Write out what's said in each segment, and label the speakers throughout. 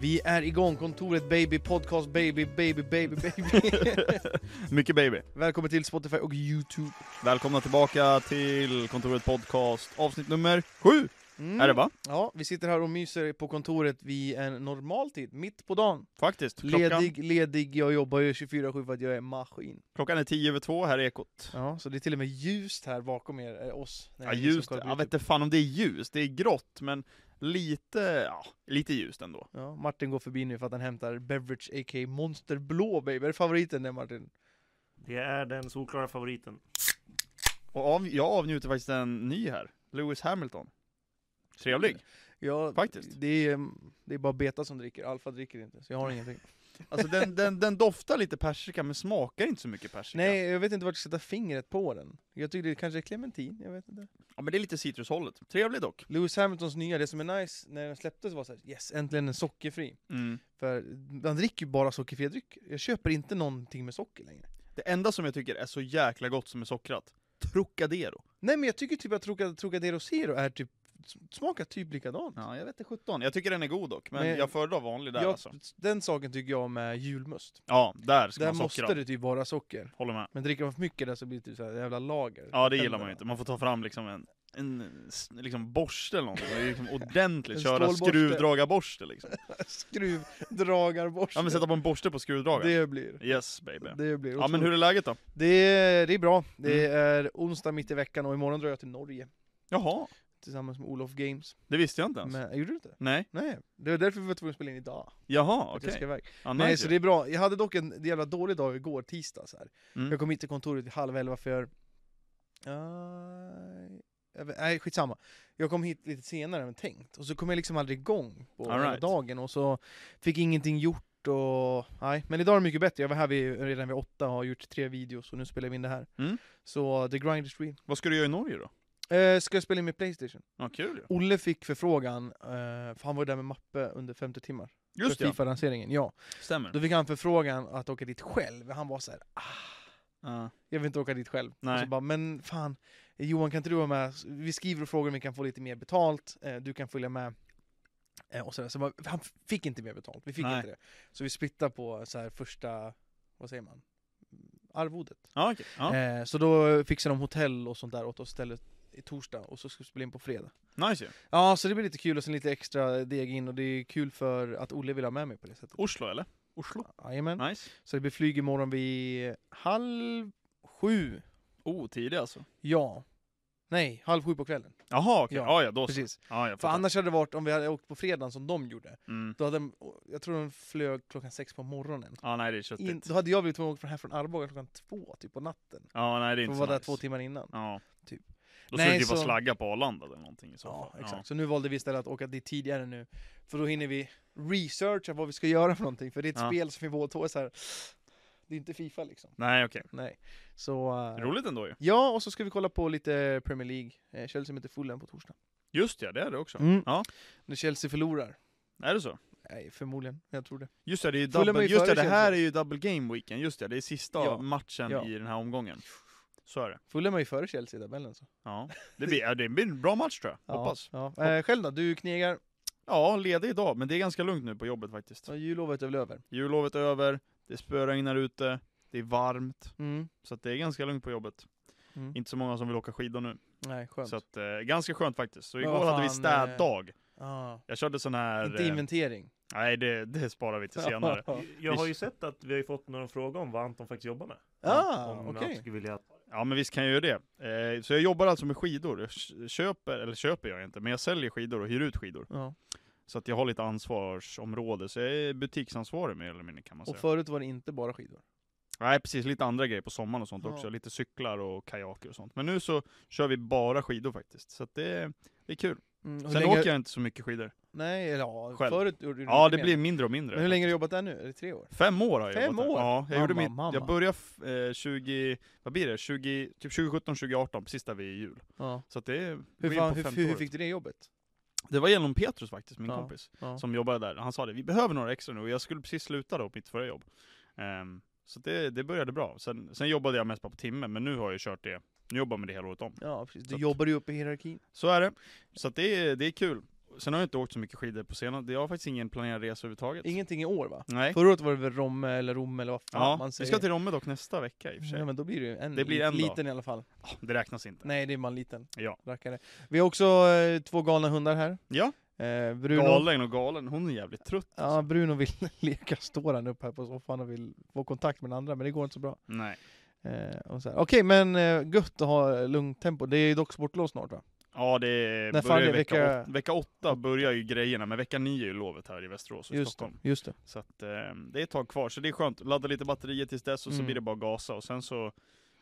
Speaker 1: Vi är igång, kontoret baby, podcast baby, baby, baby, baby.
Speaker 2: Mycket baby.
Speaker 1: Välkommen till Spotify och Youtube.
Speaker 2: Välkomna tillbaka till kontoret podcast avsnitt nummer sju.
Speaker 1: Mm.
Speaker 2: Är det va?
Speaker 1: Ja, vi sitter här och myser på kontoret vid en normal tid, mitt på dagen.
Speaker 2: Faktiskt. Klockan,
Speaker 1: Ledig, ledig, jag jobbar ju 24-7 för att jag är maskin.
Speaker 2: klockan är tio över två, här är Ekot.
Speaker 1: Ja, så det är till och med ljust här bakom er, eh, oss. när
Speaker 2: Ja
Speaker 1: ni som
Speaker 2: ljust,
Speaker 1: kollar på
Speaker 2: jag vet
Speaker 1: YouTube.
Speaker 2: inte fan om det är ljust, det är grått men lite, ja, lite ljust ändå.
Speaker 1: Ja, Martin går förbi nu för att han hämtar Beverage AK Monster Blå baby. Är det favoriten det Martin?
Speaker 3: Det är den solklara favoriten.
Speaker 2: Och av, jag avnjuter faktiskt en ny här, Lewis Hamilton. Trevlig.
Speaker 1: Ja,
Speaker 2: Faktiskt.
Speaker 1: Det är, mm, det är bara beta som dricker, alfa dricker inte. Så jag har ingenting.
Speaker 2: Alltså den, den, den doftar lite persika men smakar inte så mycket persika.
Speaker 1: Nej, jag vet inte vart jag ska sätta fingret på den. Jag tycker det kanske är clementin, jag vet inte.
Speaker 2: Ja men det är lite citrushållet. Trevlig dock.
Speaker 1: Lewis Hamiltons nya, det som är nice när den släpptes var såhär yes, äntligen en sockerfri.
Speaker 2: Mm.
Speaker 1: För man dricker ju bara sockerfria drycker. Jag köper inte någonting med socker längre.
Speaker 2: Det enda som jag tycker är så jäkla gott som är sockrat, Trocadero.
Speaker 1: Nej men jag tycker typ att Troca- Trocadero Zero är typ, smakar typ likadant.
Speaker 2: Ja, jag vet inte 17. Jag tycker den är god dock, men,
Speaker 1: Men-
Speaker 2: jag föredrar vanlig där
Speaker 1: jag,
Speaker 2: alltså.
Speaker 1: Den saken tycker jag med julmust.
Speaker 2: Ja, där ska
Speaker 1: Där
Speaker 2: man sockra.
Speaker 1: måste det typ vara socker.
Speaker 2: Håller med.
Speaker 1: Men dricker man för mycket där så blir det typ såhär jävla lager.
Speaker 2: Ja, det gillar man ju inte. Man får ta fram liksom en, en s- liksom borste eller någonting. Det är liksom ordentligt,
Speaker 1: En
Speaker 2: köra
Speaker 1: stålborste.
Speaker 2: skruvdragarborste liksom.
Speaker 1: Skruvdragarborste.
Speaker 2: Ja men sätta på en borste på skruvdragaren.
Speaker 1: det blir.
Speaker 2: Yes baby.
Speaker 1: Det blir
Speaker 2: Ja men hur är läget då?
Speaker 1: Det är, det är bra. Det
Speaker 2: Mm.
Speaker 1: är onsdag mitt i veckan och imorgon drar jag till Norge
Speaker 2: Jaha,
Speaker 1: tillsammans med Olof Games.
Speaker 2: det visste jag inte ens.
Speaker 1: Men, eh, gjorde du inte?
Speaker 2: Nej,
Speaker 1: Nej, det var därför vi var tvungna att spela in idag.
Speaker 2: jaha
Speaker 1: att
Speaker 2: okej.
Speaker 1: Jag ska iväg.
Speaker 2: Ja, nice
Speaker 1: Nej, så
Speaker 2: ju.
Speaker 1: det är bra. Jag hade dock en jävla dålig dag igår, tisdag. Så här.
Speaker 2: Mm.
Speaker 1: Jag kom hit till kontoret vid halv elva för... Aj, jag vet- nej, skitsamma. Jag kom hit lite senare än tänkt. Och så kom jag liksom aldrig igång på
Speaker 2: All
Speaker 1: hela
Speaker 2: right.
Speaker 1: dagen och så fick ingenting gjort. Och, nej. Men idag är det mycket bättre. Jag var här vid, redan vid åtta och har gjort tre videos och nu spelar vi in det här.
Speaker 2: Mm.
Speaker 1: Så the grind is real.
Speaker 2: Vad ska du göra i Norge då?
Speaker 1: Eh, ska jag spela in med Playstation?
Speaker 2: Ja kul ju.
Speaker 1: Olle fick förfrågan, eh, för han var ju där med mappe under 50 timmar.
Speaker 2: Just
Speaker 1: för
Speaker 2: ja,
Speaker 1: FIFA-lanseringen, ja.
Speaker 2: stämmer.
Speaker 1: Då fick han förfrågan att åka dit själv. Han var så här,
Speaker 2: Ja.
Speaker 1: jag vill inte åka dit själv.
Speaker 2: Nej.
Speaker 1: Och så bara, men fan, Johan kan inte du vara med? Vi skriver och frågar om vi kan få lite mer betalt, eh, du kan följa med. Eh, Och så där. Så bara, han fick inte mer betalt, vi fick
Speaker 2: Nej.
Speaker 1: inte det. Så vi splittade på så här första, vad säger man, arvodet.
Speaker 2: Ja, okej. ja.
Speaker 1: Eh, så då fixade de hotell och sånt där åt oss istället i torsdag och så ska vi spela in på fredag.
Speaker 2: Nice ju.
Speaker 1: Ja, så det blir lite kul och sen lite extra deg in och det är kul för att Olle vill ha med mig på det sättet.
Speaker 2: Oslo eller? Oslo.
Speaker 1: Jajamän.
Speaker 2: Nice.
Speaker 1: Så det blir flyg imorgon vid halv sju.
Speaker 2: Oh, tidig alltså.
Speaker 1: Ja. Nej, halv sju på kvällen.
Speaker 2: Jaha okej,
Speaker 1: Ja,
Speaker 2: ja ja då så.
Speaker 1: Precis.
Speaker 2: Ja, jag
Speaker 1: För
Speaker 2: fattar.
Speaker 1: annars hade det varit, om vi hade åkt på fredagen som de gjorde,
Speaker 2: Mm.
Speaker 1: då hade de, jag tror de flög klockan sex på morgonen.
Speaker 2: Ja nej det är köttigt.
Speaker 1: In, då hade jag blivit tvungen att åka från- här från Arboga klockan två, typ på natten.
Speaker 2: Ja nej det är
Speaker 1: För
Speaker 2: inte
Speaker 1: att
Speaker 2: så
Speaker 1: vara där
Speaker 2: nice.
Speaker 1: två timmar innan.
Speaker 2: Ja.
Speaker 1: Typ.
Speaker 2: Då
Speaker 1: Nej,
Speaker 2: skulle du typ bara
Speaker 1: så-
Speaker 2: slagga på Arlanda eller någonting i så
Speaker 1: Ja,
Speaker 2: fall.
Speaker 1: exakt. Så nu valde vi istället att åka dit tidigare nu. För då hinner vi researcha vad vi ska göra för någonting. För det är ett
Speaker 2: Ja.
Speaker 1: spel som vi båda två är så här. Det är inte Fifa liksom.
Speaker 2: Nej okej.
Speaker 1: Nej. Så... eh,
Speaker 2: Roligt ändå ju.
Speaker 1: ja, och så ska vi kolla på lite Premier League. Eh, Chelsea möter Fulham på torsdag.
Speaker 2: Just ja, det är det också.
Speaker 1: Mm.
Speaker 2: Ja,
Speaker 1: När Chelsea förlorar.
Speaker 2: är det så?
Speaker 1: Nej, förmodligen. Jag tror det.
Speaker 2: Just ja, det, är ju
Speaker 1: Fulham är
Speaker 2: double,
Speaker 1: ju
Speaker 2: just ja,
Speaker 1: före
Speaker 2: det här är
Speaker 1: Chelsea.
Speaker 2: ju double game weekend, just ja, det är sista
Speaker 1: Ja.
Speaker 2: matchen
Speaker 1: Ja.
Speaker 2: i den här omgången. Så är det.
Speaker 1: Fulham är ju före Chelsea i tabellen så.
Speaker 2: Ja. Det, blir, ja, det blir en bra match tror jag,
Speaker 1: Ja,
Speaker 2: hoppas.
Speaker 1: Ja. Eh, själv då? Du knegar.
Speaker 2: Ja, ledig idag, men det är ganska lugnt nu på jobbet faktiskt.
Speaker 1: Ja, Jullovet är väl över?
Speaker 2: Jullovet är över, det spöregnar ute, det är varmt,
Speaker 1: Mm.
Speaker 2: så att det är ganska lugnt på jobbet.
Speaker 1: Mm.
Speaker 2: Inte så många som vill åka skidor nu.
Speaker 1: Nej, skönt.
Speaker 2: Så att, eh, ganska skönt faktiskt. Så
Speaker 1: Men
Speaker 2: igår
Speaker 1: vad
Speaker 2: hade vi
Speaker 1: fan,
Speaker 2: städdag.
Speaker 1: ah.
Speaker 2: Jag körde sån här...
Speaker 1: Inte
Speaker 2: eh,
Speaker 1: inventering. Ah,
Speaker 2: nej, det, det sparar vi till senare.
Speaker 3: Jag har ju sett att vi har ju fått några frågor om vad Anton faktiskt jobbar med.
Speaker 1: ah,
Speaker 3: om
Speaker 1: okej.
Speaker 3: han skulle vilja...
Speaker 2: Ja men visst kan jag göra det. Eh, så jag jobbar alltså med skidor. Jag k- köper, eller köper jag inte, men jag säljer skidor och hyr ut skidor.
Speaker 1: Ja.
Speaker 2: Så att jag har lite ansvarsområde, så jag är butiksansvarig mer eller mindre kan man
Speaker 1: Och
Speaker 2: säga.
Speaker 1: förut var det inte bara skidor.
Speaker 2: Nej precis, lite andra grejer på sommaren och sånt
Speaker 1: Ja.
Speaker 2: också. Lite cyklar och kajaker och sånt. Men nu så kör vi bara skidor faktiskt. Så att det, det är kul.
Speaker 1: Mm, hur
Speaker 2: Sen
Speaker 1: länge-
Speaker 2: åker jag inte så mycket skidor.
Speaker 1: Nej, eller ja,
Speaker 2: Själv.
Speaker 1: förut gjorde du
Speaker 2: Ja
Speaker 1: mycket
Speaker 2: det
Speaker 1: mer.
Speaker 2: blir mindre och mindre.
Speaker 1: Men hur länge har du jobbat där nu? Är det tre år?
Speaker 2: Fem år har jag
Speaker 1: Fem
Speaker 2: jobbat där.
Speaker 1: år?
Speaker 2: Ja, jag,
Speaker 1: Mamma,
Speaker 2: gjorde mitt,
Speaker 1: mamma.
Speaker 2: jag började f- eh, 20, vad blir det? 20, typ 2017, 2018, precis där vi är i jul.
Speaker 1: Ja.
Speaker 2: Så att det är
Speaker 1: Hur,
Speaker 2: vi är
Speaker 1: fan,
Speaker 2: på
Speaker 1: hur,
Speaker 2: femte
Speaker 1: hur, hur
Speaker 2: året.
Speaker 1: fick du det jobbet?
Speaker 2: Det var genom Petrus faktiskt, min
Speaker 1: Ja,
Speaker 2: kompis,
Speaker 1: ja.
Speaker 2: som jobbade där. Han sa det, vi behöver några extra nu, och jag skulle precis sluta då på mitt förra jobb. Ehm, så det, det började bra. Sen, sen jobbade jag mest bara på timmen, men nu har jag kört det, nu jobbar jag med det hela året om.
Speaker 1: Ja, precis.
Speaker 2: Så
Speaker 1: Du
Speaker 2: att-
Speaker 1: jobbar ju uppe i hierarkin.
Speaker 2: Så är det. Så att det, är- det är kul. sen har jag inte åkt så mycket skidor på senare, jag har faktiskt ingen planerad resa överhuvudtaget.
Speaker 1: Ingenting i år va?
Speaker 2: Nej.
Speaker 1: Förra året var det väl Romme eller Rom eller vad fan
Speaker 2: Ja,
Speaker 1: man
Speaker 2: vi
Speaker 1: säger.
Speaker 2: ska till Romme dock nästa vecka i och för sig.
Speaker 1: Nej men då blir det ju en,
Speaker 2: Det blir en dag.
Speaker 1: liten i alla fall.
Speaker 2: Ah, Det räknas inte.
Speaker 1: Nej det är bara en liten
Speaker 2: Ja.
Speaker 1: rackare. Vi har också eh, två galna hundar här.
Speaker 2: Ja,
Speaker 1: Eh, Bruno,
Speaker 2: galen och galen, hon är jävligt trött.
Speaker 1: ja, Bruno vill leka, står han upp här på soffan och vill få kontakt med den andra men det går inte så bra.
Speaker 2: Nej.
Speaker 1: Eh, och så här. Okej men eh, gött att ha lugnt tempo. Det är ju dock sportlov snart va?
Speaker 2: Ja det är,
Speaker 1: När fan
Speaker 2: börjar
Speaker 1: är
Speaker 2: vecka,
Speaker 1: vecka-
Speaker 2: åt, vecka åtta börjar ju grejerna, men vecka nio är ju lovet här i Västerås och i
Speaker 1: Just det,
Speaker 2: Stockholm.
Speaker 1: just det.
Speaker 2: Så att, eh, det är ett tag kvar, så det är skönt. Ladda lite batterier tills dess och så
Speaker 1: Mm.
Speaker 2: blir det bara gasa och sen så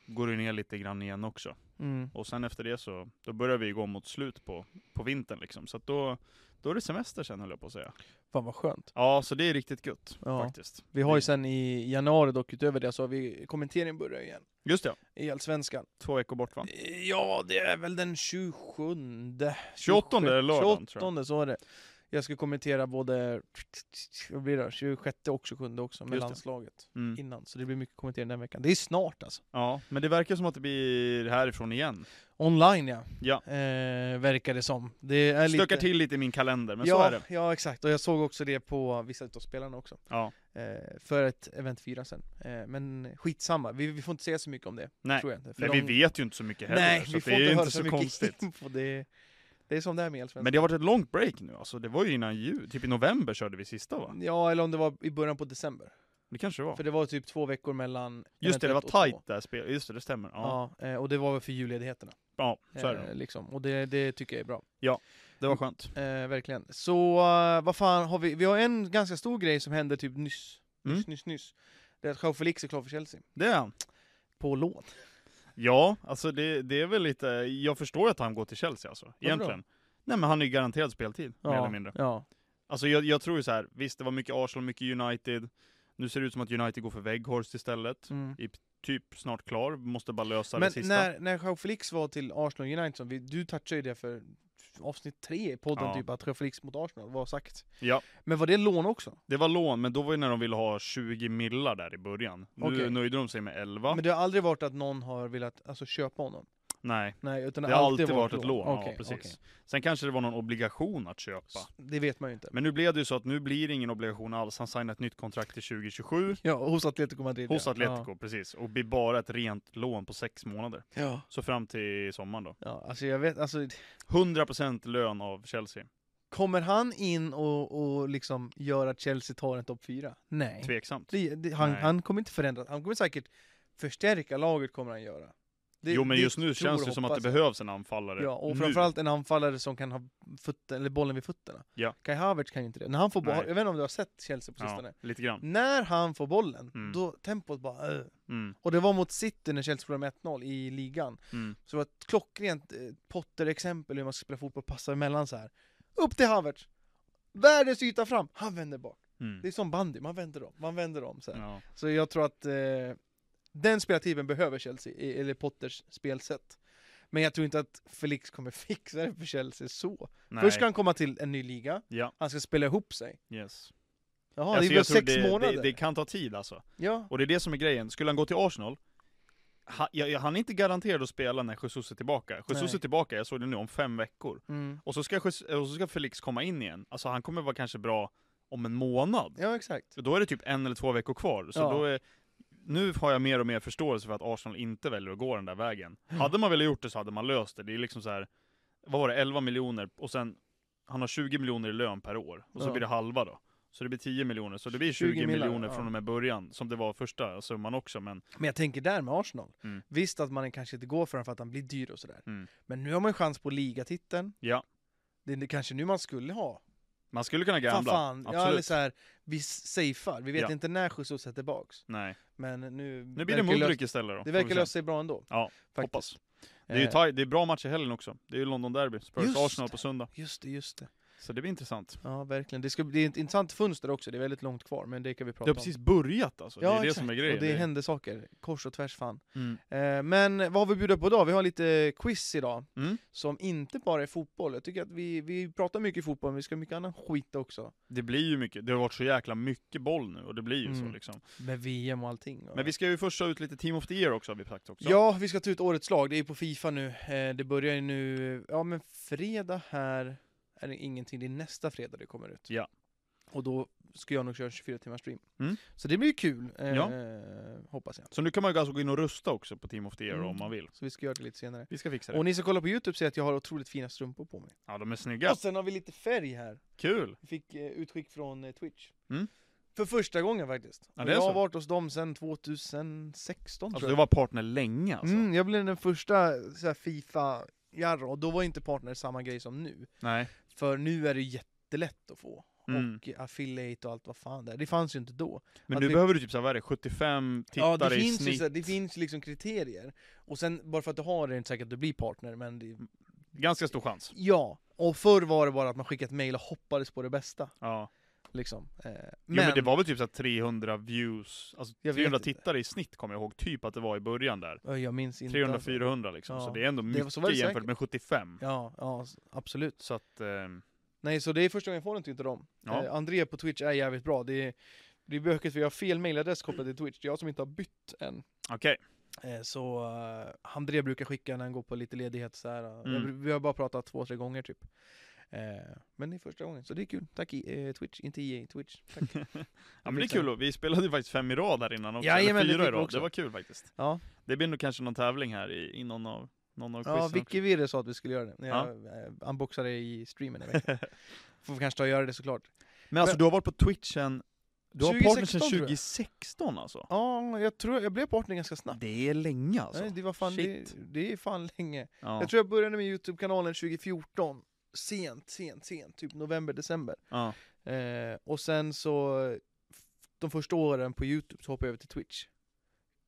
Speaker 2: går det ner lite grann igen också.
Speaker 1: Mm.
Speaker 2: Och sen efter det så, då börjar vi gå mot slut på, på vintern liksom. Så att då, då är det semester sen höll jag på att säga.
Speaker 1: Fan vad skönt.
Speaker 2: Ja, så det är riktigt gött
Speaker 1: Ja.
Speaker 2: faktiskt.
Speaker 1: Vi har ju
Speaker 2: Det-
Speaker 1: sen i januari dock utöver det så har vi kommenteringen börjar igen.
Speaker 2: Just det,
Speaker 1: I Allsvenskan.
Speaker 2: två veckor bort va?
Speaker 1: Ja, det är väl den 27.
Speaker 2: 28 är lördagen tror jag.
Speaker 1: 28 så är det. Jag ska kommentera både vad blir det, 26 och 27 också med
Speaker 2: Just det.
Speaker 1: landslaget
Speaker 2: Mm.
Speaker 1: innan. Så det blir mycket kommentering den veckan. Det är snart alltså.
Speaker 2: Ja, men det verkar som att det blir härifrån igen.
Speaker 1: Online ja,
Speaker 2: Ja.
Speaker 1: eh, verkar det som. Det är lite...
Speaker 2: Stökar till lite i min kalender, men
Speaker 1: ja,
Speaker 2: så är det.
Speaker 1: Ja, exakt. Och jag såg också det på vissa utav spelarna också.
Speaker 2: Ja.
Speaker 1: Eh, för ett event 4 sen. Eh, men skitsamma, vi, vi får inte säga så mycket om det.
Speaker 2: Nej.
Speaker 1: Tror jag inte. För
Speaker 2: Nej,
Speaker 1: de-
Speaker 2: vi vet ju inte så mycket heller,
Speaker 1: Nej,
Speaker 2: så
Speaker 1: vi
Speaker 2: att
Speaker 1: får
Speaker 2: det är
Speaker 1: inte höra
Speaker 2: inte
Speaker 1: så
Speaker 2: så
Speaker 1: mycket
Speaker 2: konstigt.
Speaker 1: info. Det, det är som det här med elsvenskan.
Speaker 2: Men det har varit ett långt break nu alltså, det var ju innan jul, typ i november körde vi sista va?
Speaker 1: Ja, eller om det var i början på december.
Speaker 2: Det kanske det var?
Speaker 1: Mm. För det var typ två veckor mellan...
Speaker 2: Just det, det var
Speaker 1: eventuellt och två.
Speaker 2: tight där spelet, just det, det stämmer. Ja,
Speaker 1: Ja. eh, och det var väl för julledigheterna.
Speaker 2: ja. så är det.
Speaker 1: Eh, liksom. Och det, det tycker jag är bra.
Speaker 2: Det var skönt.
Speaker 1: Eh, verkligen. Så eh, vad fan har vi? Vi har en ganska stor grej som hände typ nyss. Nyss,
Speaker 2: Mm.
Speaker 1: nyss, nyss. Det är att Joao Felix är klar för Chelsea.
Speaker 2: Det är han.
Speaker 1: På lån.
Speaker 2: Ja, alltså det, det är väl lite, jag förstår att han går till Chelsea alltså, egentligen. Nej men han är ju garanterad speltid, mer eller mindre.
Speaker 1: Ja.
Speaker 2: Alltså jag, jag tror ju så här. visst det var mycket Arsenal, mycket United. Nu ser det ut som att United går för Weghorst istället.
Speaker 1: Mm.
Speaker 2: Typ snart klar, måste bara lösa
Speaker 1: Men
Speaker 2: det sista.
Speaker 1: när, när Joao Felix var till Arsenal United, som vi, du touchade ju det för avsnitt tre i podden
Speaker 2: Ja.
Speaker 1: typ, att Joao Felix mot Arsenal var sagt.
Speaker 2: Ja.
Speaker 1: Men var det lån också?
Speaker 2: Det var lån, men då var ju när de ville ha 20 millar där i början. Nu
Speaker 1: Okej.
Speaker 2: nöjde de sig med 11.
Speaker 1: Men det har aldrig varit att någon har velat alltså, köpa honom?
Speaker 2: Nej,
Speaker 1: Nej, utan
Speaker 2: det har alltid varit ett lån.
Speaker 1: Okej,
Speaker 2: ja, precis.
Speaker 1: okej.
Speaker 2: Sen kanske det var någon obligation att köpa.
Speaker 1: S- Det vet man ju inte.
Speaker 2: Men nu blev det ju så att nu blir det ingen obligation alls. Han signade ett nytt kontrakt till 2027
Speaker 1: Ja, hos Atletico Madrid.
Speaker 2: hos
Speaker 1: ja.
Speaker 2: Atletico, precis. Och blir bara ett rent lån på sex månader.
Speaker 1: Ja. ja.
Speaker 2: Så fram till sommaren då.
Speaker 1: Ja, alltså jag vet, alltså
Speaker 2: 100% lön av Chelsea.
Speaker 1: Kommer han in och, och liksom gör att Chelsea tar en topp fyra? Nej.
Speaker 2: Tveksamt.
Speaker 1: Det, det, han,
Speaker 2: Nej.
Speaker 1: han kommer inte förändra, han kommer säkert förstärka laget kommer han göra. Det-
Speaker 2: jo men
Speaker 1: det
Speaker 2: just
Speaker 1: tror
Speaker 2: nu känns
Speaker 1: och
Speaker 2: det som att det
Speaker 1: hoppas jag.
Speaker 2: behövs en anfallare.
Speaker 1: Ja, och
Speaker 2: nu.
Speaker 1: framförallt en anfallare som kan ha fötter, eller bollen vid fötterna.
Speaker 2: Ja.
Speaker 1: Kai Havertz kan ju inte det. När han får boll,
Speaker 2: Nej.
Speaker 1: jag vet inte om du har sett Chelsea på
Speaker 2: Ja,
Speaker 1: sistone?
Speaker 2: lite grann.
Speaker 1: När han får bollen,
Speaker 2: Mm.
Speaker 1: då tempot bara... "Ugh."
Speaker 2: Mm,
Speaker 1: Och det var mot City när Chelsea förlorade med 1-0 i ligan.
Speaker 2: mm.
Speaker 1: Så det var ett klockrent eh, Potter-exempel hur man ska spela fotboll, passa emellan så här. Upp till Havertz! Världens yta fram! Han vänder bak.
Speaker 2: Mm.
Speaker 1: Det är som bandy, man vänder om, man vänder om så här.
Speaker 2: Ja.
Speaker 1: Så jag tror att eh, den spelartypen behöver Chelsea, i- eller Potters spelsätt. Men jag tror inte att Felix kommer fixa det för Chelsea så.
Speaker 2: Nej.
Speaker 1: Först ska han komma till en ny liga,
Speaker 2: Ja.
Speaker 1: han ska spela ihop sig.
Speaker 2: Yes.
Speaker 1: Jaha,
Speaker 2: Alltså,
Speaker 1: det är väl
Speaker 2: jag tror
Speaker 1: sex
Speaker 2: det,
Speaker 1: månader?
Speaker 2: Det, det kan ta tid alltså.
Speaker 1: Ja.
Speaker 2: Och det är det som är grejen. Skulle han gå till Arsenal, han, jag, jag, han är inte garanterad att spela när Jesus är tillbaka. Jesus
Speaker 1: Nej.
Speaker 2: är tillbaka, jag såg det nu, om fem veckor.
Speaker 1: Mm.
Speaker 2: Och så, ska, Jesus och så ska Felix komma in igen. Alltså han kommer vara kanske bra om en månad.
Speaker 1: ja, exakt.
Speaker 2: Så Då är det typ en eller två veckor kvar. Så
Speaker 1: Ja.
Speaker 2: då är, nu har jag mer och mer förståelse för att Arsenal inte väljer att gå den där vägen.
Speaker 1: Mm.
Speaker 2: Hade man velat gjort det så hade man löst det. Det är liksom så här, vad var det, 11 miljoner och sen, han har 20 miljoner i lön per år. Och så
Speaker 1: Ja.
Speaker 2: blir det halva då. Så det blir 10 miljoner, så det blir 20,
Speaker 1: 20 miljoner,
Speaker 2: miljoner
Speaker 1: ja.
Speaker 2: från och med början, som det var första summan också, men
Speaker 1: Men jag tänker där med Arsenal.
Speaker 2: Mm.
Speaker 1: Visst att man kanske inte går för honom för att han blir dyr och sådär.
Speaker 2: Mm.
Speaker 1: Men nu har man ju chans på ligatiteln.
Speaker 2: Ja.
Speaker 1: Det är kanske nu man skulle ha.
Speaker 2: man skulle kunna
Speaker 1: Fan,
Speaker 2: gambla.
Speaker 1: fan. Ja, eller
Speaker 2: Absolut.
Speaker 1: så här, vi safear. Vi vet
Speaker 2: Ja.
Speaker 1: inte när Jesus sätter tillbaks.
Speaker 2: Nej.
Speaker 1: Men nu...
Speaker 2: Nu blir det
Speaker 1: verkar löst-
Speaker 2: Mudryk istället då.
Speaker 1: Det
Speaker 2: får vi
Speaker 1: verkar
Speaker 2: se.
Speaker 1: lösa sig bra ändå.
Speaker 2: Ja,
Speaker 1: faktiskt.
Speaker 2: hoppas. Det är ju
Speaker 1: Eh,
Speaker 2: taj- det är bra match i helgen också. Det är ju London Derby,
Speaker 1: Just
Speaker 2: Spurs-Arsenal
Speaker 1: det.
Speaker 2: på söndag.
Speaker 1: Just det, just det.
Speaker 2: Så det blir intressant.
Speaker 1: Ja, verkligen. Det, ska, det är ett intressant fönster också, det är väldigt långt kvar, men det kan vi prata
Speaker 2: Det har precis börjat alltså,
Speaker 1: om.
Speaker 2: det är det
Speaker 1: exakt.
Speaker 2: som är grejen.
Speaker 1: Och det händer saker, kors och tvärs fan.
Speaker 2: Mm.
Speaker 1: Eh, men vad har vi bjudit på idag? Vi har lite quiz idag,
Speaker 2: Mm.
Speaker 1: som inte bara är fotboll. Jag tycker att vi, vi pratar mycket fotboll, men vi ska ha mycket annan skit också.
Speaker 2: Det blir ju mycket, det har varit så jäkla mycket boll nu och det blir ju
Speaker 1: Mm.
Speaker 2: så liksom.
Speaker 1: Med VM och allting.
Speaker 2: Men vi ska ju först ta ut lite Team of the Year också har vi sagt också.
Speaker 1: Ja, vi ska ta ut årets lag. Det är ju på Fifa nu. Eh, Det börjar ju nu, ja men fredag här. är det ingenting, det är nästa fredag det kommer ut.
Speaker 2: Ja.
Speaker 1: Och då ska jag nog köra 24 timmars stream.
Speaker 2: Mm.
Speaker 1: Så det blir ju kul, eh,
Speaker 2: Ja.
Speaker 1: hoppas jag.
Speaker 2: Så nu kan man ju alltså gå in och rusta också på Team of the Year
Speaker 1: Mm.
Speaker 2: om man vill.
Speaker 1: Så vi ska göra det lite senare.
Speaker 2: Vi ska fixa det.
Speaker 1: Och ni som kollar på Youtube ser att jag har otroligt fina strumpor på mig.
Speaker 2: Ja, de är snygga.
Speaker 1: Och sen har vi lite färg här.
Speaker 2: Kul!
Speaker 1: Vi fick eh, utskick från eh, Twitch.
Speaker 2: Mm.
Speaker 1: För första gången faktiskt.
Speaker 2: Ja,
Speaker 1: Och
Speaker 2: det är
Speaker 1: jag har
Speaker 2: så.
Speaker 1: varit hos dem sedan 2016
Speaker 2: Alltså
Speaker 1: tror
Speaker 2: du
Speaker 1: jag.
Speaker 2: var partner länge alltså.
Speaker 1: Mm, jag blev den första så här, fifa jarra och då var inte partner samma grej som nu.
Speaker 2: Nej.
Speaker 1: För nu är det jättelätt att få.
Speaker 2: Mm.
Speaker 1: Och affiliate och allt vad fan det är. Det fanns ju inte då.
Speaker 2: Men
Speaker 1: Att
Speaker 2: nu
Speaker 1: vi-
Speaker 2: behöver du typ såhär, vad är det, 75 tittare
Speaker 1: ja, det
Speaker 2: i
Speaker 1: finns ju
Speaker 2: snitt?
Speaker 1: så här, det finns liksom kriterier. Och sen, bara för att du har det är det inte säkert att du blir partner, men det,
Speaker 2: Ganska stor chans.
Speaker 1: Ja, och förr var det bara att man skickade ett mejl och hoppades på det bästa.
Speaker 2: Ja.
Speaker 1: Liksom. Eh, men,
Speaker 2: Men, jo, men det var väl typ såhär 300 views, alltså
Speaker 1: Jag vet
Speaker 2: 300
Speaker 1: inte.
Speaker 2: tittare i snitt kommer jag ihåg typ att det var i början där.
Speaker 1: Ö, jag minns inte. alltså.
Speaker 2: 300-400 liksom,
Speaker 1: Ja.
Speaker 2: så det är ändå
Speaker 1: Det var-
Speaker 2: mycket
Speaker 1: så var det
Speaker 2: jämfört
Speaker 1: säkert.
Speaker 2: med 75.
Speaker 1: Ja, ja, s- absolut.
Speaker 2: Så att, ehm,
Speaker 1: Nej, så det är första gången jag får någonting till dem.
Speaker 2: Ja.
Speaker 1: Eh, André på Twitch är jävligt bra. Det är, det är bökigt för jag har fel mejladress kopplad till Twitch. Det är jag som inte har bytt än.
Speaker 2: okej.
Speaker 1: Eh, så eh, André brukar skicka när han går på lite ledighet så här. eh,
Speaker 2: Mm.
Speaker 1: jag- Vi har bara pratat två, tre gånger typ. Eh, men det är första gången, så det är kul. Tack i, eh, Twitch, inte EA, Twitch. Tack.
Speaker 2: Ja men det är kul, och vi spelade ju faktiskt fem i rad här innan också,
Speaker 1: Jajamän, det
Speaker 2: eller fyra
Speaker 1: fick
Speaker 2: i
Speaker 1: vi
Speaker 2: rad.
Speaker 1: också.
Speaker 2: Det var kul faktiskt.
Speaker 1: Ja.
Speaker 2: Det blir nog kanske någon tävling här i, i någon av, någon av
Speaker 1: Ja,
Speaker 2: quizen också.
Speaker 1: Vicky Virre sa att vi skulle göra det när
Speaker 2: Ja.
Speaker 1: jag eh, unboxade i streamen i veckan. Får vi kanske ta och göra det såklart.
Speaker 2: Men alltså du har varit på Twitchen, du har partner
Speaker 1: 2016
Speaker 2: sedan
Speaker 1: tror jag.
Speaker 2: 2016 alltså?
Speaker 1: Ja, jag tror jag blev partner ganska snabbt.
Speaker 2: Det är länge alltså.
Speaker 1: Nej, det var fan, det,
Speaker 2: shit.
Speaker 1: det är fan länge.
Speaker 2: Ja.
Speaker 1: Jag tror jag började med Youtube-kanalen 2014. Sent, sent, sent. Typ november, december.
Speaker 2: ja.
Speaker 1: Eh, och sen så, eh, f- de första åren på Youtube så hoppade jag över till Twitch.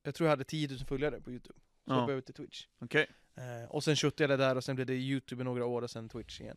Speaker 1: Jag tror jag hade 10 000 följare på Youtube. Så
Speaker 2: Ja.
Speaker 1: hoppade jag över till Twitch.
Speaker 2: Okej,
Speaker 1: Eh, och sen köttade jag det där och sen blev det Youtube i några år och sen Twitch igen.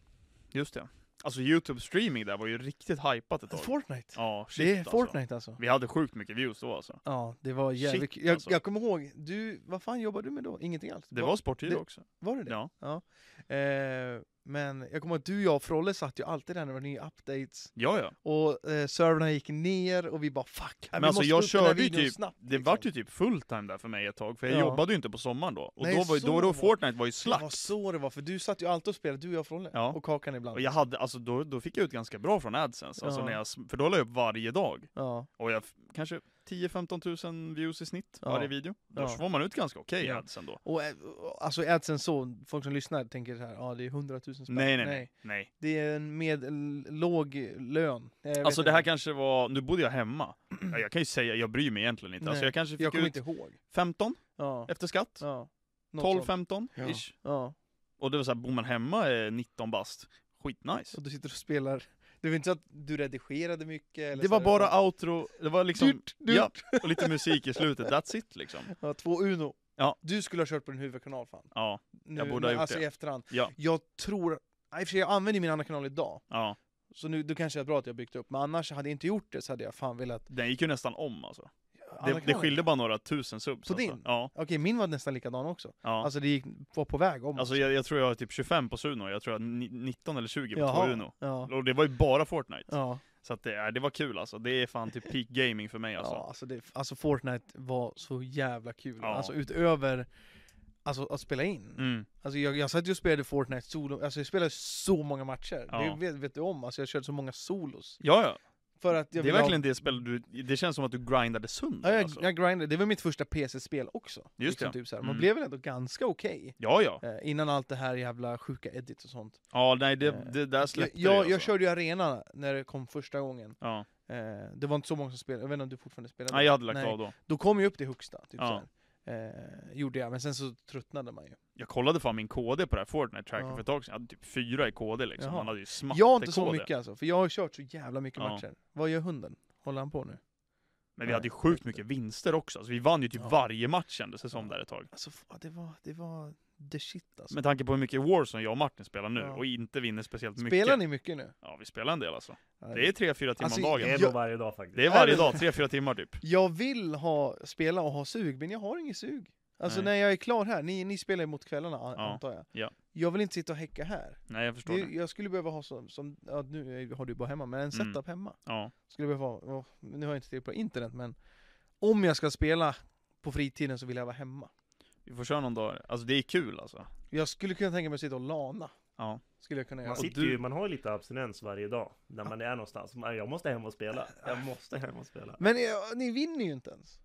Speaker 2: just det. Alltså youtube streaming där var ju riktigt hypat ett tag.
Speaker 1: Fortnite!
Speaker 2: Ja, shit
Speaker 1: det är
Speaker 2: alltså.
Speaker 1: Fortnite alltså.
Speaker 2: Vi hade sjukt mycket views då alltså.
Speaker 1: Ja, det var
Speaker 2: Shit,
Speaker 1: jävligt kul. jag,
Speaker 2: alltså.
Speaker 1: jag kommer ihåg, du, vad fan jobbade du med då? Ingenting alls?
Speaker 2: Det
Speaker 1: Va-
Speaker 2: var sporttid
Speaker 1: det-
Speaker 2: också.
Speaker 1: var det, det?
Speaker 2: Ja.
Speaker 1: Eh, men jag kommer ihåg att du, jag och Frolle satt ju alltid där när det var nya updates
Speaker 2: Ja, ja.
Speaker 1: och eh, servrarna gick ner och vi bara fuck, här,
Speaker 2: Men
Speaker 1: vi måste
Speaker 2: alltså, jag
Speaker 1: upp den här
Speaker 2: körde ju
Speaker 1: videon
Speaker 2: typ-
Speaker 1: snabbt,
Speaker 2: Det
Speaker 1: liksom.
Speaker 2: vart ju typ fulltime där för mig ett tag, för jag
Speaker 1: Ja.
Speaker 2: jobbade ju inte på sommaren då. Och
Speaker 1: Nej,
Speaker 2: då, var, ju-
Speaker 1: så
Speaker 2: då, då
Speaker 1: var-
Speaker 2: Fortnite var ju
Speaker 1: Det var
Speaker 2: slakt.
Speaker 1: så det var, för du satt ju alltid och spelade, du och jag och Frolle,
Speaker 2: Ja.
Speaker 1: och Kakan ibland.
Speaker 2: Och jag hade, alltså då, då fick jag ut ganska bra från AdSense, alltså
Speaker 1: Ja.
Speaker 2: när jag, s- för då la jag upp varje dag.
Speaker 1: ja.
Speaker 2: Och jag, f- kanske 10-15 000 views i snitt
Speaker 1: Ja.
Speaker 2: varje video. Då
Speaker 1: Ja.
Speaker 2: får man ut ganska okej
Speaker 1: Ja.
Speaker 2: AdSense då.
Speaker 1: Och eh, alltså Adsense så, folk som lyssnar tänker så här, ja det är 100 000 spänn.
Speaker 2: Nej, nej, nej. nej.
Speaker 1: Det är en med l- låg lön. Jag vet
Speaker 2: Alltså det här
Speaker 1: inte.
Speaker 2: kanske var, nu bodde jag hemma. Ja, Jag kan ju säga, jag bryr mig egentligen inte. Alltså
Speaker 1: Nej.
Speaker 2: jag kanske fick
Speaker 1: Jag kommer
Speaker 2: ut
Speaker 1: inte ihåg.
Speaker 2: 15
Speaker 1: Ja.
Speaker 2: efter skatt.
Speaker 1: Ja. Något sånt.
Speaker 2: 12-15
Speaker 1: Ja.
Speaker 2: ish.
Speaker 1: Ja.
Speaker 2: Och det var såhär, bor man hemma är 19 bast. Skitnice.
Speaker 1: Och du sitter och spelar. Det var inte så att du redigerade mycket? Eller
Speaker 2: Det
Speaker 1: så
Speaker 2: var
Speaker 1: här-
Speaker 2: bara outro, det var liksom,
Speaker 1: Dyrt, dyrt.
Speaker 2: ja, och lite musik i slutet, that's it liksom.
Speaker 1: Ja, två Uno.
Speaker 2: Ja.
Speaker 1: Du skulle ha kört på din huvudkanal fan.
Speaker 2: Ja,
Speaker 1: Nu,
Speaker 2: borde ha gjort
Speaker 1: alltså
Speaker 2: det.
Speaker 1: i efterhand.
Speaker 2: Ja.
Speaker 1: Jag tror, nej, i och för sig, jag använder min andra kanal idag.
Speaker 2: ja.
Speaker 1: Så nu, då kanske det är bra att jag byggt upp. Men annars hade jag inte gjort det så hade jag fan velat...
Speaker 2: Den gick ju nästan om alltså.
Speaker 1: andra
Speaker 2: Det, det
Speaker 1: kanalen.
Speaker 2: skilde bara några tusen subs
Speaker 1: På
Speaker 2: alltså.
Speaker 1: din?
Speaker 2: Ja.
Speaker 1: Okej, min var nästan likadan också.
Speaker 2: ja.
Speaker 1: Alltså det gick, var på väg om.
Speaker 2: Alltså jag, jag tror jag har typ 25 på Suno, jag tror jag har ni- 19 eller 20 på
Speaker 1: Jaha.
Speaker 2: Uno.
Speaker 1: Ja.
Speaker 2: Och det var ju bara Fortnite.
Speaker 1: Ja.
Speaker 2: Så att det, ja, det var kul alltså, det är fan typ peak gaming för mig alltså.
Speaker 1: Ja, alltså, det, alltså Fortnite var så jävla kul.
Speaker 2: Ja.
Speaker 1: Alltså utöver alltså, att spela in.
Speaker 2: Mm.
Speaker 1: Alltså jag, jag satt ju och spelade Fortnite solo, alltså jag spelade så många matcher.
Speaker 2: Ja.
Speaker 1: Det vet, vet du om, alltså jag körde så många solos.
Speaker 2: Ja, ja.
Speaker 1: För att jag
Speaker 2: Det är
Speaker 1: ville ha-
Speaker 2: verkligen det spel du, det känns som att du grindade
Speaker 1: Ja,
Speaker 2: sönder
Speaker 1: jag,
Speaker 2: alltså.
Speaker 1: jag grindade, det var mitt första PC-spel också.
Speaker 2: Just det.
Speaker 1: Typ så här. Man
Speaker 2: Mm.
Speaker 1: blev väl ändå ganska okej.
Speaker 2: Ja, ja.
Speaker 1: eh, Innan allt det här jävla sjuka edit och sånt.
Speaker 2: Ja, nej det,
Speaker 1: Eh,
Speaker 2: det där släppte
Speaker 1: jag,
Speaker 2: det,
Speaker 1: jag,
Speaker 2: alltså.
Speaker 1: jag körde ju arena när det kom första gången.
Speaker 2: Ja.
Speaker 1: Eh, det var inte så många som spelade, jag vet inte om du fortfarande spelade?
Speaker 2: Nej, jag hade lagt
Speaker 1: Nej.
Speaker 2: av då.
Speaker 1: Då kom jag upp till högsta, typ
Speaker 2: Ja.
Speaker 1: så här. Eh, gjorde jag, men sen så tröttnade man ju.
Speaker 2: Jag kollade fan min KD på det här Fortnite-tracken
Speaker 1: Ja.
Speaker 2: för ett tag sedan, jag hade typ fyra i KD liksom,
Speaker 1: Jaha.
Speaker 2: man hade ju smatte
Speaker 1: Jag har inte så
Speaker 2: KD.
Speaker 1: mycket alltså, för jag har kört så jävla mycket
Speaker 2: Ja.
Speaker 1: matcher. Vad gör hunden? Håller han på nu?
Speaker 2: Men vi hade ju sjukt mycket vinster också, alltså, vi vann ju typ
Speaker 1: Ja.
Speaker 2: varje match kändes det som
Speaker 1: Ja.
Speaker 2: där ett tag.
Speaker 1: Alltså fan, det var, det var the shit alltså.
Speaker 2: Med tanke på hur mycket Warzone jag och Martin spelar nu,
Speaker 1: Ja.
Speaker 2: och inte vinner speciellt mycket.
Speaker 1: Spelar ni mycket nu?
Speaker 2: Ja, vi spelar en del alltså.
Speaker 1: Ja,
Speaker 2: Det är 3-4 timmar
Speaker 1: Alltså,
Speaker 2: om
Speaker 3: Det är
Speaker 2: dagen.
Speaker 1: jag-
Speaker 3: nog varje dag faktiskt.
Speaker 2: Det är
Speaker 1: Är
Speaker 2: varje
Speaker 1: det-
Speaker 2: dag, 3-4 timmar typ.
Speaker 1: Jag vill ha, spela och ha sug, men jag har ingen sug. Alltså
Speaker 2: Nej.
Speaker 1: när jag är klar här, ni, ni spelar ju mot kvällarna an-
Speaker 2: Ja,
Speaker 1: antar jag.
Speaker 2: ja.
Speaker 1: Jag vill inte sitta och häcka här.
Speaker 2: Nej, jag förstår
Speaker 1: Det,
Speaker 2: det.
Speaker 1: jag skulle behöva ha som, som ja, nu har du bara hemma, men en
Speaker 2: Mm.
Speaker 1: setup hemma.
Speaker 2: Ja.
Speaker 1: Skulle behöva ha, åh, nu har jag inte tillgång på internet, men om jag ska spela på fritiden så vill jag vara hemma.
Speaker 2: Vi får köra någon dag. Alltså det är kul alltså.
Speaker 1: Jag skulle kunna tänka mig att sitta och lana.
Speaker 2: Ja.
Speaker 1: Skulle jag kunna göra.
Speaker 3: Man, sitter
Speaker 2: du-
Speaker 3: ju, man har ju lite abstinens varje dag när man är någonstans. Man- Jag måste hem och spela. Jag måste hem och spela.
Speaker 1: Men eh, ni vinner ju inte ens.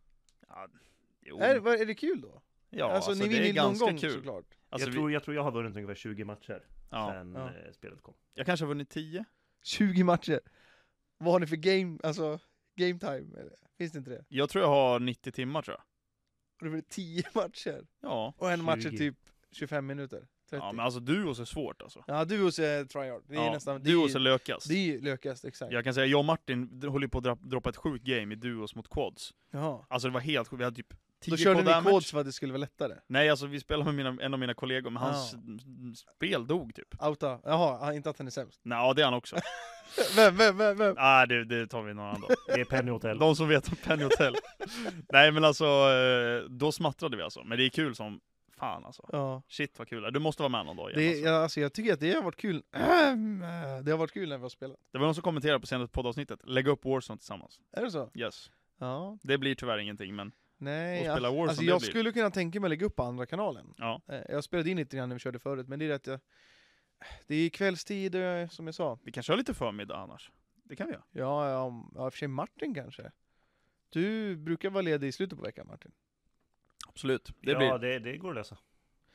Speaker 2: ja jo.
Speaker 1: Är, vad- är det kul då?
Speaker 2: ja,
Speaker 1: alltså, ni vinner
Speaker 2: det
Speaker 1: ju
Speaker 2: är
Speaker 1: någon
Speaker 2: ganska
Speaker 1: gång
Speaker 2: kul.
Speaker 1: såklart.
Speaker 2: Alltså,
Speaker 3: jag,
Speaker 2: vi,
Speaker 3: tror, jag tror jag har vunnit ungefär 20 matcher
Speaker 2: ja.
Speaker 3: sen
Speaker 1: Ja.
Speaker 3: eh, spelet kom.
Speaker 2: Jag kanske har vunnit 10?
Speaker 1: 20 matcher. Vad har ni för game, alltså game time? eller? Finns det inte det?
Speaker 2: Jag tror jag har 90 timmar tror jag.
Speaker 1: Och det blir 10 matcher.
Speaker 2: Ja.
Speaker 1: Och en match är
Speaker 3: 20.
Speaker 1: typ 25 minuter. 30.
Speaker 2: Ja men alltså duos är svårt alltså.
Speaker 1: Ja, du och så är tryhard. Det är
Speaker 2: ja,
Speaker 1: nästan... Det
Speaker 2: duos är
Speaker 1: är,
Speaker 2: lökast.
Speaker 1: det är ju lökast, exakt.
Speaker 2: Jag kan säga, jag och Martin d- håller ju på att dra- droppa ett sjukt game i duos mot quads.
Speaker 1: Jaha.
Speaker 2: Alltså det var helt sjukt, vi hade typ 10
Speaker 1: Då körde
Speaker 2: quad
Speaker 1: ni
Speaker 2: damage.
Speaker 1: kods för att det skulle vara lättare.
Speaker 2: Nej alltså vi spelade med mina, en av mina kollegor, men hans
Speaker 1: Ja.
Speaker 2: s- spel dog typ.
Speaker 1: Outa. Jaha, inte att han är sämst.
Speaker 2: Nej, ja, det är han också.
Speaker 1: Vem, vem, vem, vem?
Speaker 2: Nej det, det tar vi någon annan dag.
Speaker 3: Det är Penny Hotel.
Speaker 2: De som vet om Penny Hotel. Nej men alltså, eh, då smattrade vi alltså. Men det är kul som fan alltså.
Speaker 1: Ja.
Speaker 2: Shit vad kul det är. Du måste vara med någon dag igen.
Speaker 1: Det,
Speaker 2: alltså.
Speaker 1: ja, alltså jag tycker att det har varit kul. Ehm, Det har varit kul när vi har spelat.
Speaker 2: det var någon som kommenterade på senaste poddavsnittet, lägg upp Warzone tillsammans.
Speaker 1: Är det så?
Speaker 2: Yes.
Speaker 1: Ja.
Speaker 2: Det blir tyvärr ingenting men,
Speaker 1: Nej.
Speaker 2: Och spela
Speaker 1: alltså-
Speaker 2: Warzone,
Speaker 1: alltså
Speaker 2: det
Speaker 1: jag
Speaker 2: blir-
Speaker 1: skulle kunna tänka mig att lägga upp på andra kanalen.
Speaker 2: Ja.
Speaker 1: Eh, Jag spelade in lite grann när vi körde förut, men det är det att jag... Det är kvällstid, eh, som jag sa.
Speaker 2: vi kan köra lite förmiddag annars. Det kan vi göra.
Speaker 1: Ja, ja, om- ja, i och för sig Martin kanske. Du brukar vara ledig i slutet på veckan, Martin.
Speaker 2: Absolut. Det
Speaker 3: ja,
Speaker 2: blir
Speaker 3: det, det går att lösa.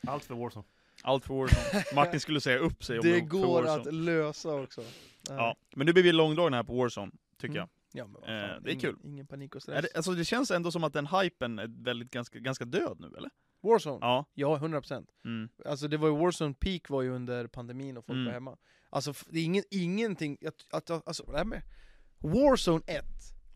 Speaker 3: Allt för Warzone.
Speaker 2: allt för Warzone. Martin skulle säga upp sig om
Speaker 1: Det
Speaker 2: för
Speaker 1: går
Speaker 2: Warzone.
Speaker 1: att lösa också. Eh,
Speaker 2: Ja, men nu blir vi långdragna här på Warzone, tycker
Speaker 1: Mm.
Speaker 2: jag.
Speaker 1: Ja, men vad
Speaker 2: Eh,
Speaker 1: fan,
Speaker 2: det är
Speaker 1: ingen,
Speaker 2: kul.
Speaker 1: Ingen panik och
Speaker 2: Är
Speaker 1: stress.
Speaker 2: det, alltså det känns ändå som att den hypen är väldigt ganska, ganska död nu eller?
Speaker 1: Warzone?
Speaker 2: Ja.
Speaker 1: Ja, 100%.
Speaker 2: Mm.
Speaker 1: Alltså det var ju Warzone peak var ju under pandemin och folk
Speaker 2: Mm.
Speaker 1: var hemma. Alltså f- det är ingen, ingenting, att, att, alltså det här med Warzone 1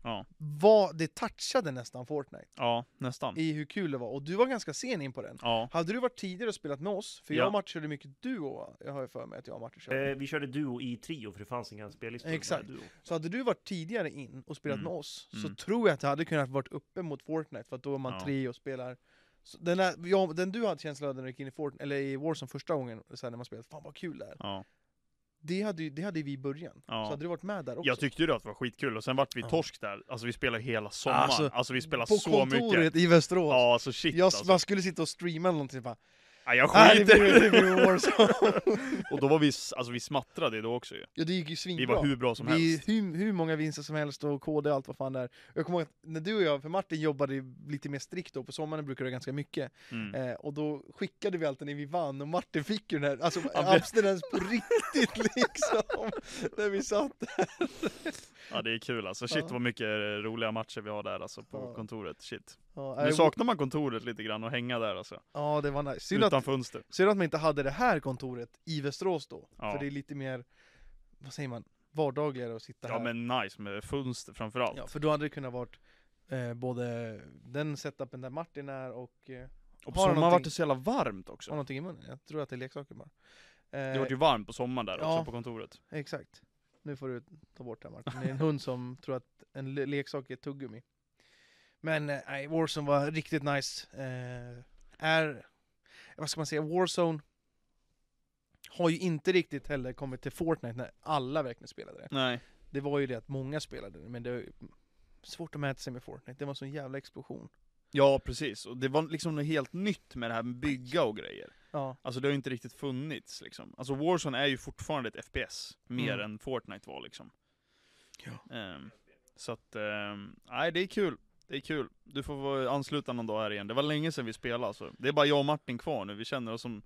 Speaker 2: Ja.
Speaker 1: var, det touchade nästan Fortnite
Speaker 2: Ja, nästan.
Speaker 1: i hur kul det var. Och du var ganska sen in på den.
Speaker 2: Ja.
Speaker 1: Hade du varit tidigare och spelat med oss, för
Speaker 2: Ja.
Speaker 1: jag och Martin körde mycket duo, va? jag har ju för mig att jag och Martin körde.
Speaker 3: Eh, vi körde duo i trio för det fanns inga spellistor.
Speaker 1: Exakt.
Speaker 3: Duo.
Speaker 1: Så hade du varit tidigare in och spelat
Speaker 2: Mm.
Speaker 1: med oss, så
Speaker 2: Mm.
Speaker 1: tror jag att det hade kunnat varit uppe mot Fortnite, för att då är man
Speaker 2: Ja.
Speaker 1: tre och spelar. Så den, där, ja, den du hade känslan av när du gick in i, Fortnite, eller i Warzone första gången, så här, när man spelade, fan vad kul det är.
Speaker 2: Ja.
Speaker 1: Det hade, ju- det hade ju vi i början.
Speaker 2: Ja.
Speaker 1: Så hade du varit med där också.
Speaker 2: Jag tyckte ju det att det var skitkul, och sen vart vi
Speaker 1: Ja.
Speaker 2: torsk där. Alltså vi spelade hela sommaren. Alltså,
Speaker 1: Alltså,
Speaker 2: vi spelade
Speaker 1: På
Speaker 2: så mycket.
Speaker 1: kontoret i Västerås.
Speaker 2: Ja, alltså shit
Speaker 1: jag,
Speaker 2: alltså.
Speaker 1: Man skulle sitta och streama eller någonting bara,
Speaker 2: Ja, jag
Speaker 1: ah, det
Speaker 2: skiter
Speaker 1: blir, det blir Warzone.
Speaker 2: Och då var vi, s- alltså vi smattrade då också ju.
Speaker 1: ja, det gick ju
Speaker 2: Vi
Speaker 1: svinbra.
Speaker 2: var hur bra som
Speaker 1: Vi,
Speaker 2: helst.
Speaker 1: hur, hur många vinster som helst och KD och allt vad fan det är. Jag kommer ihåg att när du och jag, för Martin jobbade ju lite mer strikt då, på sommaren brukade det ganska mycket.
Speaker 2: Mm.
Speaker 1: Eh, och då skickade vi alltid när vi vann och Martin fick ju den här, alltså
Speaker 2: men-
Speaker 1: abstinens på riktigt liksom. när vi satt där.
Speaker 2: Ja det är kul alltså. Shit
Speaker 1: Ja.
Speaker 2: vad mycket eh, roliga matcher vi har där alltså på
Speaker 1: Ja.
Speaker 2: kontoret. Shit.
Speaker 1: Ja,
Speaker 2: Nu
Speaker 1: eh,
Speaker 2: saknar man kontoret lite grann och hänga där alltså.
Speaker 1: ja det var nice. Synd att
Speaker 2: Utan fönster.
Speaker 1: Synd att man inte hade det här kontoret i Västerås då.
Speaker 2: Ja.
Speaker 1: För det är lite mer, vad säger man, vardagligare att sitta
Speaker 2: Ja
Speaker 1: här.
Speaker 2: men nice med fönster framförallt.
Speaker 1: Ja, för då hade det kunnat varit eh, både den setupen där Martin är och... Eh,
Speaker 2: Och på
Speaker 1: Har
Speaker 2: sommaren
Speaker 1: någonting-
Speaker 2: vart det så jävla varmt
Speaker 1: har
Speaker 2: också.
Speaker 1: någonting i munnen? Jag tror att det är leksaker bara.
Speaker 2: Det
Speaker 1: Eh,
Speaker 2: vart ju varmt på sommaren där
Speaker 1: Ja.
Speaker 2: också på kontoret.
Speaker 1: Exakt. Nu får du ta bort det här Martin. Det är en hund som tror att en le- leksak är ett tuggummi. Men eh, nej, Warzone var riktigt nice. Eh, är, vad ska man säga, Warzone har ju inte riktigt heller kommit till Fortnite när alla verkligen spelade det.
Speaker 2: Nej.
Speaker 1: Det var ju det att många spelade det, men det är svårt att mäta sig med Fortnite. Det var en sån jävla explosion.
Speaker 2: Ja precis, och det var liksom något helt nytt med det här med bygga och grejer.
Speaker 1: Ja,
Speaker 2: Alltså det har ju inte riktigt funnits liksom. Alltså Warzone är ju fortfarande ett FPS, mer
Speaker 1: Mm.
Speaker 2: än Fortnite var liksom.
Speaker 1: Ja.
Speaker 2: Ehm, så att, ehm, nej det är kul. Det är kul. Du får vara- ansluta någon dag här igen. Det var länge sedan vi spelade alltså. Det är bara jag och Martin kvar nu, vi känner oss som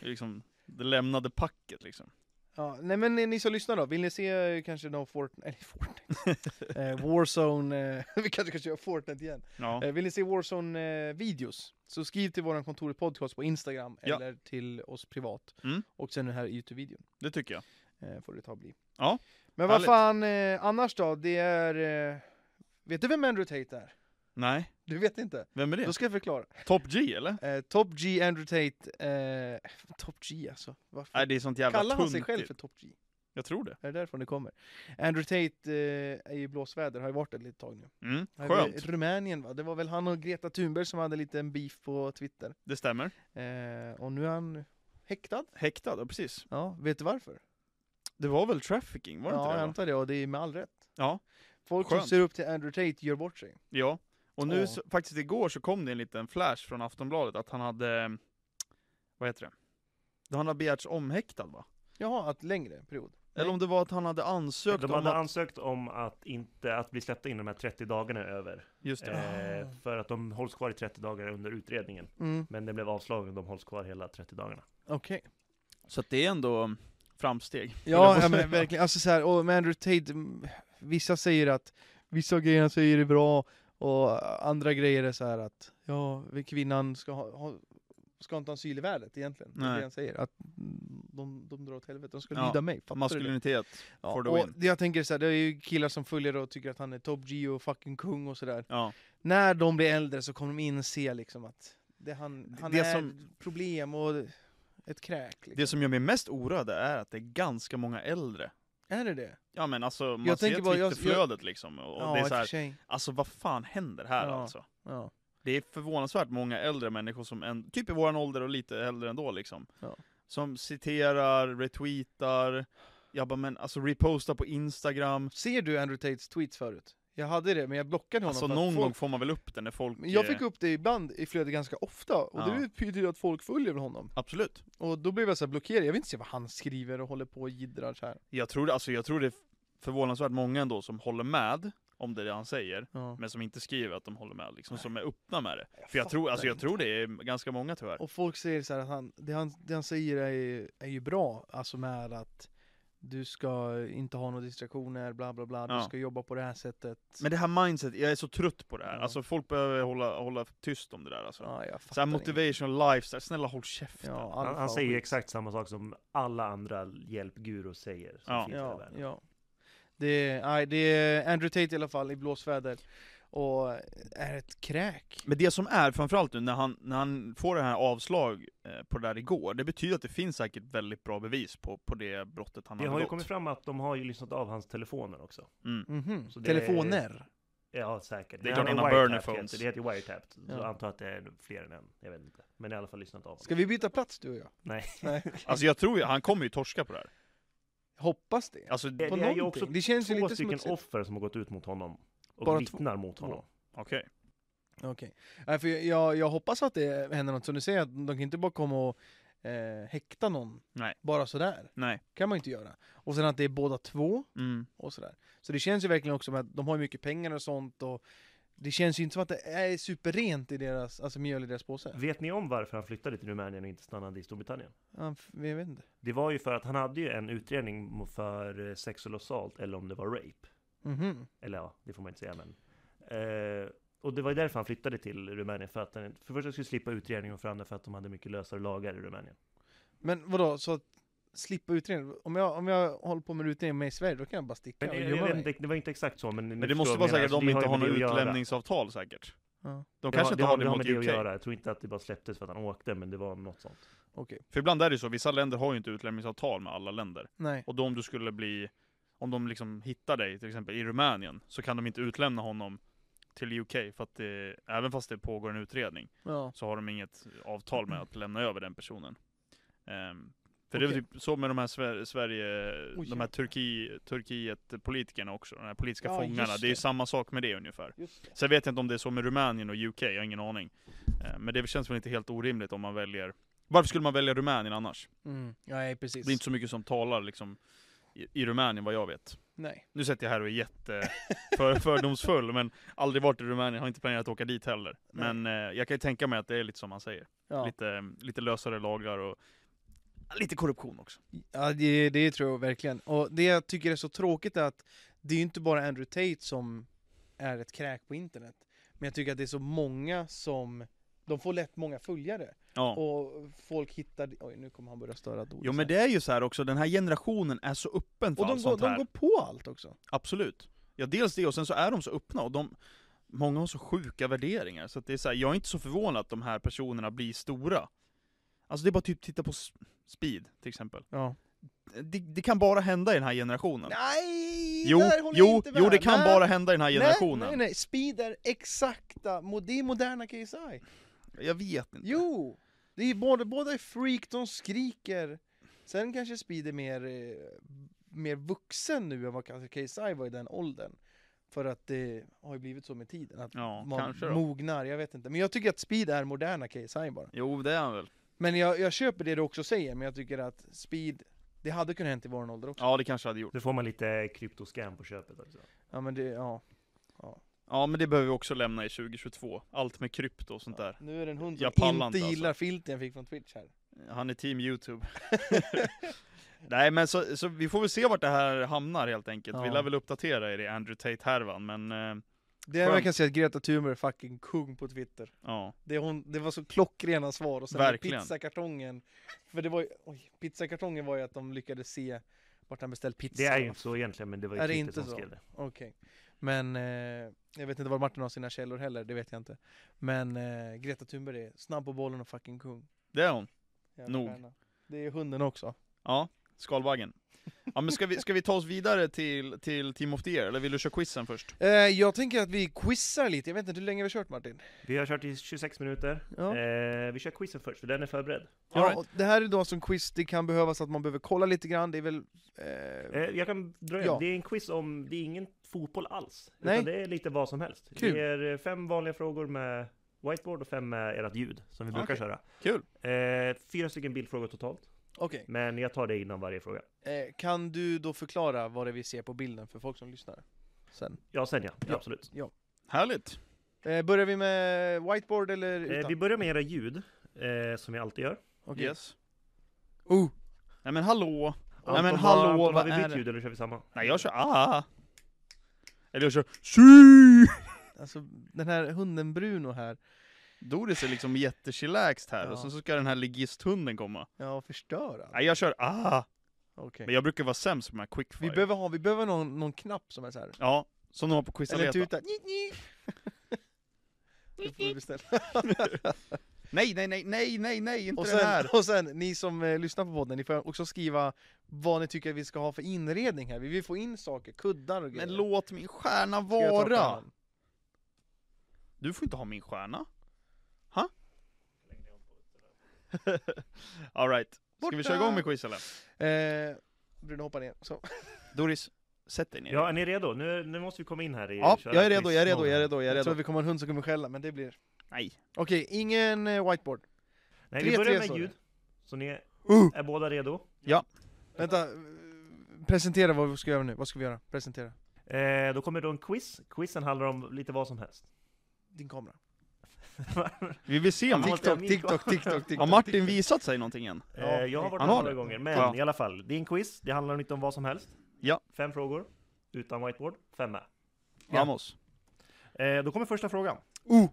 Speaker 2: liksom, det lämnade packet liksom.
Speaker 1: ja. Nej men eh, ni som lyssnar då, vill ni se eh, kanske någon Fortnite, eller Fortnite, eh, Warzone, eh, vi kanske kan köra Fortnite igen.
Speaker 2: Ja.
Speaker 1: Eh, Vill ni se Warzone-videos så skriv till vår kontoret podcast på Instagram
Speaker 2: Ja.
Speaker 1: eller till oss privat.
Speaker 2: Mm.
Speaker 1: Och sen den här Youtube-videon
Speaker 2: Det tycker jag.
Speaker 1: eh, får det ta och bli.
Speaker 2: Ja,
Speaker 1: Men vad
Speaker 2: härligt.
Speaker 1: fan eh, annars då? Det är... Eh, vet du vem Andrew Tate är?
Speaker 2: Nej,
Speaker 1: Du vet inte?
Speaker 2: vem är det?
Speaker 1: Då ska jag förklara.
Speaker 2: Top G eller?
Speaker 1: Eh, Top G Andrew Tate... Eh, Top G alltså. Varför?
Speaker 2: Nej Äh, det är sånt jävla
Speaker 1: Kallar han sig
Speaker 2: tunt
Speaker 1: själv
Speaker 2: ju.
Speaker 1: för Top G?
Speaker 2: Jag tror det.
Speaker 1: Är det därifrån det kommer? Andrew Tate eh, är ju i blåsväder, har ju varit det ett litet tag nu.
Speaker 2: Mm,
Speaker 1: Han var i
Speaker 2: skönt.
Speaker 1: Rumänien va? Det var väl han och Greta Thunberg som hade lite en beef på Twitter.
Speaker 2: Det stämmer.
Speaker 1: Eh, och nu är han häktad.
Speaker 2: Häktad, ja precis.
Speaker 1: Ja, vet du varför?
Speaker 2: Det var väl trafficking, var det
Speaker 1: ja, jag
Speaker 2: inte det? va?
Speaker 1: antar det och det är med all rätt.
Speaker 2: Ja.
Speaker 1: Folk
Speaker 2: Skönt.
Speaker 1: som ser upp till Andrew Tate gör bort sig.
Speaker 2: Ja. Och nu,
Speaker 1: Ja.
Speaker 2: så, faktiskt igår så kom det en liten flash från Aftonbladet att han hade, eh, vad heter det? Då han har begärts omhäktad va?
Speaker 1: Jaha, att längre period.
Speaker 2: Eller om det var att han hade ansökt
Speaker 3: De
Speaker 2: om
Speaker 3: hade
Speaker 2: att...
Speaker 3: ansökt om att, inte, att bli släppta innan de här 30 dagarna är över.
Speaker 2: Just det.
Speaker 1: Ah.
Speaker 3: Eh, för att de hålls kvar i 30 dagar under utredningen.
Speaker 1: Mm,
Speaker 3: Men det blev avslagen, de hålls kvar hela 30 dagarna.
Speaker 1: okej.
Speaker 2: Så att det är ändå framsteg.
Speaker 1: Ja, ja men verkligen. Alltså så här, och med Andrew Tate, mm, vissa säger att vissa grejer han säger är bra och andra grejer är så här att ja, kvinnan ska ha, ha ska inte ha asyl i världen egentligen. Det är
Speaker 2: Nej.
Speaker 1: det han säger. Att mm, de, de drar åt helvete, de ska
Speaker 2: Ja,
Speaker 1: lyda mig. Fattar du det?
Speaker 2: Maskulinitet.
Speaker 1: Ja,
Speaker 2: for the
Speaker 1: och
Speaker 2: win.
Speaker 1: det jag tänker så här, det är ju killar som följer och tycker att han är Top G och fucking kung och sådär.
Speaker 2: Ja.
Speaker 1: När de blir äldre så kommer de inse liksom att det han, han
Speaker 2: Det
Speaker 1: är
Speaker 2: som-
Speaker 1: ett problem och ett kräk. Liksom.
Speaker 2: Det som gör mig mest orörd är att det är ganska många äldre.
Speaker 1: Är det det?
Speaker 2: Ja men alltså, man
Speaker 1: Jag
Speaker 2: ser
Speaker 1: tänker bara- jag-
Speaker 2: Twitterflödet liksom. Och
Speaker 1: ja,
Speaker 2: det
Speaker 1: i
Speaker 2: är
Speaker 1: och
Speaker 2: så
Speaker 1: för
Speaker 2: här,
Speaker 1: sig.
Speaker 2: alltså vad fan händer här
Speaker 1: Ja.
Speaker 2: alltså?
Speaker 1: Ja.
Speaker 2: Det är förvånansvärt många äldre människor som, en, typ i våran ålder och lite äldre ändå liksom.
Speaker 1: Ja.
Speaker 2: Som citerar, retweetar, jag bara men alltså repostar på Instagram.
Speaker 1: Ser du Andrew Tates tweets förut? Jag hade det, men jag blockade honom.
Speaker 2: Alltså
Speaker 1: för att
Speaker 2: någon
Speaker 1: folk...
Speaker 2: gång får man väl upp den när folk...
Speaker 1: Men jag
Speaker 2: eh,
Speaker 1: fick upp det ibland i flödet ganska ofta, och
Speaker 2: Ja.
Speaker 1: det betyder ju att folk följer honom.
Speaker 2: Absolut.
Speaker 1: Och då blev jag så här blockerad, jag vill inte se vad han skriver och håller på och jiddrar så här.
Speaker 2: Jag tror, det- alltså, jag tror det är förvånansvärt många ändå som håller med om det, är det han säger,
Speaker 1: Ja.
Speaker 2: men som inte skriver att de håller med liksom,
Speaker 1: Nej.
Speaker 2: som är öppna med det.
Speaker 1: Jag
Speaker 2: För jag tror,
Speaker 1: fattar
Speaker 2: alltså, jag
Speaker 1: inte.
Speaker 2: tror det är ganska många tyvärr.
Speaker 1: Och folk säger så här att han, det, han, det han säger är, ju- är ju bra, alltså med att du ska inte ha några distraktioner, bla bla bla, du
Speaker 2: Ja.
Speaker 1: ska jobba på det här sättet.
Speaker 2: Men det här mindset, jag är så trött på det här.
Speaker 1: Ja.
Speaker 2: Alltså folk behöver hålla, hålla tyst om det där alltså.
Speaker 1: ja, jag
Speaker 2: Så här
Speaker 1: fattar
Speaker 2: motivation, lifestyle, snälla håll
Speaker 1: inget.
Speaker 2: käften.
Speaker 1: ja,
Speaker 3: Han,
Speaker 1: alfa
Speaker 3: han
Speaker 1: och
Speaker 3: säger ju
Speaker 1: Ah, skit.
Speaker 3: exakt samma sak som alla andra hjälpgurus säger. Som
Speaker 2: Ja.
Speaker 3: finns här i
Speaker 1: Ja,
Speaker 3: världen.
Speaker 1: ja. Det, nej, det är Andrew Tate i alla fall i blåsväder, och är ett kräk.
Speaker 2: Men det som är, framförallt nu när han, när han får det här avslag eh, på det där igår, det betyder att det finns säkert väldigt bra bevis på, på det brottet han
Speaker 3: Det
Speaker 2: har
Speaker 3: har ju
Speaker 2: begått.
Speaker 3: kommit fram att de har ju lyssnat av hans telefoner också.
Speaker 2: Mm.
Speaker 1: Mhm.
Speaker 3: Så det-
Speaker 1: Telefoner.
Speaker 3: Ja, säkert.
Speaker 2: Det är
Speaker 3: Men
Speaker 2: klart
Speaker 3: han
Speaker 2: han
Speaker 3: har
Speaker 2: har
Speaker 3: wiretapped
Speaker 2: burner phones.
Speaker 3: heter Det Det heter ju wiretapped. Så
Speaker 1: Ja.
Speaker 3: jag antar att det är fler än en. Jag vet inte. Men i alla fall lyssnat av.
Speaker 1: Ska vi byta plats du och jag?
Speaker 3: Nej.
Speaker 2: Alltså jag tror ju, han kommer ju torska på det här.
Speaker 1: Jag Hoppas det.
Speaker 2: Alltså,
Speaker 3: Det,
Speaker 2: okej.
Speaker 1: På
Speaker 3: det är ju
Speaker 1: någonting.
Speaker 3: också
Speaker 1: det känns ju
Speaker 3: två
Speaker 1: lite
Speaker 3: stycken
Speaker 1: smutsigt.
Speaker 3: offer som har gått ut mot honom. Och
Speaker 1: Bara två?
Speaker 3: vittnar mot honom.
Speaker 1: Okej. Nej, för jag, jag, jag hoppas att det händer något. Som du säger, att de kan inte bara komma och eh, häkta någon.
Speaker 2: Nej.
Speaker 1: Bara sådär.
Speaker 2: Nej.
Speaker 1: kan man ju inte göra. Och sen att det är båda två
Speaker 2: Mm.
Speaker 1: och sådär. Så det känns ju verkligen också med att de har ju mycket pengar och sånt och det känns ju inte som att det är superrent i deras, alltså mjöl i deras påse.
Speaker 3: Vet ni om varför han flyttade till Rumänien och inte stannade i Storbritannien?
Speaker 1: Ja, f- jag vet inte.
Speaker 3: Det var ju för att han hade ju en utredning mo- för eh, sexuellt assault eller om det var rape.
Speaker 1: Mhm.
Speaker 3: Eller ja, det får man inte säga men. Eh, och det var ju därför han flyttade till Rumänien. För att han för det första skulle slippa utredningen och för det andra för att de hade mycket lösare lagar i Rumänien.
Speaker 1: Men vadå, så att slippa utredning? Om jag, om jag håller på med utredning med i Sverige, då kan jag bara sticka
Speaker 3: Men
Speaker 1: och
Speaker 3: jag, jag
Speaker 1: gömma
Speaker 3: vet
Speaker 1: mig?
Speaker 3: inte, det var inte exakt så men... ni
Speaker 2: Men det
Speaker 3: förstår
Speaker 2: måste
Speaker 3: vad
Speaker 2: vara
Speaker 3: jag menar.
Speaker 2: säkert att
Speaker 3: Alltså,
Speaker 2: de inte
Speaker 3: det har
Speaker 2: har
Speaker 3: ju
Speaker 2: något
Speaker 3: med det att göra.
Speaker 2: utlämningsavtal säkert.
Speaker 1: Ja,
Speaker 2: De
Speaker 3: Det har,
Speaker 2: kanske
Speaker 3: det
Speaker 2: inte
Speaker 3: har,
Speaker 2: har
Speaker 3: det
Speaker 2: det
Speaker 3: har
Speaker 2: mot
Speaker 3: med det att
Speaker 2: UK.
Speaker 3: göra. Jag tror inte att det bara släpptes för att han åkte men det var något sånt.
Speaker 1: okej.
Speaker 2: För ibland är det ju så, vissa länder har ju inte utlämningsavtal med alla länder.
Speaker 1: Nej.
Speaker 2: Och då om du skulle bli, om de liksom hittar dig till exempel i Rumänien, så kan de inte utlämna honom till UK, för att det, även fast det pågår en utredning,
Speaker 1: Ja.
Speaker 2: så har de inget avtal med att lämna över den personen. Ehm, för det var
Speaker 1: Okej.
Speaker 2: typ så med de här Sver- Sverige,
Speaker 1: Oj,
Speaker 2: de här Turki, Turkiet-politikerna också, de här politiska
Speaker 1: Ja,
Speaker 2: fångarna,
Speaker 1: just
Speaker 2: det är ju
Speaker 1: det.
Speaker 2: samma sak med det ungefär.
Speaker 1: Just det.
Speaker 2: Sen vet jag inte om det är så med Rumänien och UK, jag har ingen aning. Eh, Men det känns väl inte helt orimligt om man väljer... Varför skulle man välja Rumänien annars?
Speaker 1: Mm. Ja, nej, precis.
Speaker 2: Det är inte så mycket som talar liksom i, i Rumänien vad jag vet.
Speaker 1: Nej.
Speaker 2: Nu sätter jag här och är jätte för, fördomsfull, men aldrig varit i Rumänien, har inte planerat att åka dit heller.
Speaker 1: Nej.
Speaker 2: Men eh, jag kan ju tänka mig att det är lite som man säger.
Speaker 1: Ja.
Speaker 2: Lite, lite lösare lagar och lite korruption också.
Speaker 1: Ja, det, det tror jag verkligen. Och det jag tycker är så tråkigt är att det är ju inte bara Andrew Tate som är ett kräk på internet. Men jag tycker att det är så många som, de får lätt många följare.
Speaker 2: Ja.
Speaker 1: Och folk hittar, oj nu kommer han börja störa Doris
Speaker 2: Jo
Speaker 1: här.
Speaker 2: men det är ju så här också, den här generationen är så öppen för
Speaker 1: Och de
Speaker 2: allt
Speaker 1: går,
Speaker 2: sånt här.
Speaker 1: de går på allt också.
Speaker 2: Absolut. Ja, dels det, och sen så är de så öppna, och de, många har så sjuka värderingar, så att det är så här, jag är inte så förvånad att de här personerna blir stora. Alltså det är bara typ, titta på S- Speed, till exempel.
Speaker 1: Ja.
Speaker 2: Det, det kan bara hända i den här generationen.
Speaker 1: Nej!
Speaker 2: jo,
Speaker 1: där håller jag
Speaker 2: jo,
Speaker 1: inte med.
Speaker 2: jo, det kan
Speaker 1: nej,
Speaker 2: bara hända i den här generationen.
Speaker 1: Nej, nej, nej. Speed är exakta, mo- det är moderna KSI.
Speaker 2: Jag vet inte.
Speaker 1: Jo! Det är både, båda är freak, de skriker. Sen kanske Speed är mer, eh, mer vuxen nu än vad kanske KSI var i den åldern. För att det har ju blivit så med tiden, att
Speaker 2: Ja,
Speaker 1: man
Speaker 2: kanske då.
Speaker 1: mognar, jag vet inte. Men jag tycker att Speed är moderna KSI bara.
Speaker 2: Jo, det är han väl.
Speaker 1: Men jag, jag köper det du också säger, men jag tycker att Speed, Det hade kunnat hänt i vår ålder också.
Speaker 2: Ja, det kanske hade gjort.
Speaker 3: Nu får man lite kryptoscam på köpet också.
Speaker 1: Ja men det, ja. ja.
Speaker 2: Ja, men det behöver vi också lämna i 2022. Allt med krypto och sånt där.
Speaker 1: Nu är det en hund som
Speaker 2: Jag pallar
Speaker 1: inte
Speaker 2: inte, alltså.
Speaker 1: gillar filten jag fick från Twitch här.
Speaker 2: Han är team YouTube. Nej, men så, så vi får väl se vart det här hamnar helt enkelt. Vi
Speaker 1: Ja.
Speaker 2: lär väl uppdatera er i Andrew Tate-härvan, men eh,
Speaker 1: Det enda
Speaker 2: Skönt.
Speaker 1: jag kan säga är att Greta Thunberg är fucking kung på Twitter.
Speaker 2: ja.
Speaker 1: Det, hon, det var så klockrena svar och sen med
Speaker 2: Verkligen.
Speaker 1: pizzakartongen. För det var ju, oj, pizzakartongen var ju att de lyckades se vart han beställt pizza.
Speaker 3: Det är ju inte så egentligen, men det var ju
Speaker 1: Är det
Speaker 3: Twitter
Speaker 1: inte
Speaker 3: som
Speaker 1: så?
Speaker 3: skrev det.
Speaker 1: Okej. Men eh, jag vet inte var Martin har sina källor heller, det vet jag inte. Men eh, Greta Thunberg är snabb på bollen och fucking kung.
Speaker 2: Det är hon.
Speaker 1: Jävla
Speaker 2: Nog.
Speaker 1: stjärna. Det är hunden också.
Speaker 2: Ja, skalbaggen. Ja, men ska vi, ska vi ta oss vidare till, till Team of the Year, eller vill du köra quizen först?
Speaker 1: Eh, jag tänker att vi quizar lite, jag vet inte hur länge vi har kört Martin?
Speaker 3: Vi har kört i 26 minuter.
Speaker 1: Ja.
Speaker 3: Eh, vi kör quizen först, för den är förberedd.
Speaker 1: Ja,
Speaker 2: All right.
Speaker 1: och det här är då som quiz, det kan behövas att man behöver kolla lite grann, det är väl... Eh,
Speaker 3: Eh, jag kan dra igen.
Speaker 1: Ja.
Speaker 3: Det är en quiz om, det är ingen fotboll alls.
Speaker 1: Nej.
Speaker 3: Utan det är lite vad som helst.
Speaker 1: Kul.
Speaker 3: Det är eh, fem vanliga frågor med whiteboard och fem med ert ljud, som vi brukar
Speaker 2: Okej.
Speaker 3: köra.
Speaker 2: Kul!
Speaker 3: Eh, fyra stycken bildfrågor totalt,
Speaker 1: Okej,
Speaker 3: men jag tar det innan varje fråga.
Speaker 1: eh, kan du då förklara vad det är vi ser på bilden för folk som lyssnar? Sen.
Speaker 3: Ja, sen ja.
Speaker 1: Ja.
Speaker 3: Absolut.
Speaker 2: Härligt!
Speaker 1: Eh, börjar vi med whiteboard eller
Speaker 3: Eh,
Speaker 1: utan?
Speaker 3: vi börjar med era ljud, eh, som jag alltid gör.
Speaker 1: Okej.
Speaker 2: Yes.
Speaker 1: Oh,
Speaker 2: Nej men hallå!
Speaker 3: Anton,
Speaker 2: men
Speaker 3: har-
Speaker 2: hallå,
Speaker 3: Anton,
Speaker 2: vad
Speaker 3: har
Speaker 2: är
Speaker 3: vi bytt
Speaker 2: det?
Speaker 3: ljud eller kör vi samma?
Speaker 2: Nej jag kör ah! Eller jag kör tju!
Speaker 1: alltså den här hunden Bruno här,
Speaker 2: Doris är liksom jättechillaxed här, och
Speaker 1: Ja.
Speaker 2: sen så ska den här ligisthunden komma.
Speaker 1: ja förstör allt.
Speaker 2: Nej jag kör ah!
Speaker 1: Okej.
Speaker 2: Men jag brukar vara sämst på de här
Speaker 1: Vi
Speaker 2: quickfire.
Speaker 1: behöver, ha, vi behöver någon, någon knapp som är så här.
Speaker 2: Ja, som de har på
Speaker 1: Eller en
Speaker 2: Quisaleta.
Speaker 1: tuta. Nji, nji. Det får vi beställa.
Speaker 2: Nej, nej, nej, nej, nej, nej, inte
Speaker 1: Och
Speaker 2: den
Speaker 1: sen,
Speaker 2: här!
Speaker 1: och sen, ni som eh, lyssnar på podden, ni får också skriva vad ni tycker att vi ska ha för inredning här. Vi vill få in saker, kuddar och grejer.
Speaker 2: Men låt min stjärna
Speaker 1: Ska jag ta
Speaker 2: vara!
Speaker 1: pennan?
Speaker 2: Du får inte ha min stjärna. Ha? Alright, ska vi köra igång med quiz eller?
Speaker 1: Eh, Bruno hoppar ner. Så.
Speaker 2: Doris, sätt dig ner.
Speaker 3: Ja, är ni redo? Nu, nu måste vi komma in här i...
Speaker 2: Ja,
Speaker 3: köra
Speaker 2: jag är redo, jag är
Speaker 3: quiz-
Speaker 2: redo, jag är redo, jag är
Speaker 1: Jag tror
Speaker 2: redo.
Speaker 1: att vi kommer ha en hund som kommer skälla, men det blir...
Speaker 2: Nej.
Speaker 1: Okej, ingen eh, whiteboard.
Speaker 3: Nej,
Speaker 1: Tre,
Speaker 3: vi börjar
Speaker 1: tre,
Speaker 3: med
Speaker 1: sa
Speaker 3: ljud. Så ni är,
Speaker 1: Uh!
Speaker 3: är båda redo?
Speaker 1: Vänta, eh, presentera vad vi ska göra nu. Vad ska vi göra? Presentera.
Speaker 3: Eh, då kommer då en quiz. Quizen handlar om lite vad som helst.
Speaker 1: Din kamera.
Speaker 2: Vi vill se om
Speaker 3: Ja,
Speaker 2: TikTok.
Speaker 3: jag min
Speaker 1: TikTok, TikTok, TikTok.
Speaker 2: Har
Speaker 1: TikTok.
Speaker 2: Martin visat sig någonting än?
Speaker 1: Ja,
Speaker 3: eh, jag har varit
Speaker 2: han
Speaker 3: med
Speaker 2: har
Speaker 3: några
Speaker 2: det.
Speaker 3: gånger, men
Speaker 2: Ja.
Speaker 3: i alla fall. Det är en quiz. Det handlar inte om vad som helst.
Speaker 2: Ja.
Speaker 3: Fem frågor. Utan whiteboard. Fem med.
Speaker 1: Ja.
Speaker 2: Vamos.
Speaker 3: Eh, då kommer första frågan.
Speaker 1: Oh!
Speaker 2: Uh.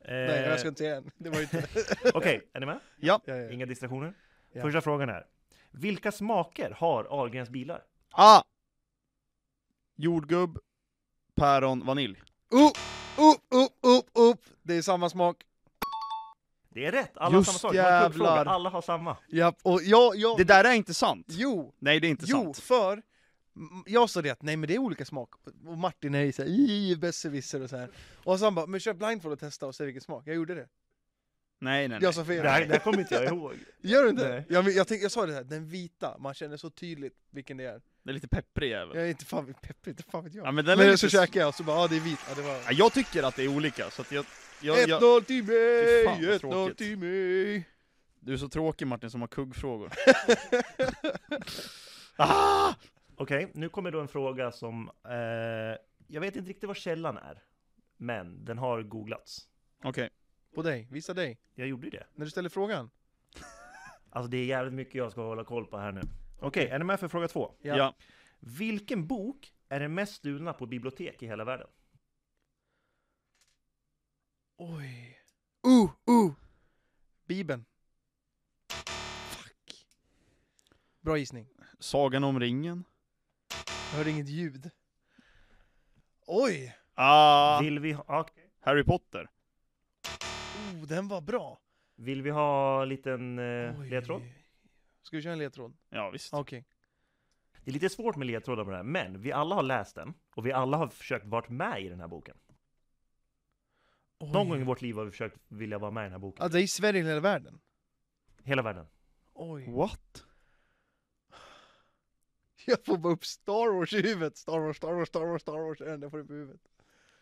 Speaker 3: Eh,
Speaker 1: Nej, jag ska inte säga än. Det var ju inte...
Speaker 3: Okej, är ni med?
Speaker 2: Ja.
Speaker 1: Ja, ja.
Speaker 3: Inga distraktioner?
Speaker 1: Ja.
Speaker 3: Första frågan är. Vilka smaker har Ahlgrens bilar?
Speaker 2: Ah! Jordgubb, päron, vanilj.
Speaker 1: Upp, upp, upp, upp, upp! Det är samma smak.
Speaker 3: Det är rätt! Alla har
Speaker 2: Just
Speaker 3: samma sak. Det var en kuggfråga.
Speaker 2: jävlar.
Speaker 3: Alla har samma.
Speaker 1: Ja, och jag, jag...
Speaker 2: Det där är inte sant.
Speaker 1: Jo,
Speaker 2: Nej, det är inte
Speaker 1: jo,
Speaker 2: sant.
Speaker 1: för m- jag sa det att nej men det är olika smak. Och Martin är ju såhär, "Ih, besserwisser och så här. Och så han bara, men kör blindfold och testa och se vilken smak. Jag gjorde det.
Speaker 2: Nej, nej, nej.
Speaker 1: Jag sa fel.
Speaker 3: Det här, det här kommer inte jag ihåg.
Speaker 1: Gör du inte?
Speaker 3: Nej.
Speaker 1: det? Jag, men jag, tänkte, jag sa det här, den vita, man känner så tydligt vilken det är.
Speaker 2: Det är lite pepprig jävel.
Speaker 1: Jag är inte fan, pepprig, inte fan vet jag.
Speaker 2: Ja, men den
Speaker 1: men
Speaker 2: är
Speaker 1: så
Speaker 2: lite...
Speaker 1: käkade jag och så bara, ja det är vit. Ja, det var...
Speaker 2: Ja, jag tycker att det är olika, så att jag... jag, jag...
Speaker 1: 1-0 till
Speaker 2: Fy fan, vad
Speaker 1: mig, 1-0
Speaker 2: tråkigt.
Speaker 1: till mig.
Speaker 2: Du är så tråkig Martin som har kuggfrågor. Ah!
Speaker 3: Okej, nu kommer då en fråga som... Eh, jag vet inte riktigt vad källan är. Men den har googlats.
Speaker 2: Okej.
Speaker 1: På dig, visa dig.
Speaker 3: Jag gjorde ju det.
Speaker 1: När du ställer frågan.
Speaker 3: Alltså det är jävligt mycket jag ska hålla koll på här nu. Okej, är ni med för fråga två?
Speaker 2: Ja.
Speaker 1: Ja.
Speaker 3: Vilken bok är den mest stulna på bibliotek i hela världen?
Speaker 1: Oj. Uh, uh! Bibeln. Fuck. Bra gissning.
Speaker 2: Sagan om ringen.
Speaker 1: Jag hörde inget ljud. Oj!
Speaker 2: Ah,
Speaker 3: Vill, vi ha, ja, okej.
Speaker 2: Harry Potter.
Speaker 1: Oh, den var bra!
Speaker 3: Vill vi ha en liten eh,
Speaker 1: Oj.
Speaker 3: ledtråd?
Speaker 1: Ska vi köra en ledtråd?
Speaker 2: Ja, visst.
Speaker 1: Ah, Okej.
Speaker 3: Det är lite svårt med ledtrådar på det här, men vi alla har läst den. Och vi alla har försökt vara med i den här boken.
Speaker 1: Oj.
Speaker 3: Någon gång i vårt liv har vi försökt vilja vara med i den här boken.
Speaker 1: Ah, det är i Sverige eller hela världen?
Speaker 3: Hela världen.
Speaker 1: Oj.
Speaker 2: What?
Speaker 1: Jag får bara upp Star Wars i huvudet. Star Wars, Star Wars, Star Wars, Star Wars. Det är det enda jag får upp i huvudet.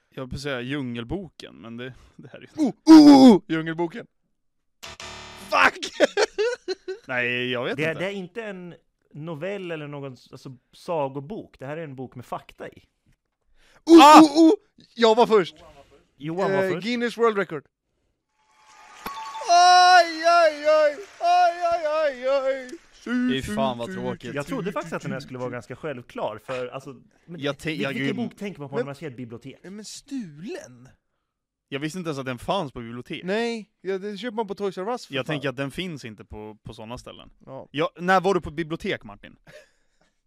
Speaker 2: Jag höll på att säga Djungelboken, men det, det här är ju...
Speaker 1: Oh, oh, oh, oh! Djungelboken. Fuck!
Speaker 2: Nej, jag vet
Speaker 3: Det är,
Speaker 2: inte.
Speaker 3: det är inte en novell eller någon alltså, sagobok. Det här är en bok med fakta i.
Speaker 1: Oh,
Speaker 2: Ah!
Speaker 1: oh, oh! Jag var först!
Speaker 3: Johan var
Speaker 1: Eh,
Speaker 3: först.
Speaker 1: Guinness World Record. Aj, aj, aj! Aj, aj, aj, aj!
Speaker 2: Fy fan vad tråkigt.
Speaker 3: Jag trodde faktiskt att den här skulle vara ganska självklar, för alltså... Men,
Speaker 2: Jag te-
Speaker 3: vilken
Speaker 2: jag-
Speaker 3: vilken bok tänker man på när
Speaker 1: Men-
Speaker 3: man ser ett bibliotek?
Speaker 1: Nej, Men stulen?
Speaker 2: Jag visste inte ens att den fanns på bibliotek.
Speaker 1: Nej, ja, det köper man på Toys R Us för
Speaker 2: Jag
Speaker 1: fan.
Speaker 2: tänker att den finns inte på, på sådana ställen.
Speaker 1: Ja.
Speaker 2: Ja, när var du på bibliotek Martin?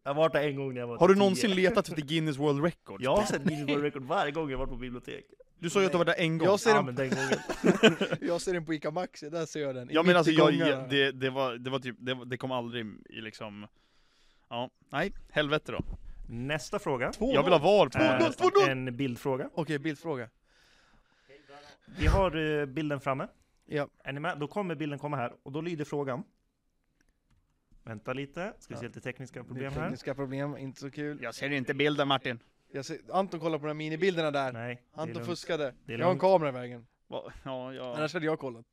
Speaker 3: Jag har varit där en gång när jag var
Speaker 2: Har du
Speaker 3: tio.
Speaker 2: någonsin letat efter Guinness World Records?
Speaker 3: Jag har sett Guinness World Record varje gång jag varit på bibliotek.
Speaker 2: Du sa ju att du var där en gång.
Speaker 1: Jag ser
Speaker 3: Ja,
Speaker 1: den-
Speaker 3: men den gången.
Speaker 1: Jag ser den på Ica Maxi, där ser jag den. I
Speaker 2: Ja men
Speaker 1: mitt i
Speaker 2: alltså, jag,
Speaker 1: gångarna.
Speaker 2: jag, det, det, var, det var typ, det, var- det kom aldrig i liksom... Ja, nej, helvete då.
Speaker 3: Nästa fråga.
Speaker 1: Två
Speaker 2: Jag vill ha VAR på
Speaker 1: Två
Speaker 2: den.
Speaker 1: noll.
Speaker 3: är
Speaker 1: två noll.
Speaker 3: en bildfråga.
Speaker 1: Okej, bildfråga.
Speaker 3: Vi har eh, bilden framme.
Speaker 1: Ja.
Speaker 3: Är ni med? Då kommer bilden komma här, och då lyder frågan. Vänta lite, ska vi se lite tekniska problem här?
Speaker 1: Tekniska problem, inte så kul.
Speaker 2: Jag ser inte bilden Martin.
Speaker 1: Jag ser, Anton kollar på de här minibilderna där.
Speaker 3: Nej, det är
Speaker 1: Anton
Speaker 3: lugnt.
Speaker 1: fuskade.
Speaker 3: Det är
Speaker 1: Jag har en
Speaker 3: lugnt.
Speaker 1: kamera i vägen.
Speaker 2: Va? Ja, ja.
Speaker 1: Annars hade jag kollat.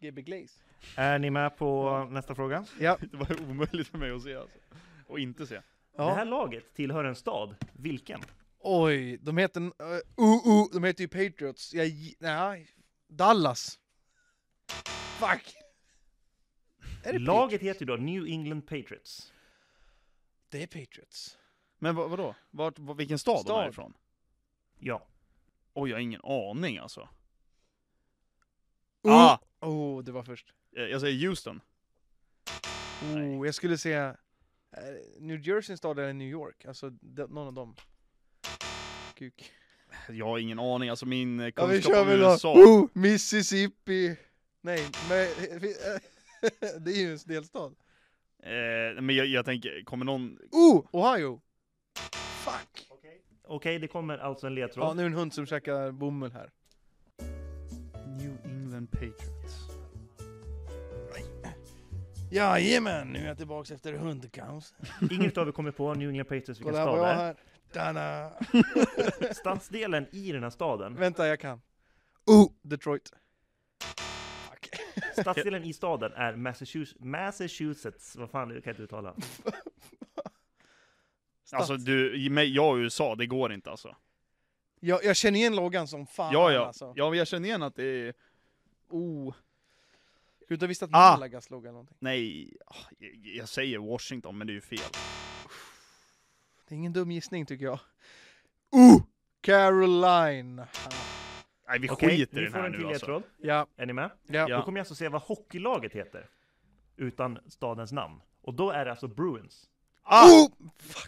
Speaker 1: GB Glaze.
Speaker 3: Är ni med på nästa fråga?
Speaker 1: Ja.
Speaker 2: Det var omöjligt för mig att se alltså. Och inte se.
Speaker 3: Det här
Speaker 1: ja.
Speaker 3: laget tillhör en stad. Vilken?
Speaker 1: Oj, de heter... Uh, uh, uh, de heter ju Patriots. Jag... gi- Nej. Dallas. Fuck! Är det Patriots?
Speaker 3: Laget heter ju då New England Patriots.
Speaker 1: Det är Patriots.
Speaker 2: Men vad, vadå? Vart, var, vilken stad, de är
Speaker 1: Stad.
Speaker 2: ifrån?
Speaker 3: Ja.
Speaker 2: Oj, jag har ingen aning alltså.
Speaker 1: Uh.
Speaker 2: Ah!
Speaker 1: Oh, det var först.
Speaker 2: Eh, Jag säger Houston. Nej.
Speaker 1: Oh, jag skulle säga... eh, New Jersey en stad eller New York? Alltså, de, någon av dem. Kuk.
Speaker 2: Jag har ingen aning, alltså min eh,
Speaker 1: Ja, vi
Speaker 2: kunskap
Speaker 1: kör
Speaker 2: om
Speaker 1: väl då.
Speaker 2: USA.
Speaker 1: Oh, Mississippi. Nej, men... det är ju en delstat.
Speaker 2: Eh, men jag, jag tänker, kommer någon...
Speaker 1: Oh, Ohio. Fuck.
Speaker 3: Okej, det kommer alltså en ledtråd.
Speaker 1: Ja, nu är det en hund som käkar bomull här.
Speaker 2: New England Patriots.
Speaker 1: Jajamän, nu är jag tillbaks efter hundkaos.
Speaker 3: Ingen utav er kommer på New England Patriots vilken
Speaker 1: Kolla här vad
Speaker 3: stad det
Speaker 1: jag har
Speaker 3: är.
Speaker 1: här. Tada.
Speaker 3: Stadsdelen i den här staden,
Speaker 1: Vänta, jag kan. Oh, Detroit. Fuck.
Speaker 3: stadsdelen i staden är Massachusetts, Massachusetts. vad fan, det kan jag inte uttala.
Speaker 2: Alltså du, ge mig, jag och USA, det går inte alltså.
Speaker 1: Jag, jag känner igen loggan som fan
Speaker 2: Ja, ja.
Speaker 1: alltså.
Speaker 2: Ja, men jag känner igen att det är... Oh.
Speaker 1: Skulle du inte ha visst att
Speaker 2: Ah.
Speaker 1: Malagas logga någonting?
Speaker 2: Nej, ah, jag- jag säger Washington, men det är ju fel.
Speaker 1: Det är ingen dum gissning tycker jag. Oh, Caroline.
Speaker 2: Nej, vi
Speaker 3: Okej,
Speaker 2: skiter i
Speaker 3: ni
Speaker 2: den
Speaker 3: får
Speaker 2: här
Speaker 3: en till
Speaker 2: nu alltså.
Speaker 3: ledtråd.
Speaker 1: Ja,
Speaker 3: Är ni med?
Speaker 1: ja.
Speaker 2: Ja.
Speaker 3: Då kommer jag alltså säga vad hockeylaget heter, utan stadens namn. Och då är det alltså Bruins.
Speaker 2: Ah!
Speaker 1: Oh!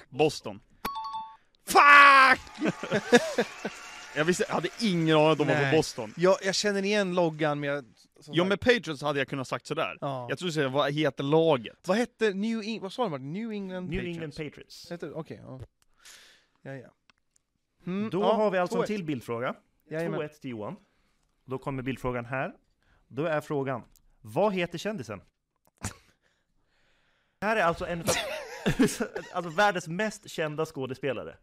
Speaker 2: Boston.
Speaker 1: Fuck!
Speaker 2: Jag, visste, jag hade ingen aning att de var
Speaker 1: Nej.
Speaker 2: på Boston.
Speaker 1: Jag, jag känner igen loggan men jag... som
Speaker 2: Ja,
Speaker 1: sagt-
Speaker 2: med Patriots hade jag kunnat sagt sådär.
Speaker 1: Ja.
Speaker 2: Jag tror du säger, vad heter laget?
Speaker 1: Vad hette New England? Vad sa de? Martin? New England?
Speaker 3: New
Speaker 1: Patriots?
Speaker 3: England Patriots.
Speaker 1: Hette det? Okej, ja. Ja, ja. Mm,
Speaker 3: Då
Speaker 1: ja,
Speaker 3: har vi alltså en
Speaker 1: 2-1.
Speaker 3: till bildfråga.
Speaker 1: Jajamän.
Speaker 3: 2-1 till Johan. Då kommer bildfrågan här. Då är frågan, vad heter kändisen? Det här är alltså en av alltså världens mest kända skådespelare.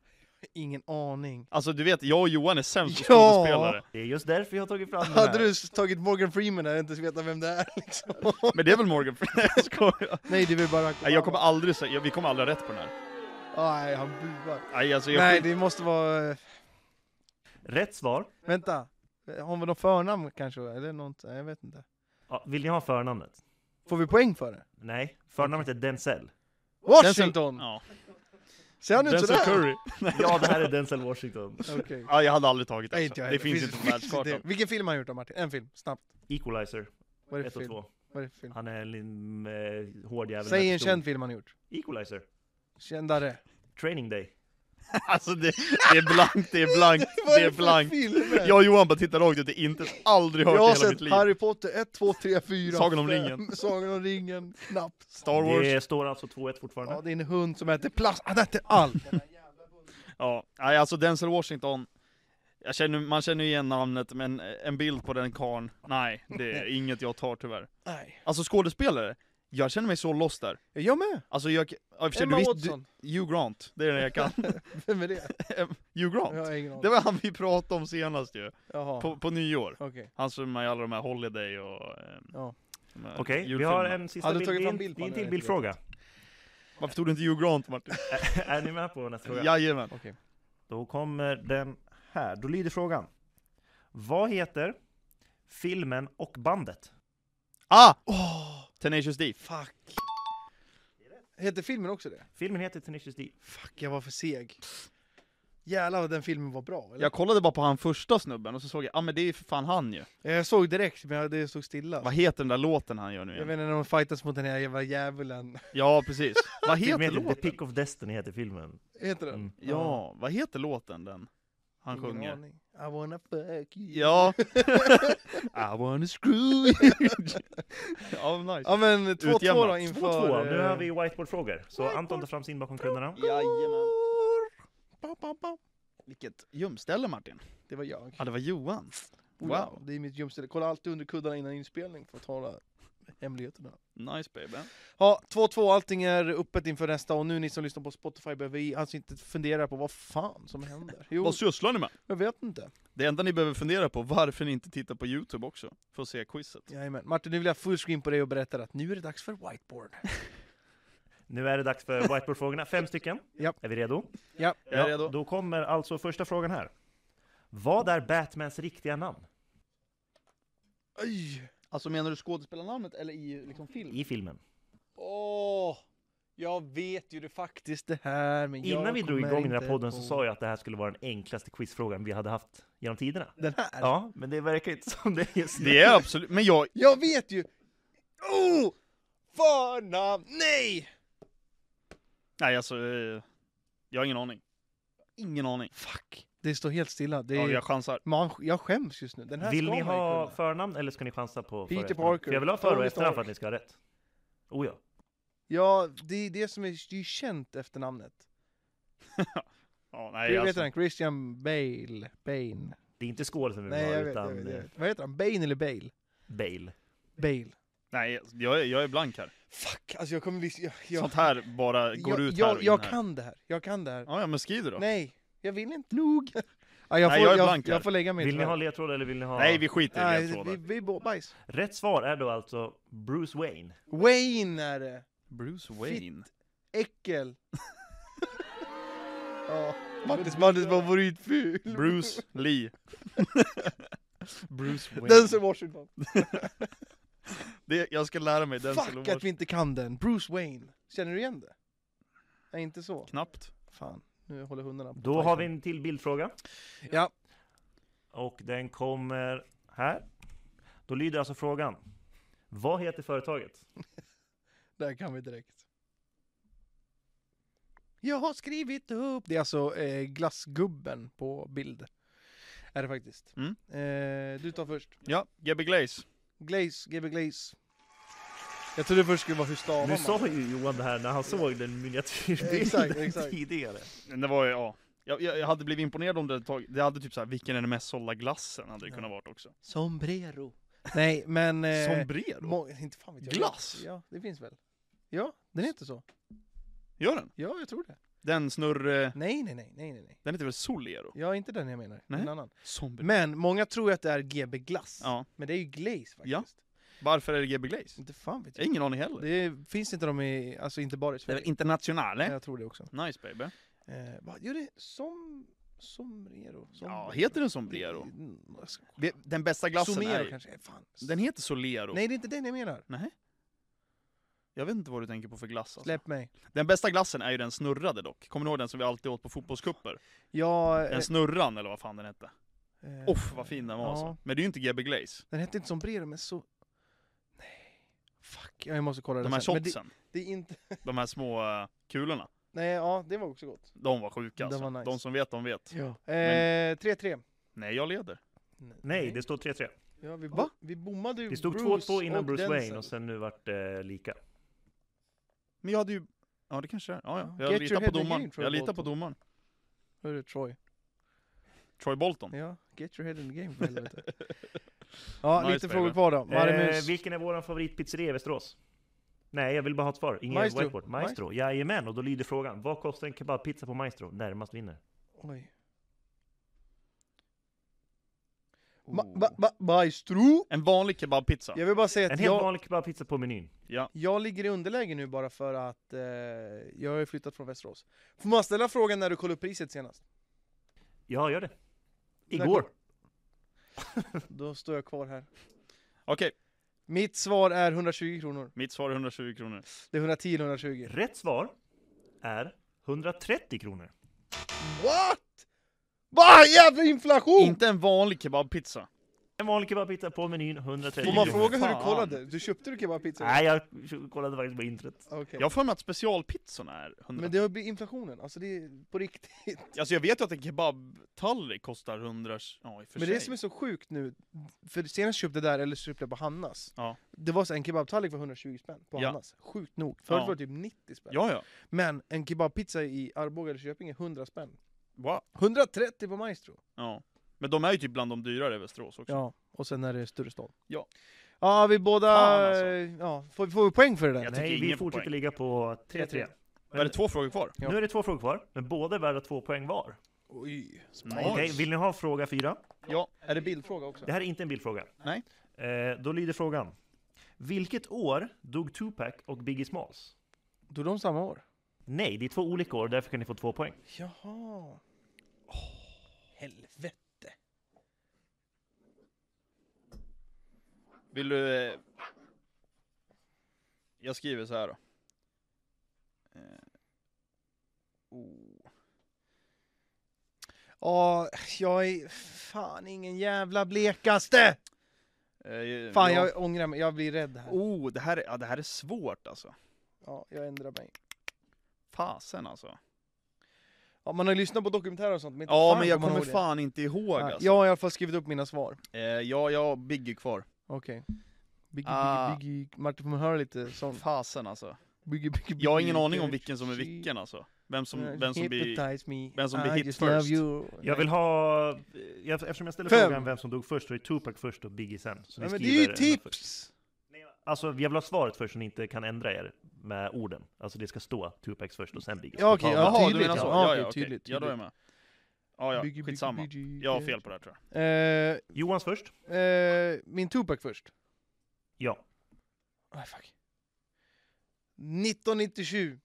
Speaker 1: Ingen aning.
Speaker 2: Alltså du vet, jag och Johan är sämst på
Speaker 1: Ja.
Speaker 2: skådespelare.
Speaker 3: Det är just därför jag har tagit fram den här.
Speaker 1: Hade du s- tagit Morgan Freeman hade jag inte vetat vem det är liksom.
Speaker 2: Men det är väl Morgan Freeman? Nej, jag skojar.
Speaker 1: Nej, det är väl bara...
Speaker 2: Nej, jag kommer aldrig säga, vi kommer aldrig ha rätt på den här.
Speaker 1: Nej, han buar.
Speaker 2: Nej, alltså, jag
Speaker 1: Nej, det måste vara...
Speaker 3: Rätt svar.
Speaker 1: Vänta. Har vi något förnamn kanske? Eller något? Nej, Jag vet inte.
Speaker 3: Ja, vill ni ha förnamnet?
Speaker 1: Får vi poäng för det?
Speaker 3: Nej, förnamnet är Denzel.
Speaker 1: Washington!
Speaker 2: Ja.
Speaker 1: Ser han ut
Speaker 2: Denzel
Speaker 1: sådär?
Speaker 2: Curry.
Speaker 3: Ja, det här är Denzel Washington.
Speaker 1: Okej.
Speaker 2: Ja, jag hade aldrig tagit det.
Speaker 1: Nej,
Speaker 2: alltså.
Speaker 1: inte jag
Speaker 2: det
Speaker 1: heller.
Speaker 2: finns inte på världskartan.
Speaker 1: inte. Vilken film har han gjort då Martin? En film, snabbt.
Speaker 3: Equalizer,
Speaker 1: Vad är det
Speaker 3: 1
Speaker 1: för
Speaker 3: och
Speaker 1: film?
Speaker 3: 2.
Speaker 1: Vad är det för film?
Speaker 3: Han är en liten, eh, hård jävel.
Speaker 1: Säg
Speaker 3: med
Speaker 1: en
Speaker 3: pistol.
Speaker 1: känd film han har gjort.
Speaker 3: Equalizer.
Speaker 1: Kändare.
Speaker 3: Training Day.
Speaker 2: Alltså det, det är blankt, det är blankt, det är blankt.
Speaker 1: filmer?
Speaker 2: Jag och Johan bara tittar rakt ut, det är inte, aldrig hört
Speaker 1: Jag har
Speaker 2: i hela mitt
Speaker 1: sett
Speaker 2: liv.
Speaker 1: Harry Potter 1, 2, 3, 4,
Speaker 2: Sagan om ringen.
Speaker 1: Sagan om ringen, knappt.
Speaker 2: Star Wars.
Speaker 3: Det står alltså 2-1 fortfarande.
Speaker 1: Ja, det är en hund som äter plast, han äter allt!
Speaker 2: Ja, nej alltså Denzel Washington. Jag känner, man känner ju igen namnet, men eh, en bild på den karn. nej, det är inget jag tar tyvärr.
Speaker 1: Nej.
Speaker 2: Alltså skådespelare, jag känner mig så lost där.
Speaker 1: Jag med!
Speaker 2: Alltså jag, ja, i och för sig,
Speaker 1: Emma
Speaker 2: du visst,
Speaker 1: Watson,
Speaker 2: du, Hugh Grant, det är den jag kan.
Speaker 1: vem är det?
Speaker 2: Hugh
Speaker 1: Jag
Speaker 2: Grant.
Speaker 1: har ingen aning.
Speaker 2: Det var han vi pratade om senast ju,
Speaker 1: Jaha,
Speaker 2: på, på nyår.
Speaker 1: okej.
Speaker 2: Han som är med i alla de här Holiday och... ehm,
Speaker 1: Ja.
Speaker 2: de här
Speaker 3: Okej, vi
Speaker 2: julfilmerna.
Speaker 3: har en sista
Speaker 1: Hade du tagit
Speaker 3: bild. Det
Speaker 1: fram
Speaker 3: är
Speaker 1: bild på
Speaker 3: en- det är en
Speaker 1: den?
Speaker 3: till bildfråga.
Speaker 2: Varför tog du inte Hugh Grant Martin?
Speaker 3: är ni med på nästa fråga?
Speaker 2: Jajamän.
Speaker 1: Okej.
Speaker 3: Då kommer den här. Då lyder frågan. Vad heter filmen och bandet?
Speaker 2: Ah! Tenacious D.
Speaker 1: Fuck. Hette filmen också det?
Speaker 3: Filmen heter Tenacious D.
Speaker 1: Fuck, jag var för seg. Jävlar vad den filmen var bra. Eller?
Speaker 2: Jag kollade bara på han första snubben och så såg jag, ah men det är ju för fan han ju.
Speaker 1: Jag, såg direkt, men jag- det stod stilla.
Speaker 2: Vad heter den där låten han gör nu
Speaker 1: Jag
Speaker 2: igen?
Speaker 1: vet inte när de fightas mot den här jävla djävulen.
Speaker 2: Ja precis. Vad
Speaker 3: Filmen
Speaker 2: heter
Speaker 3: heter The
Speaker 2: låten?
Speaker 3: Pick of Destiny heter filmen.
Speaker 1: Heter den?
Speaker 3: Mm.
Speaker 2: Ja, vad heter låten den? Han
Speaker 1: Ingen
Speaker 2: sjunger.
Speaker 1: aning. I wanna fuck you.
Speaker 2: Ja. I wanna screw you. ja, nice.
Speaker 1: Ja men 2-2
Speaker 2: Utjämnat.
Speaker 1: då
Speaker 3: 2-2,
Speaker 1: inför...
Speaker 3: nu
Speaker 1: eh,
Speaker 3: har vi whiteboardfrågor. Så Anton tar fram sin bakom kunderna.
Speaker 2: Jajamän.
Speaker 1: Ba, ba, ba.
Speaker 2: Vilket ljumställe Martin.
Speaker 1: Det var jag.
Speaker 2: Ja, det var Johan.
Speaker 1: Oh, ja, Det är mitt gömställe. Kolla alltid under kuddarna innan inspelning för att hålla hemligheterna.
Speaker 2: Nice baby.
Speaker 1: Ja, 2-2, allting är öppet inför nästa och nu ni som lyssnar på Spotify behöver alltså inte fundera på vad fan som händer. Jo,
Speaker 2: Vad sysslar ni med?
Speaker 1: jag vet inte.
Speaker 2: Det enda ni behöver fundera på, varför ni inte tittar på Youtube också, för att se quizet.
Speaker 1: Jajamän. Martin, nu vill jag full screen på dig och berätta att nu är det dags för whiteboard.
Speaker 3: Nu är det dags för whiteboardfrågorna. Fem stycken.
Speaker 1: Ja.
Speaker 3: Är vi redo?
Speaker 2: Jag är redo.
Speaker 3: Då kommer alltså första frågan här. Vad är Batmans riktiga namn?
Speaker 1: Oj!
Speaker 2: Alltså menar du skådespelarnamnet eller i liksom film?
Speaker 3: I filmen.
Speaker 1: Åh! Jag vet ju det faktiskt det här, men jag
Speaker 3: Innan vi drog
Speaker 1: kommer
Speaker 3: igång den
Speaker 1: inte
Speaker 3: här podden
Speaker 1: på-
Speaker 3: så sa jag att det här skulle vara den enklaste quizfrågan vi hade haft genom tiderna.
Speaker 1: Den här?
Speaker 3: Ja, men det verkar inte som det är just nu.
Speaker 2: Det är absolut, men jag...
Speaker 1: Jag vet ju! Oh! Förnamn! Nej!
Speaker 2: Nej alltså, eh, jag har ingen aning. Ingen aning.
Speaker 1: Fuck! Det står helt stilla. Det
Speaker 2: Ja,
Speaker 1: är...
Speaker 2: jag chansar.
Speaker 1: Man, jag skäms just nu. Den här
Speaker 3: Vill
Speaker 1: ska
Speaker 3: ni
Speaker 1: man ju
Speaker 3: ha
Speaker 1: kunna.
Speaker 3: förnamn eller ska ni chansa på
Speaker 1: Peter
Speaker 3: för och efternamn?
Speaker 1: Parker.
Speaker 3: För jag vill ha för och
Speaker 1: Tony
Speaker 3: efternamn för
Speaker 1: Stark.
Speaker 3: att ni ska ha rätt. Oh ja.
Speaker 1: Ja, det är det som är, det är känt efter namnet.
Speaker 2: Ja,
Speaker 1: Hur
Speaker 2: nej,
Speaker 1: heter
Speaker 2: alltså.
Speaker 1: han? Christian Bale? Bane?
Speaker 3: Det är inte skål som vi
Speaker 1: Nej,
Speaker 3: vill
Speaker 1: jag
Speaker 3: ha,
Speaker 1: vet, jag
Speaker 3: utan
Speaker 1: vet, jag
Speaker 3: eh,
Speaker 1: vet. Vad heter han? Bane eller Bale?
Speaker 3: Bale.
Speaker 1: Bale.
Speaker 2: nej jag, är- jag är blank här.
Speaker 1: Fuck, alltså jag kommer liksom... Jag, jag,
Speaker 2: Sånt här bara går
Speaker 1: jag,
Speaker 2: ut här
Speaker 1: jag,
Speaker 2: och in
Speaker 1: jag
Speaker 2: här.
Speaker 1: kan det här. Jag kan det här.
Speaker 2: Ja, ja, men skriv det då. Nej,
Speaker 1: Nej, jag vill inte. Nog. Ja, jag,
Speaker 2: Nej,
Speaker 1: får,
Speaker 2: jag är
Speaker 1: jag, jag,
Speaker 2: blank här.
Speaker 1: får lägga mig
Speaker 3: Vill ni
Speaker 1: tyvärr.
Speaker 3: ha ledtråd eller vill ni ha...
Speaker 2: vi skiter i
Speaker 1: Nej, vi,
Speaker 2: ledtrådar.
Speaker 1: vi bor bajs.
Speaker 3: Rätt svar är då alltså Bruce Wayne.
Speaker 1: Wayne är det.
Speaker 2: Bruce Wayne.
Speaker 1: Äckel. ja. Martins, Martins var favoritfilm.
Speaker 2: Bruce Lee. Bruce Wayne.
Speaker 1: Denzel Washington.
Speaker 2: Det, jag ska lära mig den
Speaker 1: Fuck att vi inte kan den. Bruce Wayne. Känner du igen det? Nej, inte så.
Speaker 2: Knappt.
Speaker 1: Fan, nu håller hundarna på.
Speaker 3: Då har vi en till bildfråga.
Speaker 1: Ja.
Speaker 3: Och den kommer här. Då lyder alltså frågan. Vad heter företaget?
Speaker 1: Där kan vi direkt. Jag har skrivit upp. Det är alltså eh, glassgubben på bild. Är det faktiskt.
Speaker 2: Mm.
Speaker 1: Eh, du tar först.
Speaker 2: Ja, Gabby Glaze.
Speaker 1: Glaze, GB Glaze. Jag trodde först skulle vara hur stavar
Speaker 3: Nu
Speaker 1: man?
Speaker 3: sa ju Johan det här när han såg den miniatyrbilden
Speaker 1: Exakt, exakt.
Speaker 3: tidigare.
Speaker 2: Det var ju, ja. Jag, jag, jag hade blivit imponerad om det hade tagit, det hade typ såhär, vilken är den mest sålda glassen? Hade det
Speaker 1: Ja.
Speaker 2: kunnat varit också.
Speaker 1: Sombrero. Nej, men... Eh,
Speaker 2: Sombrero?
Speaker 1: må- inte fan vet jag.
Speaker 2: Glass?
Speaker 1: Ja, det finns väl. Ja, den heter så.
Speaker 2: Gör den?
Speaker 1: Ja, jag tror det.
Speaker 2: Den snurr... eh,
Speaker 1: Nej, nej, nej, nej, nej. nej.
Speaker 2: Den heter väl Solero?
Speaker 1: Ja, inte den jag menar.
Speaker 2: Nej.
Speaker 1: En annan.
Speaker 2: Sombrero.
Speaker 1: Men många tror ju att det är GB Glass.
Speaker 2: Ja.
Speaker 1: Men det är ju Glaze faktiskt.
Speaker 2: Ja. Varför är det GB Glaze?
Speaker 1: Inte fan vet
Speaker 2: Jag
Speaker 1: jag.
Speaker 2: har ingen aning heller. Det
Speaker 1: Det finns inte de i, alltså inte bara i
Speaker 2: är
Speaker 1: Sverige.
Speaker 2: väl internationale?
Speaker 1: Jag tror det också.
Speaker 2: Eh, Nice baby.
Speaker 1: Eh, vad gör det? Som... Sombrero? Som,
Speaker 2: Ja, heter den Sombrero?
Speaker 1: Mm, jag ska-
Speaker 2: Vi- Den bästa glassen
Speaker 1: Somero
Speaker 2: är ju-
Speaker 1: kanske? Eh, Fan.
Speaker 2: Den heter Solero.
Speaker 1: Nej, det är inte den jag menar.
Speaker 2: Nej. Jag vet inte vad du tänker på för glass alltså.
Speaker 1: Släpp mig.
Speaker 2: Den bästa glassen är ju den snurrade dock. Kommer du ihåg den som vi alltid åt på fotbollskupper?
Speaker 1: Jag...
Speaker 2: Den snurran eller vad fan den hette.
Speaker 1: eh,
Speaker 2: Uff vad fin den var
Speaker 1: ja.
Speaker 2: alltså. Men det är ju inte GB Glaze.
Speaker 1: Den hette inte Sombrero, men så... Nej. Fuck, jag måste kolla
Speaker 2: De
Speaker 1: det
Speaker 2: här
Speaker 1: sen. Men det,
Speaker 2: shotsen,
Speaker 1: det är inte...
Speaker 2: de här små eh, kulorna.
Speaker 1: Nej, ja, det var också gott.
Speaker 2: De var sjuka
Speaker 1: De
Speaker 2: alltså.
Speaker 1: var nice.
Speaker 2: De som vet, de vet.
Speaker 1: Ja. Eh,
Speaker 2: Men-
Speaker 1: 3-3.
Speaker 2: Nej, jag leder.
Speaker 3: Nej, det står 3-3.
Speaker 1: Ja, vi,
Speaker 2: Va?
Speaker 1: vi bommade ju
Speaker 3: Det stod
Speaker 1: Bruce
Speaker 3: 2-2 innan
Speaker 1: och
Speaker 3: Bruce
Speaker 1: Denzel.
Speaker 3: Wayne och sen nu vart det lika.
Speaker 2: Men jag hade ju... Ja, det kanske är. Ja, ja.
Speaker 1: Ja. Get
Speaker 2: Jag
Speaker 1: your head
Speaker 2: litar på
Speaker 1: in the
Speaker 2: domaren.
Speaker 1: game, Troy
Speaker 2: Jag litar på
Speaker 1: Bolton.
Speaker 2: domaren.
Speaker 1: Hur är det Troy?
Speaker 2: Troy Bolton.
Speaker 1: Ja, get your head in the game för helvete. Ja,
Speaker 2: Nice,
Speaker 1: lite
Speaker 2: baby.
Speaker 1: frågor kvar då.
Speaker 3: Eh,
Speaker 1: Marimus.
Speaker 3: vilken är vår favoritpizzeria i Västerås? Nej, jag vill bara ha ett svar. Ingen
Speaker 1: Maestro.
Speaker 3: Maestro. whiteboard. Maestro. Jajamän, och då lyder frågan. Vad kostar en kebabpizza på Maestro? Närmast vinner.
Speaker 1: Oj. Ma- ba- ba- maestro!
Speaker 2: En vanlig kebabpizza.
Speaker 1: Oh. Jag vill bara säga
Speaker 3: En
Speaker 1: att
Speaker 3: helt
Speaker 1: jag,
Speaker 3: vanlig kebabpizza på menyn.
Speaker 1: jag ligger i underläge nu bara för att eh, jag har ju flyttat från Västerås. Får man ställa frågan när du kollade upp priset senast?
Speaker 3: Ja, gör det.
Speaker 1: Där
Speaker 3: Igår.
Speaker 1: Då står jag kvar här.
Speaker 2: Okej,
Speaker 1: Mitt svar är 120 kronor.
Speaker 2: mitt svar är 120 kronor.
Speaker 1: Det är 110 eller 120.
Speaker 3: Rätt svar är 130 kronor.
Speaker 1: What? Vad jävla inflation!
Speaker 2: Inte en vanlig kebabpizza.
Speaker 3: En vanlig kebabpizza på menyn, 130
Speaker 1: Får man
Speaker 3: kronor.
Speaker 1: fråga hur du
Speaker 2: Fan.
Speaker 1: kollade? Du köpte du kebabpizza?
Speaker 3: Nej, jag kollade faktiskt på internet.
Speaker 1: Okej.
Speaker 2: Jag har för mig att specialpizzorna är 100.
Speaker 1: Men det har blivit inflationen, alltså det är på riktigt.
Speaker 2: Alltså jag vet ju att en kebabtallrik kostar 100... Ja, i och för
Speaker 1: Men
Speaker 2: sig.
Speaker 1: det som är så sjukt nu, för senast köpte jag där eller så köpte jag på Hannas.
Speaker 2: Ja.
Speaker 1: Det var så en kebabtallrik var 120 spänn på
Speaker 2: Ja.
Speaker 1: Hannas. Sjukt nog. Förut
Speaker 2: Ja.
Speaker 1: var det typ 90 spänn.
Speaker 2: Ja, ja.
Speaker 1: Men en kebabpizza i Arboga eller Köping är 100 spänn.
Speaker 2: Wow.
Speaker 1: 130 på Maestro.
Speaker 2: Ja. Men de är ju typ bland de dyrare i Västerås också.
Speaker 1: Ja, och sen är det större stad.
Speaker 2: Ja.
Speaker 1: Ja, vi båda...
Speaker 2: Fan, alltså.
Speaker 1: ja, får, får vi poäng för det där?
Speaker 2: Jag
Speaker 3: Nej,
Speaker 2: tycker
Speaker 3: vi
Speaker 2: ingen får
Speaker 3: fortsätter
Speaker 2: poäng.
Speaker 3: ligga på 3-3.
Speaker 2: Var det två frågor kvar?
Speaker 1: Ja.
Speaker 3: Nu är det två frågor kvar, men båda är värda två poäng var.
Speaker 1: Oj.
Speaker 2: Nice.
Speaker 3: Okej, vill ni ha fråga fyra?
Speaker 2: Ja.
Speaker 1: Är det bildfråga också?
Speaker 3: Det här är inte en bildfråga.
Speaker 2: Nej.
Speaker 3: Eh, då lyder frågan. Vilket år dog Tupac och Biggie Smalls?
Speaker 1: Då är de samma år.
Speaker 3: Nej, det är två olika år, därför kan ni få två poäng.
Speaker 1: Jaha. Oh, helvete.
Speaker 2: Vill du... eh, Jag skriver så här då. Eh, oh.
Speaker 1: Ja, jag är fan ingen jävla blekaste!
Speaker 2: Eh,
Speaker 1: Fan, jag ångrar mig. Jag blir rädd här.
Speaker 2: Oh, det här, är- ja, det här är svårt alltså.
Speaker 1: Ja, jag ändrar mig.
Speaker 2: Fasen alltså.
Speaker 1: Ja, man har ju lyssnat på dokumentärer och sånt, men inte
Speaker 2: Ja,
Speaker 1: fan
Speaker 2: men jag kommer
Speaker 1: man ihåg
Speaker 2: fan inte ihåg
Speaker 1: det. Nej,
Speaker 2: alltså.
Speaker 1: Jag har i alla fall skrivit upp mina svar.
Speaker 2: Eh, ja, jag har Biggie kvar.
Speaker 1: Okej. Biggie,
Speaker 2: Ah.
Speaker 1: biggie, biggie. Martin, får man höra lite sång?
Speaker 2: Fasen alltså.
Speaker 1: Biggie, biggie, biggie. uh,
Speaker 2: Jag har ingen aning om vilken som är vilken alltså. Vem som, vem som blir...
Speaker 1: Hypnotize me.
Speaker 2: vem som blir
Speaker 1: I
Speaker 2: hit
Speaker 1: just
Speaker 2: first.
Speaker 1: love you.
Speaker 3: Jag vill ha... eh, Eftersom jag ställer
Speaker 1: Fem.
Speaker 3: frågan vem som dog först, så är det Tupac först och Biggie sen. Så ni
Speaker 1: Nej, men det är
Speaker 3: skriver
Speaker 1: ju typ
Speaker 3: först.
Speaker 1: tips!
Speaker 3: Alltså, jag vill ha svaret först så ni inte kan ändra er med orden. Alltså, det ska stå Tupac först och sen Biggie.
Speaker 1: Ja, okej,
Speaker 3: På tavlan.
Speaker 2: Jaha, du
Speaker 1: tydligt,
Speaker 2: menar så?
Speaker 1: ja. Ja, okej,
Speaker 2: Ja, ja, okej.
Speaker 1: tydligt,
Speaker 2: Ja, då är jag med. Ja,
Speaker 1: Biggie,
Speaker 2: ja,
Speaker 1: biggie,
Speaker 2: skitsamma.
Speaker 1: biggie.
Speaker 2: Jag har fel på det här tror jag.
Speaker 1: Eh,
Speaker 3: Johans först?
Speaker 1: eh, min Tupac först.
Speaker 3: Ja.
Speaker 1: Nej, fuck. 1997.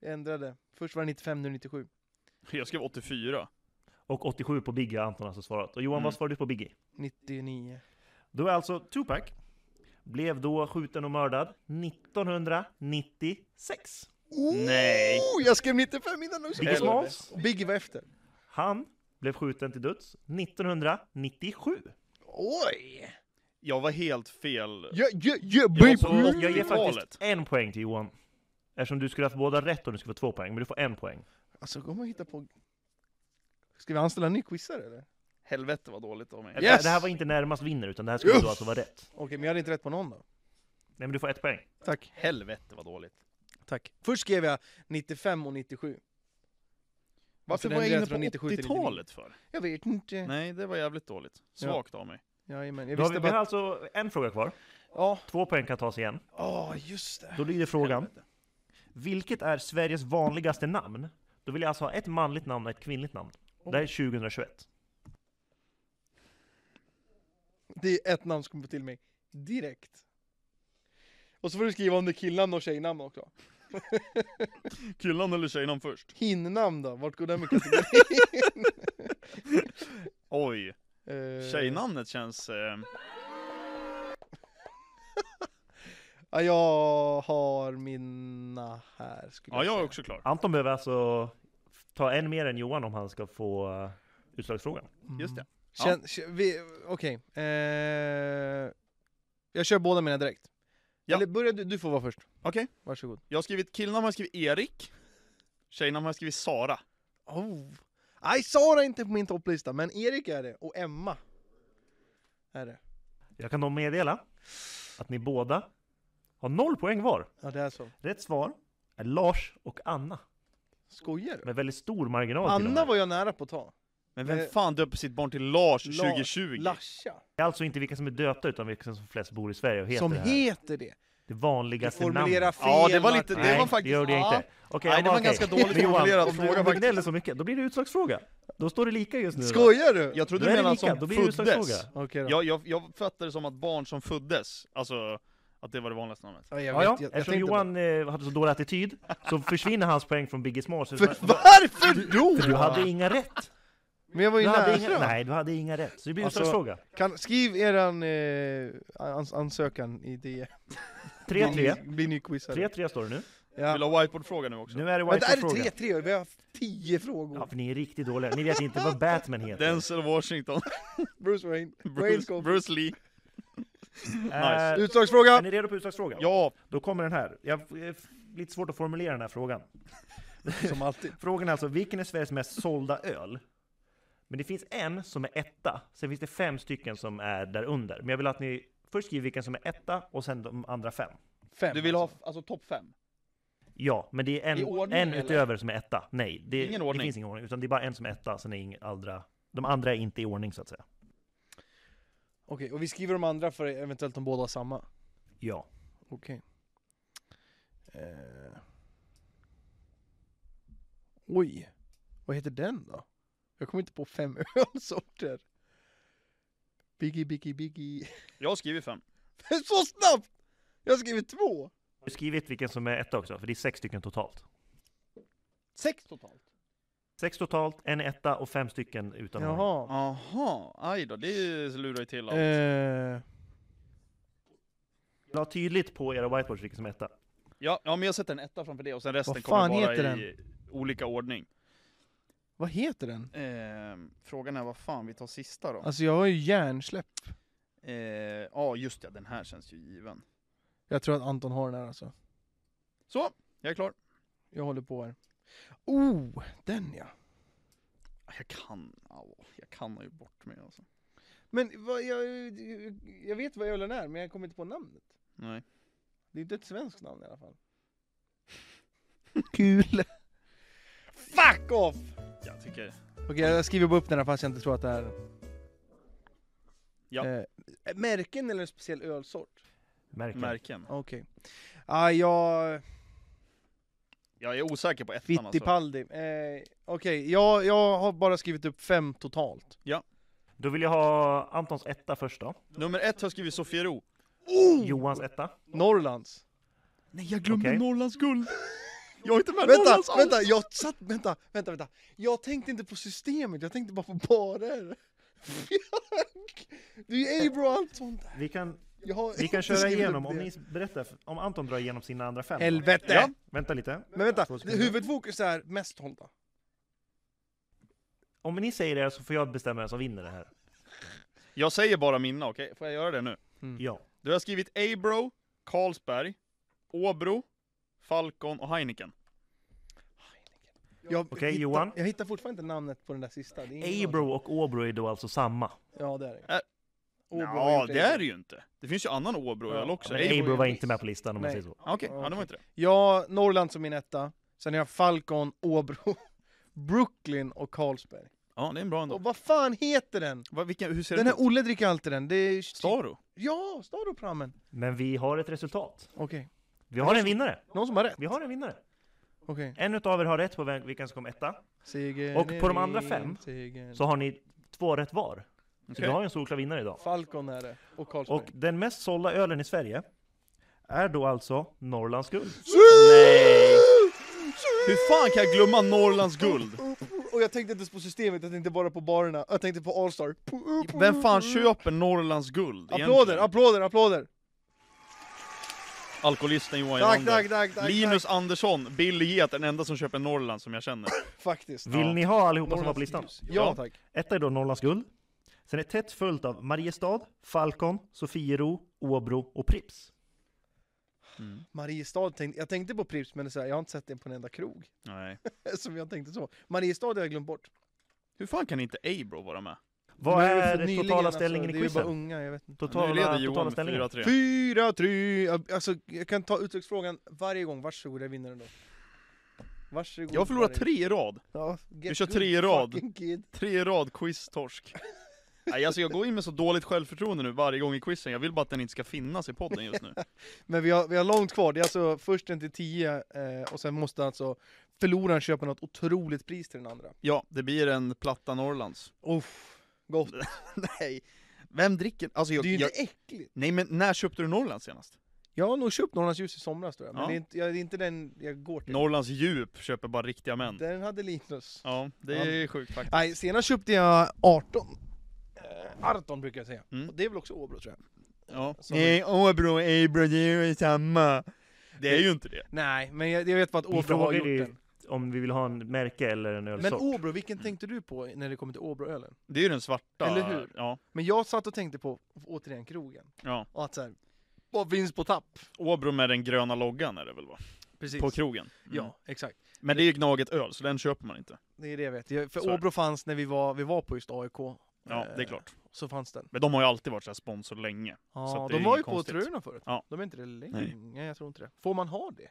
Speaker 1: Jag ändrade. Först var det 95, nu 97.
Speaker 2: Jag skrev 84.
Speaker 3: Och 87 på Biggie har Anton alltså svarat. Och Johan,
Speaker 2: Mm.
Speaker 3: vad svarade du på Biggie?
Speaker 1: 99.
Speaker 3: Då är alltså Tupac blev då skjuten och mördad 1996.
Speaker 2: Nej.
Speaker 1: Oh, Jag skrev 95 innan också!
Speaker 3: Biggie Smalls,
Speaker 1: Biggie var efter.
Speaker 3: han blev skjuten till döds 1997.
Speaker 1: Oj!
Speaker 2: Jag var helt fel.
Speaker 1: Yeah, yeah, yeah,
Speaker 2: Jag var
Speaker 1: baby!
Speaker 2: på
Speaker 3: Jag ger faktiskt
Speaker 2: 80-talet.
Speaker 3: en poäng till Johan. Eftersom du skulle ha haft båda rätt och du skulle få två poäng, men du får en poäng.
Speaker 1: Alltså, kommer man hitta på... Ska vi anställa en ny quizare eller?
Speaker 2: Helvete vad dåligt av mig.
Speaker 1: Ja. Yes!
Speaker 3: Det här var inte närmast vinner, utan det här skulle
Speaker 1: Uff!
Speaker 3: då alltså vara rätt.
Speaker 1: Okej, men jag hade inte rätt på någon då.
Speaker 3: Nej, men du får ett poäng.
Speaker 1: Tack.
Speaker 2: Helvete vad dåligt.
Speaker 1: Tack. Först skrev jag 95 och 97.
Speaker 2: Varför
Speaker 1: den
Speaker 2: var jag
Speaker 1: lät
Speaker 2: inne på
Speaker 1: från 97 till 99.
Speaker 2: 80-talet för?
Speaker 1: Jag vet inte.
Speaker 2: Nej, det var jävligt dåligt. Svagt av mig.
Speaker 1: Jajamän, jag
Speaker 3: Då har vi,
Speaker 1: visste
Speaker 3: vi har
Speaker 1: bara...
Speaker 3: alltså en fråga kvar.
Speaker 1: Ja,
Speaker 3: Två poäng kan tas igen.
Speaker 1: oh, just det.
Speaker 3: Då lyder frågan,
Speaker 2: Helvete.
Speaker 3: vilket är Sveriges vanligaste namn? Då vill jag alltså ha ett manligt namn och ett kvinnligt namn. Det här är 2021.
Speaker 1: Det är ett namn som kommer till mig direkt. Och så får du skriva om det är killnamn och tjejnamn också.
Speaker 2: Killen eller tjejnamn först?
Speaker 1: Hinnamn då? Vart går den med kategorin?
Speaker 2: Oj.
Speaker 1: Eh,
Speaker 2: Tjejnamnet känns... Eh,
Speaker 1: Ja, jag har mina här skulle
Speaker 2: ja,
Speaker 1: jag
Speaker 2: jag är
Speaker 1: säga.
Speaker 2: också klar.
Speaker 3: Anton behöver alltså ta en mer än Johan om han ska få eh, utslagsfrågan.
Speaker 2: Just det. Ja.
Speaker 1: Känn, känn- Mm. vi, okej. Eh, jag kör båda mina direkt.
Speaker 2: Ja.
Speaker 1: Eller börja du, du får vara först.
Speaker 2: Okej.
Speaker 1: Varsågod.
Speaker 2: Jag har skrivit killnamn, har jag skrivit Erik. Tjejnamn har jag skrivit Sara.
Speaker 1: Oh. Nej, Sara är inte på min topplista, men Erik är det. Och Emma är det.
Speaker 3: Jag kan då meddela att ni båda har noll poäng var.
Speaker 1: Ja, det är så.
Speaker 3: Rätt svar är Lars och Anna.
Speaker 1: Skojar du?
Speaker 3: Med väldigt stor marginal till och
Speaker 1: Anna
Speaker 3: med.
Speaker 1: var jag nära på att ta.
Speaker 2: Men vem
Speaker 1: Eh,
Speaker 2: fan döper sitt barn till Lars
Speaker 1: Lars-
Speaker 2: 2020?
Speaker 1: Larsa.
Speaker 3: Det är alltså inte vilka som är döpta utan vilka som flest bor i Sverige och heter
Speaker 1: Som
Speaker 3: det här.
Speaker 1: heter det.
Speaker 3: det
Speaker 1: Du
Speaker 3: vanligaste
Speaker 1: formulerar
Speaker 3: namnet.
Speaker 1: fel.
Speaker 2: Ja, det var lite, det
Speaker 1: Martin.
Speaker 3: Nej,
Speaker 2: var faktiskt...
Speaker 3: det gjorde jag
Speaker 2: ja.
Speaker 3: inte. Okej,
Speaker 2: Nej,
Speaker 3: ja,
Speaker 2: det var en
Speaker 3: okej.
Speaker 2: ganska dåligt
Speaker 3: Men Johan,
Speaker 2: formulerad
Speaker 3: om du-
Speaker 2: fråga
Speaker 3: Om du
Speaker 2: faktiskt.
Speaker 3: gnäller så mycket, då blir det utslagsfråga. Då står det lika just nu. då.
Speaker 1: Skojar du?
Speaker 2: Jag trodde
Speaker 3: Då
Speaker 2: du
Speaker 3: är det
Speaker 2: menade
Speaker 3: lika, då
Speaker 2: som
Speaker 3: blir det utslagsfråga.
Speaker 2: föddes.
Speaker 1: Okej då.
Speaker 2: Jag, jag, jag fattade det som att barn som föddes, alltså att det var det vanligaste namnet.
Speaker 1: Ja, jag
Speaker 3: Ja, ja.
Speaker 1: vet, jag, jag
Speaker 3: Eftersom
Speaker 1: tänkte
Speaker 3: Johan eh, hade så dålig attityd så försvinner hans poäng från Biggie Smalls.
Speaker 1: bara- För, varför då?
Speaker 3: Du hade inga rätt!
Speaker 1: Men jag var ju
Speaker 3: Du hade
Speaker 1: nära.
Speaker 3: inga, nej, du hade inga rätt. Så det blir
Speaker 1: Alltså-
Speaker 3: utslagsfråga.
Speaker 1: Kan, skriv eran eh, ans ansökan i E. det.
Speaker 3: 3-3.
Speaker 1: Bli, bli nyquizare.
Speaker 3: 3-3 står det nu.
Speaker 1: Ja.
Speaker 2: Vill du ha whiteboardfråga nu också?
Speaker 3: Nu är det
Speaker 1: Vänta, är det
Speaker 3: Whitehead-fråga.
Speaker 1: 3-3? Vi har haft 10 frågor.
Speaker 3: Ja, för ni är riktigt dåliga. Ni vet inte vad Batman heter.
Speaker 2: Denzel Washington,
Speaker 1: Bruce Wayne. Wayne
Speaker 2: Bruce,
Speaker 1: Cole.
Speaker 2: Bruce Lee.
Speaker 3: Eh, Är
Speaker 1: Utslagsfråga!
Speaker 3: ni redo på utslagsfrågan?
Speaker 2: Ja,
Speaker 3: Då kommer den här. Jag är lite svårt att formulera den här frågan.
Speaker 1: Som alltid.
Speaker 3: Frågan är alltså, vilken är Sveriges mest sålda öl? Men det finns en som är etta, sen finns det fem stycken som är där under. Men jag vill att ni först skriver vilken som är etta och sen de andra fem.
Speaker 1: Fem.
Speaker 2: du vill ha alltså topp fem?
Speaker 3: Ja, men det är en,
Speaker 2: I ordning,
Speaker 3: en
Speaker 2: eller?
Speaker 3: utöver som är etta. Nej, det,
Speaker 2: Ingen
Speaker 3: det
Speaker 2: ordning.
Speaker 3: finns ingen ordning. Utan det är bara en som är etta, sen är ingen andra. De andra är inte i ordning så att säga.
Speaker 1: Okej, och vi skriver de andra för eventuellt de båda har samma.
Speaker 3: Ja.
Speaker 1: Okej. Eh. Oj, vad heter den då? Jag kommer inte på fem ölsorter. Biggie, Biggie, Biggie.
Speaker 2: Jag har skrivit fem.
Speaker 1: Så snabbt! Jag har skrivit två!
Speaker 3: Jag har skrivit vilken som är etta också, för det är sex stycken totalt.
Speaker 1: Sex totalt.
Speaker 3: Sex totalt, en etta och fem stycken utan ordning.
Speaker 1: Jaha.
Speaker 2: Aha, aj då, det lurar ju till allt.
Speaker 1: Eh,
Speaker 3: La tydligt på era whiteboards vilken som är etta.
Speaker 2: Ja, ja, men jag sätter en etta framför det och sen resten
Speaker 1: Vad
Speaker 2: kommer
Speaker 1: fan
Speaker 2: vara
Speaker 1: heter
Speaker 2: i olika ordning.
Speaker 1: vad heter den?
Speaker 2: Ehm, frågan är vad fan vi tar sista då?
Speaker 1: Alltså jag har ju hjärnsläpp.
Speaker 2: Ehm, Ja, just ja, den här känns ju given.
Speaker 1: Jag tror att Anton har den här alltså.
Speaker 2: Så, jag är klar.
Speaker 1: Jag håller på här. Oh, den ja.
Speaker 2: Ah, Jag kan, au, jag kan ha gjort bort mig alltså.
Speaker 1: Men vad, jag, jag vet vad ölen är, men jag kommer inte på namnet.
Speaker 2: Nej.
Speaker 1: Det är inte ett svenskt namn i alla fall. Kul! Fuck off!
Speaker 2: Jag tycker...
Speaker 1: Okej, jag skriver bara upp den här fast jag inte tror att det är...
Speaker 2: Ja.
Speaker 1: Eh, märken eller en speciell ölsort?
Speaker 3: Märken.
Speaker 2: Märken.
Speaker 1: Okej. Ah, jag...
Speaker 2: Jag är osäker på ettan alltså.
Speaker 1: Fittipaldi. Eh, Okej, jag, jag har bara skrivit upp fem totalt.
Speaker 3: Då vill jag ha Antons etta först då.
Speaker 2: Nummer ett har jag skrivit Sofiero. Oh!
Speaker 3: Johans etta.
Speaker 1: Norrlands.
Speaker 2: Nej, jag
Speaker 3: glömde Okej.
Speaker 2: Norrlands guld! Jag är inte med
Speaker 1: Vänta, vänta, jag satt, vänta, vänta, vänta. Jag tänkte inte på systemet, jag tänkte bara på barer. du är ju bra allt sånt där.
Speaker 3: Vi kan,
Speaker 1: Jag har
Speaker 3: vi
Speaker 1: inte
Speaker 3: kan köra
Speaker 1: skrivit
Speaker 3: igenom,
Speaker 1: upp
Speaker 3: om
Speaker 1: det.
Speaker 3: ni berättar, om Anton drar igenom sina andra fem. då.
Speaker 1: Helvete!
Speaker 2: Ja.
Speaker 3: Vänta lite.
Speaker 1: Men vänta,
Speaker 3: Två sekunder.
Speaker 1: huvudfokus är mest hållda.
Speaker 3: Om ni säger det så får jag bestämma vem som vinner det
Speaker 1: Mm.
Speaker 3: här.
Speaker 2: Jag säger bara mina, okej? Får jag göra det nu?
Speaker 3: Ja.
Speaker 2: Du har skrivit Abro, Carlsberg, Åbro, Falcon och Heineken.
Speaker 1: Jag
Speaker 3: Okej,
Speaker 1: hittar-
Speaker 3: Johan.
Speaker 1: Jag hittar fortfarande inte namnet på den där sista. Det är ingen aning.
Speaker 3: Abro och Åbro är då alltså samma.
Speaker 1: Ja, det är det.
Speaker 2: Ä-
Speaker 1: Åbro har
Speaker 2: ja,
Speaker 1: gjort
Speaker 2: det är det ju inte. Det finns ju annan
Speaker 1: Ja,
Speaker 2: Åbroöl också.
Speaker 3: Men
Speaker 2: Abro-
Speaker 3: Abro var
Speaker 1: är-
Speaker 3: inte med på listan om man
Speaker 1: Nej.
Speaker 3: säger så.
Speaker 2: Ja, Okej, ja, det var inte det.
Speaker 1: Ja, Norrland som min etta. Sen har jag Falcon, Åbro, Brooklyn och Carlsberg.
Speaker 2: Ja, det är en bra ändå.
Speaker 1: Och vad fan heter den?
Speaker 2: Va, vilken, hur ser
Speaker 1: Den
Speaker 2: den ut?
Speaker 1: här Olle dricker alltid den. Det är...
Speaker 2: Staro?
Speaker 1: Ja, Staroprammen.
Speaker 3: Men vi har ett resultat.
Speaker 1: Okej.
Speaker 3: Vi har en vinnare.
Speaker 1: Någon som har rätt?
Speaker 3: Vi har en vinnare.
Speaker 1: Okej.
Speaker 3: En utav er har rätt på vem- vilken som kom etta.
Speaker 1: Segern
Speaker 3: Och på de
Speaker 1: är
Speaker 3: andra
Speaker 1: min,
Speaker 3: fem
Speaker 1: segern-
Speaker 3: Så har ni två rätt var. Så
Speaker 2: Okej.
Speaker 3: du har ju en solklar vinnare idag.
Speaker 1: Falcon är det. Och Carlsberg.
Speaker 3: Och den mest sålda ölen i Sverige är då alltså Norrlands guld.
Speaker 2: Nej! Hur fan kan jag glömma Norrlands guld?
Speaker 1: Och jag tänkte inte ens på systemet, jag tänkte bara på barerna. Jag tänkte på Allstar.
Speaker 2: Vem fan köper Norrlands guld?
Speaker 1: Applåder,
Speaker 2: egentligen?
Speaker 1: applåder, applåder!
Speaker 2: Alkoholisten
Speaker 1: Tack,
Speaker 2: Johan Johander.
Speaker 1: tack, tack, tack,
Speaker 2: Linus Andersson, Billy Get, den enda som köper Norrland som jag känner.
Speaker 1: tack. Faktiskt.
Speaker 3: Vill ni ha allihopa som var på listan?
Speaker 1: Ja, ja, tack.
Speaker 3: Etta är då Norrlands guld. Sen är tätt följt av Mariestad, Falcon, Sofiero, Åbro och Prips.
Speaker 2: Mm.
Speaker 1: Mariestad, tänkte, jag tänkte på Prips men det är så här, jag har inte sett den på en enda krog.
Speaker 2: Nej.
Speaker 1: Som jag tänkte så. Mariestad har jag glömt bort.
Speaker 2: Hur fan kan inte Abro vara med?
Speaker 3: Vad
Speaker 1: Men det väl
Speaker 3: är
Speaker 1: för nyligen,
Speaker 3: totala ställningen
Speaker 1: alltså.
Speaker 3: i
Speaker 1: Det är ju bara
Speaker 3: quizen?
Speaker 1: unga, jag vet inte.
Speaker 2: nu leder
Speaker 3: Totala,
Speaker 2: Johan
Speaker 3: totala
Speaker 2: med
Speaker 3: ställningen?
Speaker 2: 4-3.
Speaker 1: Fyra, tre, alltså jag kan ta utslagsfrågan varje gång, varsågod jag vinner ändå. Varsågod.
Speaker 2: Jag förlorar
Speaker 1: varje-
Speaker 2: tre i rad.
Speaker 1: Ja, get
Speaker 2: Du kör
Speaker 1: good
Speaker 2: tre i rad.
Speaker 1: fucking Kid.
Speaker 2: Tre i rad quiz-torsk. Nej, alltså jag går in med så dåligt självförtroende nu varje gång i quizen, jag vill bara att den inte ska finnas i podden just nu.
Speaker 1: Men vi har, vi har långt kvar, det är alltså först en till tio eh, och sen måste alltså förloraren köpa något otroligt pris till den andra.
Speaker 2: Ja, det blir en platta Norrlands.
Speaker 1: Uff, gott.
Speaker 2: Nej, vem dricker? Alltså
Speaker 1: Det är
Speaker 2: jag,
Speaker 1: ju inte
Speaker 2: jag,
Speaker 1: äckligt.
Speaker 2: nej men när köpte du Norrlands senast?
Speaker 1: Jag har nog köpt Norrlands ljus i somras tror jag, men
Speaker 2: Ja.
Speaker 1: det, är inte, jag, det är inte den jag går till.
Speaker 2: Norrlands djup köper bara riktiga män.
Speaker 1: Den hade Linus.
Speaker 2: Ja, det är sjukt faktiskt.
Speaker 1: Nej, senast köpte jag 18. Eh, 18 brukar jag säga.
Speaker 2: Mm. Eh,
Speaker 1: Och det är väl också Åbro tror jag.
Speaker 2: Ja.
Speaker 1: Som- Nej,
Speaker 2: Åbro, Ebro, det är ju samma. Det är ju inte det.
Speaker 1: Nej, men jag, jag vet bara att
Speaker 3: Vi
Speaker 1: Åbro har
Speaker 3: frågade
Speaker 1: gjort
Speaker 3: ju
Speaker 1: den.
Speaker 3: Om vi vill ha en märke eller en
Speaker 1: Men
Speaker 3: ölsort.
Speaker 1: Åbro, vilken tänkte du på när det kommer till Åbroölen?
Speaker 2: Det är ju den svarta.
Speaker 1: Eller hur?
Speaker 2: Ja,
Speaker 1: Men jag satt och tänkte på, återigen, krogen.
Speaker 2: ja.
Speaker 1: Och att så här, vad finns på tapp?
Speaker 2: Åbro med den gröna loggan är det väl va?
Speaker 1: Precis.
Speaker 2: På krogen. Mm.
Speaker 1: Ja, exakt.
Speaker 2: Men det är ju Gnaget öl, så den köper man inte.
Speaker 1: Det är det jag vet. Jag-
Speaker 2: Så är
Speaker 1: För
Speaker 2: det.
Speaker 1: Åbro fanns när vi var, vi var på just AIK.
Speaker 2: Ja, det är
Speaker 1: Eh,
Speaker 2: klart.
Speaker 1: Så fanns den.
Speaker 2: Men de har ju alltid varit så här sponsor länge. Så
Speaker 1: Ja,
Speaker 2: att det är
Speaker 1: de var ju
Speaker 2: inget
Speaker 1: på
Speaker 2: konstigt.
Speaker 1: tröjorna förut.
Speaker 2: Ja.
Speaker 1: De är inte det
Speaker 2: Nej.
Speaker 1: längre. Nej, jag tror inte det. Får man ha det?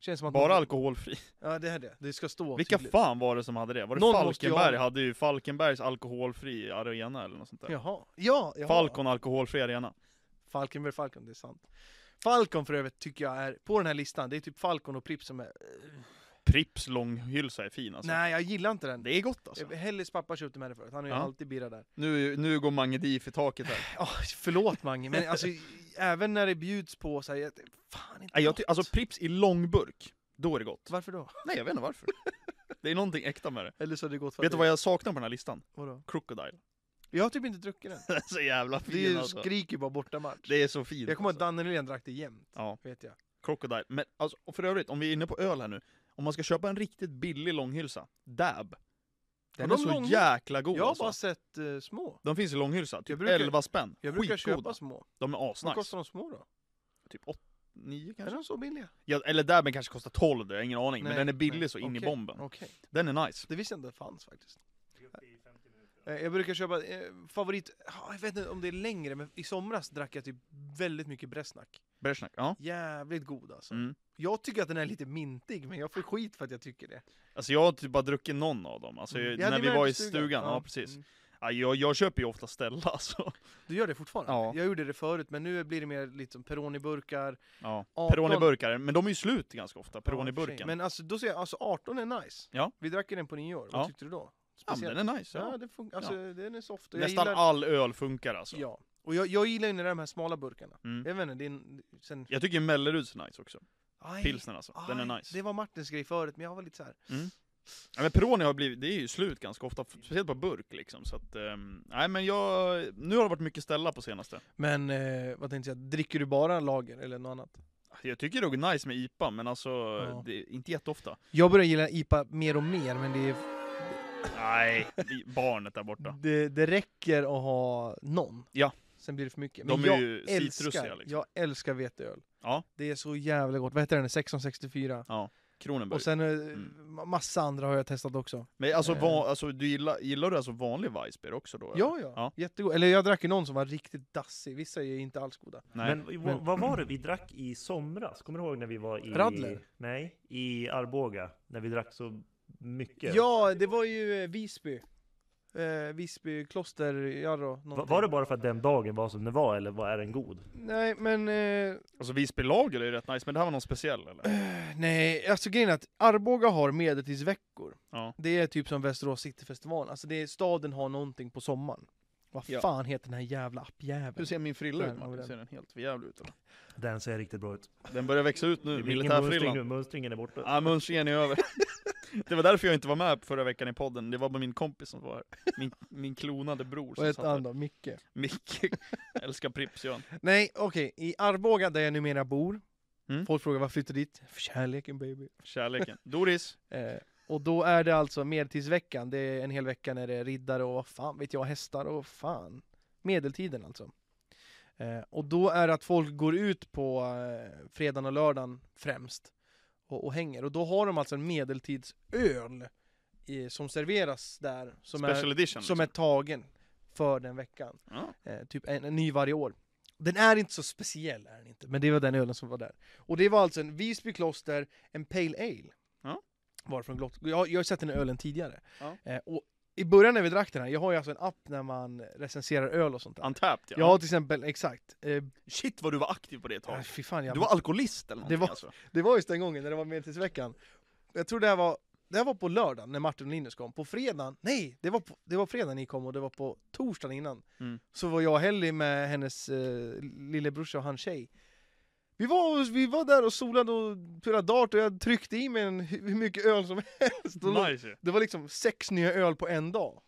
Speaker 1: Känns som att
Speaker 2: Bara
Speaker 1: man-
Speaker 2: alkoholfri.
Speaker 1: Ja, det är det. Det ska stå
Speaker 2: Vilka
Speaker 1: tydligt.
Speaker 2: fan var det som hade det? Var det
Speaker 1: Någon måste ju ha-
Speaker 2: Falkenberg? Hade ju Falkenbergs alkoholfri arena eller något sånt där.
Speaker 1: Jaha. Ja, jaha.
Speaker 2: Falcon alkoholfri arena.
Speaker 1: Falkenberg Falcon, det är sant. Falcon för övrigt tycker jag är, på den här listan, det är typ Falcon och Pripp som är...
Speaker 2: Pripps långhylsa är fin alltså.
Speaker 1: Nej, jag gillar inte den.
Speaker 2: Det är gott alltså.
Speaker 1: Hellis pappa köpte med det förut, han har ju
Speaker 2: Ja.
Speaker 1: alltid birra där.
Speaker 2: Nu, nu går Mange Dief i taket här.
Speaker 1: Ja, förlåt Mange, men alltså även när det bjuds på så här, jag- fan inte
Speaker 2: Nej, jag ty-
Speaker 1: gott.
Speaker 2: alltså Pripps i långburk, då är det gott.
Speaker 1: Varför då?
Speaker 2: Nej jag vet inte varför. det är någonting äkta med det.
Speaker 1: Eller så är det gott för
Speaker 2: Vet du vad jag saknar på den här listan?
Speaker 1: Vadå?
Speaker 2: Crocodile.
Speaker 1: Jag har typ inte druckit den.
Speaker 2: Den är så jävla
Speaker 1: Det är
Speaker 2: fin
Speaker 1: ju,
Speaker 2: alltså.
Speaker 1: skriker ju bara bortamatch.
Speaker 2: Det är så fint.
Speaker 1: Jag kommer ihåg att
Speaker 2: alltså.
Speaker 1: Danne Nylén drack det jämt,
Speaker 2: Ja,
Speaker 1: vet jag.
Speaker 2: Crocodile. Men alltså, och för övrigt, om vi är inne på öl här nu. Om man ska köpa en riktigt billig långhylsa, Dab. Den
Speaker 1: de
Speaker 2: är så
Speaker 1: lång-
Speaker 2: jäkla god
Speaker 1: Jag har
Speaker 2: alltså.
Speaker 1: bara sett eh, små.
Speaker 2: De finns i långhylsa, typ
Speaker 1: Jag brukar-
Speaker 2: 11 spänn.
Speaker 1: Jag brukar
Speaker 2: Skitgoda.
Speaker 1: köpa små.
Speaker 2: De är
Speaker 1: Vad
Speaker 2: asnice.
Speaker 1: kostar de små då?
Speaker 2: 9
Speaker 1: Är
Speaker 2: kanske?
Speaker 1: de så billiga?
Speaker 2: Ja, eller Dabben kanske kostar 12, det har jag ingen aning.
Speaker 1: Nej,
Speaker 2: men den är billig
Speaker 1: nej.
Speaker 2: så in i
Speaker 1: Okej,
Speaker 2: bomben.
Speaker 1: Okej.
Speaker 2: Den är nice.
Speaker 1: Det visste jag inte fanns faktiskt. Eh, Jag brukar köpa eh, favorit, ah, jag vet inte om det är längre, men i somras drack jag typ väldigt mycket Bresnak.
Speaker 2: Bersnack, ja.
Speaker 1: Jävligt god alltså.
Speaker 2: Mm.
Speaker 1: Jag tycker att den är lite mintig, men jag får skit för att jag tycker det.
Speaker 2: Alltså jag har typ bara druckit någon av dem, alltså
Speaker 1: Mm. Jag
Speaker 2: när
Speaker 1: hade
Speaker 2: vi
Speaker 1: med
Speaker 2: var
Speaker 1: den
Speaker 2: i
Speaker 1: till
Speaker 2: stugan, ja, precis.
Speaker 1: Mm.
Speaker 2: Ja, jag, jag köper ju ofta Stella alltså.
Speaker 1: Du gör det fortfarande?
Speaker 2: Ja.
Speaker 1: Jag gjorde det förut, men nu blir det mer lite som Peroni-burkar.
Speaker 2: Ja.
Speaker 1: 18
Speaker 2: Peroni-burkar, men de är ju slut ganska ofta,
Speaker 1: Ja, i och för sig.
Speaker 2: Peroni-burken.
Speaker 1: Men alltså, då säger jag, alltså 18 är nice.
Speaker 2: Ja.
Speaker 1: Vi drack ju den på nyår,
Speaker 2: Ja.
Speaker 1: vad tyckte du då?
Speaker 2: ja, men den är nice.
Speaker 1: Ja,
Speaker 2: Ja.
Speaker 1: det funkar, alltså den är soft. och jag
Speaker 2: Nästan
Speaker 1: gillar-
Speaker 2: all öl funkar alltså.
Speaker 1: Ja. Och jag, jag gillar ju när det är de här smala burkarna.
Speaker 2: Mm.
Speaker 1: Jag vet inte, det är en, sen...
Speaker 2: Jag tycker Melleruds är nice också.
Speaker 1: Aj,
Speaker 2: Pilsnern alltså, den är
Speaker 1: aj,
Speaker 2: nice.
Speaker 1: Det var Martins grej förut, men jag var lite så här.
Speaker 2: Ja, men Peroni har blivit, det är ju slut ganska ofta, speciellt på burk liksom. Så att, ehm, nej men jag, nu har det varit mycket Stella på senaste.
Speaker 1: Men eh, vad tänkte jag, dricker du bara lager eller något annat?
Speaker 2: Jag tycker det är nice med IPA, men alltså, det är inte jätteofta.
Speaker 1: Jag börjar gilla IPA mer och mer, men det, är,
Speaker 2: Nej, vi- barnet där borta.
Speaker 1: det, det räcker att ha någon.
Speaker 2: Ja.
Speaker 1: Sen blir det för mycket.
Speaker 2: De
Speaker 1: Men
Speaker 2: är
Speaker 1: jag
Speaker 2: ju citrusiga,
Speaker 1: älskar,
Speaker 2: liksom.
Speaker 1: Jag älskar veteöl.
Speaker 2: Ja.
Speaker 1: Det är så jävla gott. Vad heter den? 1664.
Speaker 2: Kronenberg.
Speaker 1: Och sen eh,
Speaker 2: Mm.
Speaker 1: ma- massa andra har jag testat också.
Speaker 2: Men alltså,
Speaker 1: Eh.
Speaker 2: va, alltså du gillar, gillar du alltså vanlig Weissbier också då? eller?
Speaker 1: Ja, ja.
Speaker 2: Ja.
Speaker 1: Jättegod. Eller jag drack ju någon som var riktigt dassig. Vissa är ju inte alls goda.
Speaker 2: Nej.
Speaker 3: Men v- vad var det vi drack i somras? Kommer du ihåg när vi var i...
Speaker 1: Radler?
Speaker 3: Nej, i Arboga. När vi drack så mycket.
Speaker 1: Ja, det var ju eh, Visby. Eh, Visby kloster, Jarro.
Speaker 3: Va-
Speaker 1: någonting.
Speaker 3: Var det bara för att den dagen var som den var, eller var är den god?
Speaker 1: Nej, men... Eh,
Speaker 2: Alltså Visbylager är ju rätt nice, men det här var någon speciell eller?
Speaker 1: nej, alltså grejen är att Arboga har medeltidsveckor.
Speaker 2: Ja.
Speaker 1: Det är typ som Västerås Cityfestivalen. Alltså det är, staden har någonting på sommaren. Vad
Speaker 2: Ja.
Speaker 1: fan heter den här jävla appjäveln?
Speaker 2: Hur ser min frilla
Speaker 1: Där
Speaker 2: ut
Speaker 1: har vi
Speaker 2: Martin?
Speaker 1: den.
Speaker 2: Ser den helt för jävlig ut eller?
Speaker 3: Den ser riktigt bra ut.
Speaker 2: Den börjar växa ut
Speaker 3: Det
Speaker 2: nu,
Speaker 3: blir ingen mönstring nu,
Speaker 2: militärfrillan.
Speaker 3: mönstringen är borta.
Speaker 2: Ja, mönstringen är över. Det var därför jag inte var med förra veckan i podden, det var bara min kompis som var här. Min, min klonade bror
Speaker 1: Vad
Speaker 2: som
Speaker 1: heter
Speaker 2: satt här.
Speaker 1: han då? Micke?
Speaker 2: Micke, älskar Pripps gör han.
Speaker 1: Nej, okej. I Arboga, där jag numera bor.
Speaker 2: Mm.
Speaker 1: Folk frågar varför flyttade dit? För kärleken baby.
Speaker 2: Kärleken. Doris,
Speaker 1: Eh, och då är det alltså medeltidsveckan. Det är en hel vecka när det är riddare och vad fan vet jag, hästar och fan. Medeltiden alltså. Eh, och då är det att folk går ut på eh, fredagen och lördagen främst och, och hänger. Och då har de alltså en medeltidsöl i, som serveras där. Som är,
Speaker 2: special edition.
Speaker 1: som är
Speaker 2: liksom.
Speaker 1: tagen för den veckan.
Speaker 2: Ja.
Speaker 1: Eh, typ en, en ny varje år. Den är inte så speciell, är den inte, men det var den ölen som var där. Och det var alltså en Visby kloster, en Pale Ale.
Speaker 2: Ja.
Speaker 1: Var från Glott. Jag, jag har sett den ölen tidigare.
Speaker 2: Ja.
Speaker 1: Eh, och I början när vi drack den här, jag har ju alltså en app när man recenserar öl och sånt där.
Speaker 2: Untapped ja.
Speaker 1: Jag har till exempel, exakt. Eh,
Speaker 2: Shit vad du var aktiv på det ett tag.
Speaker 1: äh, fy fan, jag,
Speaker 2: Du var alkoholist eller någonting
Speaker 1: var-
Speaker 2: alltså?
Speaker 1: Det var just den gången när det var Medeltidsveckan. Jag tror det här var, det här var på lördagen när Martin och Linus kom. På fredagen, nej, det var, på, det var fredagen ni kom och det var på torsdagen innan.
Speaker 2: Mm.
Speaker 1: Så var jag och Helly med hennes eh, lillebrorsa och hans tjej. Vi var, och- vi var där och solade och spelade dart och jag tryckte i mig en, hur mycket öl som helst. Och låg-
Speaker 2: Nice ju.
Speaker 1: Det var liksom sex nya öl på en dag.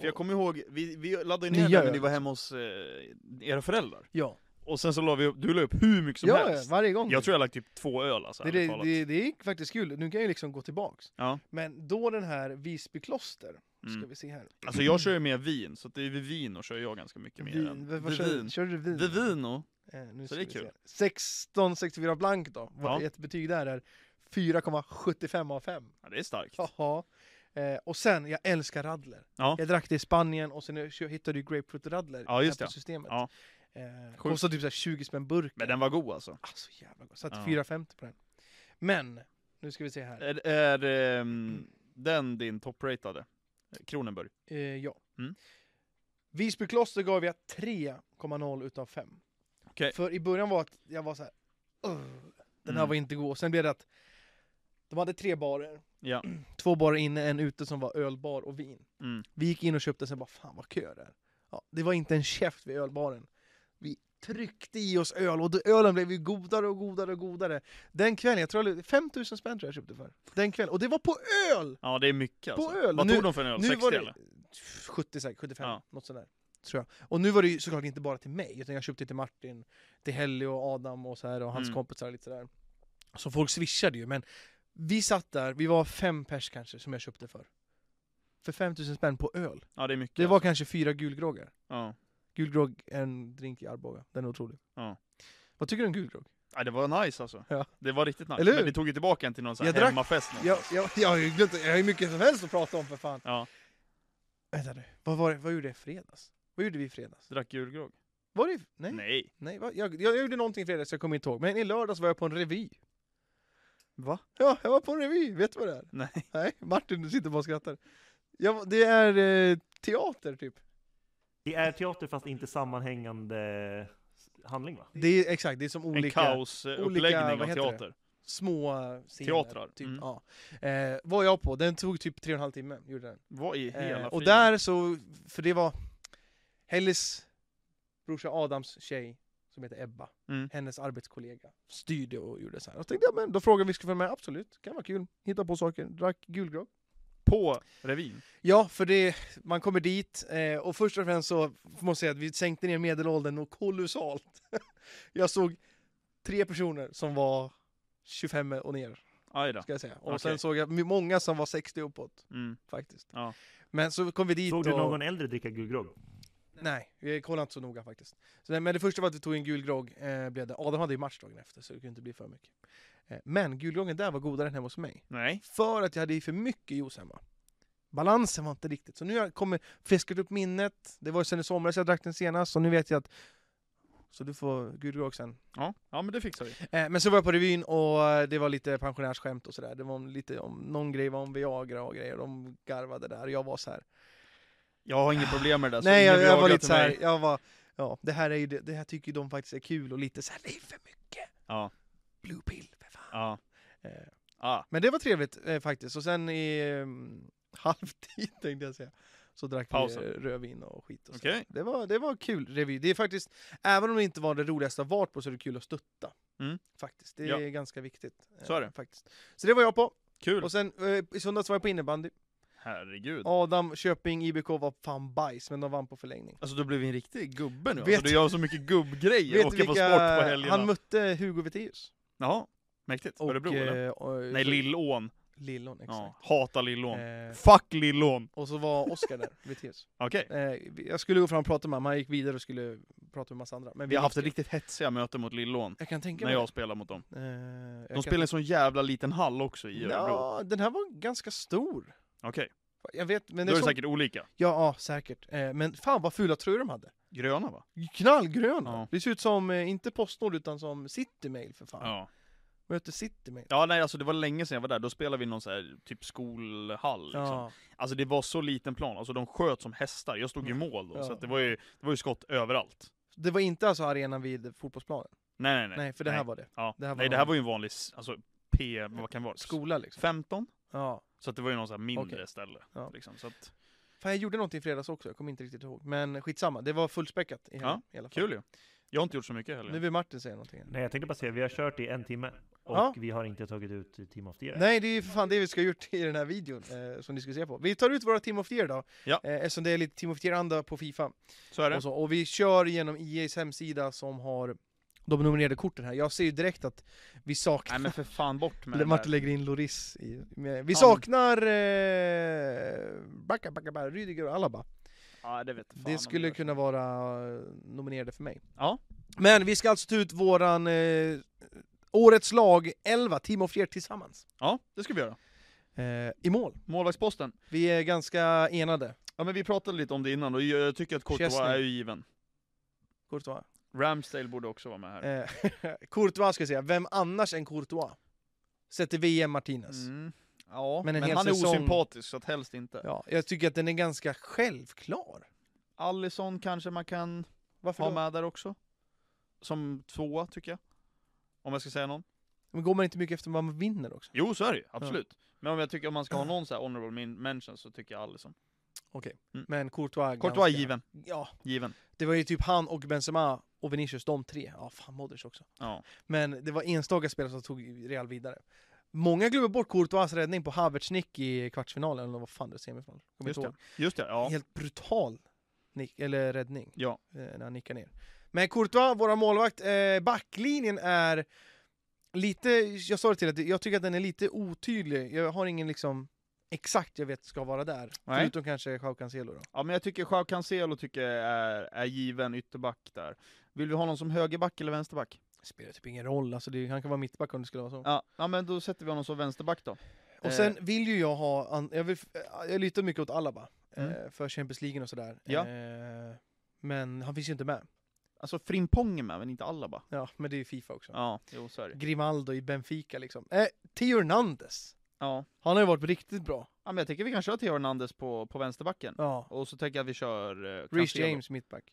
Speaker 2: För jag kommer ihåg, vi, vi laddade
Speaker 1: Nya
Speaker 2: ner den när ni
Speaker 1: öl.
Speaker 2: var hemma hos eh, era föräldrar.
Speaker 1: Ja,
Speaker 2: Och sen så la vi upp, du la upp hur mycket som
Speaker 1: ja
Speaker 2: helst.
Speaker 1: varje gång.
Speaker 2: Jag tror jag lagt typ två öl alltså,
Speaker 1: det,
Speaker 2: ärligt
Speaker 1: det,
Speaker 2: talat.
Speaker 1: det, det gick faktiskt kul, nu kan jag ju liksom gå tillbaks.
Speaker 2: Ja.
Speaker 1: Men då den här Visby kloster, ska
Speaker 2: Mm.
Speaker 1: vi se här.
Speaker 2: Alltså jag kör ju mer vin, så att det är vid vin och kör jag ganska mycket mer än...
Speaker 1: vad- vad
Speaker 2: Vid
Speaker 1: kör,
Speaker 2: vin.
Speaker 1: Kör du vin?
Speaker 2: Vid vin och...
Speaker 1: Eh, nu
Speaker 2: Så
Speaker 1: ska
Speaker 2: det är
Speaker 1: vi
Speaker 2: kul.
Speaker 1: se. 1664 blank då, vad
Speaker 2: Ja.
Speaker 1: ett betyg där är 4,75 av 5.
Speaker 2: Ja, det är starkt.
Speaker 1: Jaha. Eh, och sen, jag älskar radler.
Speaker 2: Ja.
Speaker 1: Jag drack det i Spanien och sen kö- hittade du grapefruit-radler
Speaker 2: Ja, just
Speaker 1: här på
Speaker 2: det.
Speaker 1: systemet.
Speaker 2: Ja.
Speaker 1: Eh,
Speaker 2: Sjukt.
Speaker 1: kostade typ så här 20 spänn burken.
Speaker 2: Men den var god alltså.
Speaker 1: Ah, så jävla gott. Satt
Speaker 2: Ja.
Speaker 1: 4,50 på den. Men, nu ska vi se här.
Speaker 2: Är, är ehm, den din topprateade? Kronenburg?
Speaker 1: Eh, ja.
Speaker 2: Mm.
Speaker 1: Visby kloster gav jag 3,0 utav 5.
Speaker 2: Okej.
Speaker 1: För i början var att jag var så här, "Ugh, den här
Speaker 2: Mm.
Speaker 1: var inte god. Sen blev det att de hade tre barer.
Speaker 2: Ja.
Speaker 1: Två barer inne, en ute som var ölbar och vin.
Speaker 2: Mm.
Speaker 1: Vi gick in och köpte, sen bara fan vad kö det är. Ja, det var inte en käft vid ölbaren. Vi tryckte i oss öl och då- ölen blev ju godare och godare och godare. Den kvällen, jag tror 5000 spänn tror jag köpte för. Den kvällen, och det var på öl!
Speaker 2: Ja det är mycket
Speaker 1: På
Speaker 2: alltså.
Speaker 1: öl,
Speaker 2: Vad
Speaker 1: nu-
Speaker 2: tog de för en öl? 60
Speaker 1: var det-
Speaker 2: eller?
Speaker 1: 70 säkert, 75,
Speaker 2: Ja.
Speaker 1: något sådär. Tror jag. Och nu var det ju såklart inte bara till mig, utan jag köpte till Martin, till Helly och Adam och så här och hans
Speaker 2: Mm.
Speaker 1: kompisar lite sådär. Så folk swishade ju, men vi satt där, vi var fem pers kanske som jag köpte för. För 5000 spänn på öl.
Speaker 2: Ja det är mycket.
Speaker 1: Det var
Speaker 2: alltså.
Speaker 1: kanske fyra gulgroggar.
Speaker 2: Ja.
Speaker 1: Gulgrogg är en drink i Arboga, den är otrolig.
Speaker 2: Ja.
Speaker 1: Vad tycker du om gulgrogg?
Speaker 2: ja, det var nice alltså.
Speaker 1: Ja.
Speaker 2: Det var riktigt nice.
Speaker 1: Eller hur?
Speaker 2: Men det tog ju tillbaka en till någon sån här
Speaker 1: Jag drack-
Speaker 2: hemmafest någonstans.
Speaker 1: Jag, jag, jag har ju glömt, jag har ju mycket som helst att prata om för fan.
Speaker 2: Ja.
Speaker 1: Vänta nu, vad, var, det- vad gjorde jag i fredags? Vad gjorde vi i fredags?
Speaker 2: Drack julgrogg?
Speaker 1: Var det i- Nej.
Speaker 2: Nej.
Speaker 1: Nej, va? Jag, jag, jag gjorde någonting i fredags, jag kommer inte ihåg. Men i lördags var jag på en revy.
Speaker 2: Va?
Speaker 1: Ja, jag var på en revy. Vet du vad det är?
Speaker 2: Nej.
Speaker 1: Nej, Martin du sitter bara och skrattar. Jag, det är eh, teater, typ.
Speaker 3: Det är teater fast inte sammanhängande handling va?
Speaker 1: Det är exakt, det är som
Speaker 2: En
Speaker 1: olika olika,
Speaker 2: kaosuppläggning
Speaker 1: vad
Speaker 2: av
Speaker 1: heter det?
Speaker 2: teater.
Speaker 1: små scener.
Speaker 2: Teatrar,
Speaker 1: Typ.
Speaker 2: mm.
Speaker 1: Ja. Eh, var jag på. Den tog typ tre och en halv timme. Gjorde den.
Speaker 2: Vad i hela
Speaker 1: Eh,
Speaker 2: friden?
Speaker 1: och där så, för det var Hellis brorsa Adams tjej, som heter Ebba,
Speaker 2: Mm.
Speaker 1: hennes arbetskollega, styrde och gjorde så här. Och tänkte jag, men då frågade vi om vi skulle följa med, absolut, kan vara kul, hitta på saker, drack gulgrogg.
Speaker 2: På revyn?
Speaker 1: Ja, för det, man kommer dit, eh, och först och främst så måste jag säga att vi sänkte ner medelåldern och kolossalt. jag såg tre personer som var 25 och ner,
Speaker 2: Aj då.
Speaker 1: ska jag säga. Och
Speaker 2: Okej.
Speaker 1: sen såg jag många som var 60 uppåt,
Speaker 2: Mm.
Speaker 1: faktiskt.
Speaker 2: Ja.
Speaker 1: Men så kom vi dit
Speaker 3: Såg du
Speaker 1: och...
Speaker 3: någon äldre dricka gulgrogg?
Speaker 1: Nej, vi kollade inte så noga faktiskt. Så, nej, men det första var att vi tog en gul grogg, eh, blev det. Adam hade ju match dagen efter så det kunde inte bli för mycket. Eh, men gulgroggen där var godare än hemma hos mig.
Speaker 2: Nej.
Speaker 1: För att jag hade i för mycket juice hemma. Balansen var inte riktigt. Så nu har jag kommit, fiskat upp minnet, det var ju sen i somras jag drack den senast och nu vet jag att... Så du får gulgrogg sen.
Speaker 2: Ja. ja, men det fixar vi.
Speaker 1: Eh, men så var jag på revyn och eh, det var lite pensionärsskämt och sådär. Det var om lite om, någon grej var om Viagra och grejer, de garvade där och jag var så här.
Speaker 2: Jag har inget problem med det där. så
Speaker 1: Nej,
Speaker 2: ingen
Speaker 1: jag, jag
Speaker 2: jagar
Speaker 1: var lite
Speaker 2: till
Speaker 1: så här,
Speaker 2: mig.
Speaker 1: jag var, ja, det här, är ju, det, det här tycker ju de faktiskt är kul och lite så här, det är för mycket.
Speaker 2: Ja.
Speaker 1: Blue pill, för fan.
Speaker 2: Ja.
Speaker 1: Eh,
Speaker 2: Ah.
Speaker 1: Men det var trevligt eh, faktiskt, och sen i eh, halvtid tänkte jag säga, så drack
Speaker 2: Pausen.
Speaker 1: vi eh, rödvin och skit och så.
Speaker 2: Okej.
Speaker 1: Det, var, det var kul revy. Det är faktiskt, även om det inte var det roligaste jag varit på, så är det kul att stötta.
Speaker 2: Mm.
Speaker 1: Faktiskt, det
Speaker 2: Ja.
Speaker 1: är ganska viktigt. eh,
Speaker 2: Så är det.
Speaker 1: Faktiskt. Så det var jag på,
Speaker 2: Kul.
Speaker 1: och sen eh, i söndags var jag på innebandy.
Speaker 2: Herregud.
Speaker 1: Adam, Köping, IBK var fan bajs, men de vann på förlängning.
Speaker 2: Alltså du blev en riktig gubbe nu.
Speaker 1: Vet-
Speaker 2: Alltså, du gör så mycket gubbgrejer.
Speaker 1: Vet
Speaker 2: Åker
Speaker 1: du
Speaker 2: på sport på helgerna.
Speaker 1: Han mötte Hugo Veteus.
Speaker 2: Ja, mäktigt.
Speaker 1: Och,
Speaker 2: Örebro eller?
Speaker 1: eh, och-
Speaker 2: Nej, Lillån.
Speaker 1: Lillon, exakt.
Speaker 2: Ja, hata Lillån.
Speaker 1: Eh,
Speaker 2: Fuck Lillån!
Speaker 1: och så var Oskar där, Veteus.
Speaker 2: Okej.
Speaker 1: Eh, vi- jag skulle gå fram och prata med honom, han gick vidare och skulle prata med massa andra. Men
Speaker 2: Vi har haft
Speaker 1: gick-
Speaker 2: riktigt hetsiga möten mot Lillån.
Speaker 1: Jag kan tänka
Speaker 2: När
Speaker 1: mig
Speaker 2: jag spelar mot dem.
Speaker 1: det. Eh, jag
Speaker 2: De
Speaker 1: kan-
Speaker 2: spelar i en sån jävla liten hall också i Örebro.
Speaker 1: Ja, den här var ganska stor.
Speaker 2: Okej,
Speaker 1: Jag vet, men
Speaker 2: då är det
Speaker 1: såg-
Speaker 2: säkert olika.
Speaker 1: Ja, ja, säkert. Eh, men fan vad fula tröjor de hade.
Speaker 2: Gröna va?
Speaker 1: Knallgröna!
Speaker 2: Ja.
Speaker 1: Det ser ut som, eh, inte Postnord utan som Citymail för fan.
Speaker 2: Ja.
Speaker 1: Möter City med.
Speaker 2: Ja nej alltså det var länge sedan jag var där, då spelade vi i någon så här, typ skolhall liksom.
Speaker 1: Ja.
Speaker 2: Alltså det var så liten plan, alltså de sköt som hästar, jag stod i mål då,
Speaker 1: Mm. Ja.
Speaker 2: så att det, var ju, det var ju skott överallt.
Speaker 1: Det var inte alltså arenan vid fotbollsplanen?
Speaker 2: Nej nej nej.
Speaker 1: Nej, för det här var det.
Speaker 2: ja.
Speaker 1: det här var
Speaker 2: nej det
Speaker 1: någon-
Speaker 2: här var ju en vanlig, s- alltså P, vad kan det vara?
Speaker 1: Skola liksom?
Speaker 2: 15?
Speaker 1: Ja.
Speaker 2: Så att det var ju någon så här mindre
Speaker 1: Okej.
Speaker 2: ställe.
Speaker 1: Ja.
Speaker 2: Liksom, så att,
Speaker 1: Fan jag gjorde någonting i fredags också, jag kommer inte riktigt ihåg. Men skitsamma, det var fullspäckat i, helgen i alla fall.
Speaker 2: kul ju. Jag har inte gjort så mycket heller.
Speaker 1: Nu vill Martin säga någonting.
Speaker 3: Nej, jag tänkte bara säga, vi har kört i en timme och
Speaker 1: Ja.
Speaker 3: vi har inte tagit ut Team of the Year.
Speaker 1: Nej, det är ju för fan det vi ska ha gjort i den här videon eh, som ni ska se på. Vi tar ut våra Team of the Year då,
Speaker 2: Ja.
Speaker 1: eh, eftersom det är lite Team of the Year-anda på Fifa.
Speaker 2: Så är det.
Speaker 1: Och, så, och vi kör genom EAs hemsida som har de nominerade korten här. Jag ser ju direkt att vi
Speaker 2: Nej
Speaker 1: saknar...
Speaker 2: men för fan bort med
Speaker 1: Le-
Speaker 2: den
Speaker 1: Martin
Speaker 2: där.
Speaker 1: lägger in Loris i, med, Vi
Speaker 2: Ja,
Speaker 1: saknar eh, Backa, Backa, Backa, Rydiger och Alaba.
Speaker 2: Ja det vet fan om
Speaker 1: Det skulle
Speaker 2: gör.
Speaker 1: kunna vara eh, nominerade för mig.
Speaker 2: Ja.
Speaker 1: Men vi ska alltså ta ut våran eh, årets lag 11, Team of the Year tillsammans.
Speaker 2: Ja, det ska vi göra.
Speaker 1: Eh, I mål.
Speaker 2: Målvaktsposten.
Speaker 1: Vi är ganska enade,
Speaker 2: Ja men vi pratade lite om det innan och jag tycker att Courtois
Speaker 1: Chesney.
Speaker 2: är ju given.
Speaker 1: Courtois.
Speaker 2: Ramsdale borde också vara med här.
Speaker 1: Eh, Courtois ska jag säga, vem annars än Courtois? Sett till VM Martinez.
Speaker 2: Mm. Ja,
Speaker 1: Men
Speaker 2: men,
Speaker 1: en hel
Speaker 2: han är
Speaker 1: säsong-
Speaker 2: osympatisk så att helst inte.
Speaker 1: Ja, jag tycker att den är ganska självklar.
Speaker 2: Allison kanske man kan
Speaker 1: Varför
Speaker 2: ha
Speaker 1: då?
Speaker 2: med där också. Som tvåa tycker jag. Om jag ska säga någon.
Speaker 1: Men går man inte mycket efter vad man vinner också?
Speaker 2: Jo så är det ju, absolut. Men om jag tycker om man ska ha någon så här honorable men- mention så tycker jag Allison.
Speaker 1: Okej.
Speaker 2: Mm.
Speaker 1: Men Courtois... är
Speaker 2: Courtois är
Speaker 1: ganska-
Speaker 2: given.
Speaker 1: Ja,
Speaker 2: Given.
Speaker 1: det var ju typ han och Benzema och Vinicius, de tre. Ja, fan Modric också.
Speaker 2: Ja.
Speaker 1: Men det var enstaka spelare som tog Real vidare. Många glömmer bort Courtois räddning på Havertz nick i kvartsfinalen, eller vad fan det var, semifinalen. Kommer
Speaker 2: Just
Speaker 1: inte
Speaker 2: det.
Speaker 1: ihåg.
Speaker 2: Just det, ja.
Speaker 1: Helt brutal nick, eller räddning.
Speaker 2: Ja.
Speaker 1: eh, när han nickar ner. Men Courtois, våra målvakt, eh, backlinjen är lite, jag sa det till att jag tycker att den är lite otydlig. Jag har ingen liksom exakt jag vet ska vara där.
Speaker 2: Nej.
Speaker 1: Förutom kanske Joao Cancelo då.
Speaker 2: Ja men jag tycker Joao Cancelo tycker jag är, är given ytterback där. Vill vi ha någon som högerback eller vänsterback?
Speaker 1: Det spelar typ ingen roll, alltså det, han kan vara mittback om det skulle vara så.
Speaker 2: Ja, ja men då sätter vi honom som vänsterback då.
Speaker 1: Och sen vill ju jag ha, an- jag, vill, eh, jag lutar mycket åt Alaba
Speaker 2: Mm.
Speaker 1: eh, för Champions League och sådär.
Speaker 2: Ja.
Speaker 1: Eh, men han finns ju inte med.
Speaker 2: Alltså Frimpong är med, men inte Alaba.
Speaker 1: Ja, men det är ju Fifa också.
Speaker 2: Ja, jo så är det.
Speaker 1: Grimaldo i Benfica liksom. Eh, Theo Hernandez,
Speaker 2: Ja.
Speaker 1: han har ju varit riktigt bra.
Speaker 2: ja men jag tänker vi kan köra Theo Hernandez på, på vänsterbacken.
Speaker 1: Ja.
Speaker 2: Och så tänker jag att vi kör eh,
Speaker 1: Reece
Speaker 2: Cancelo.
Speaker 1: James mittback.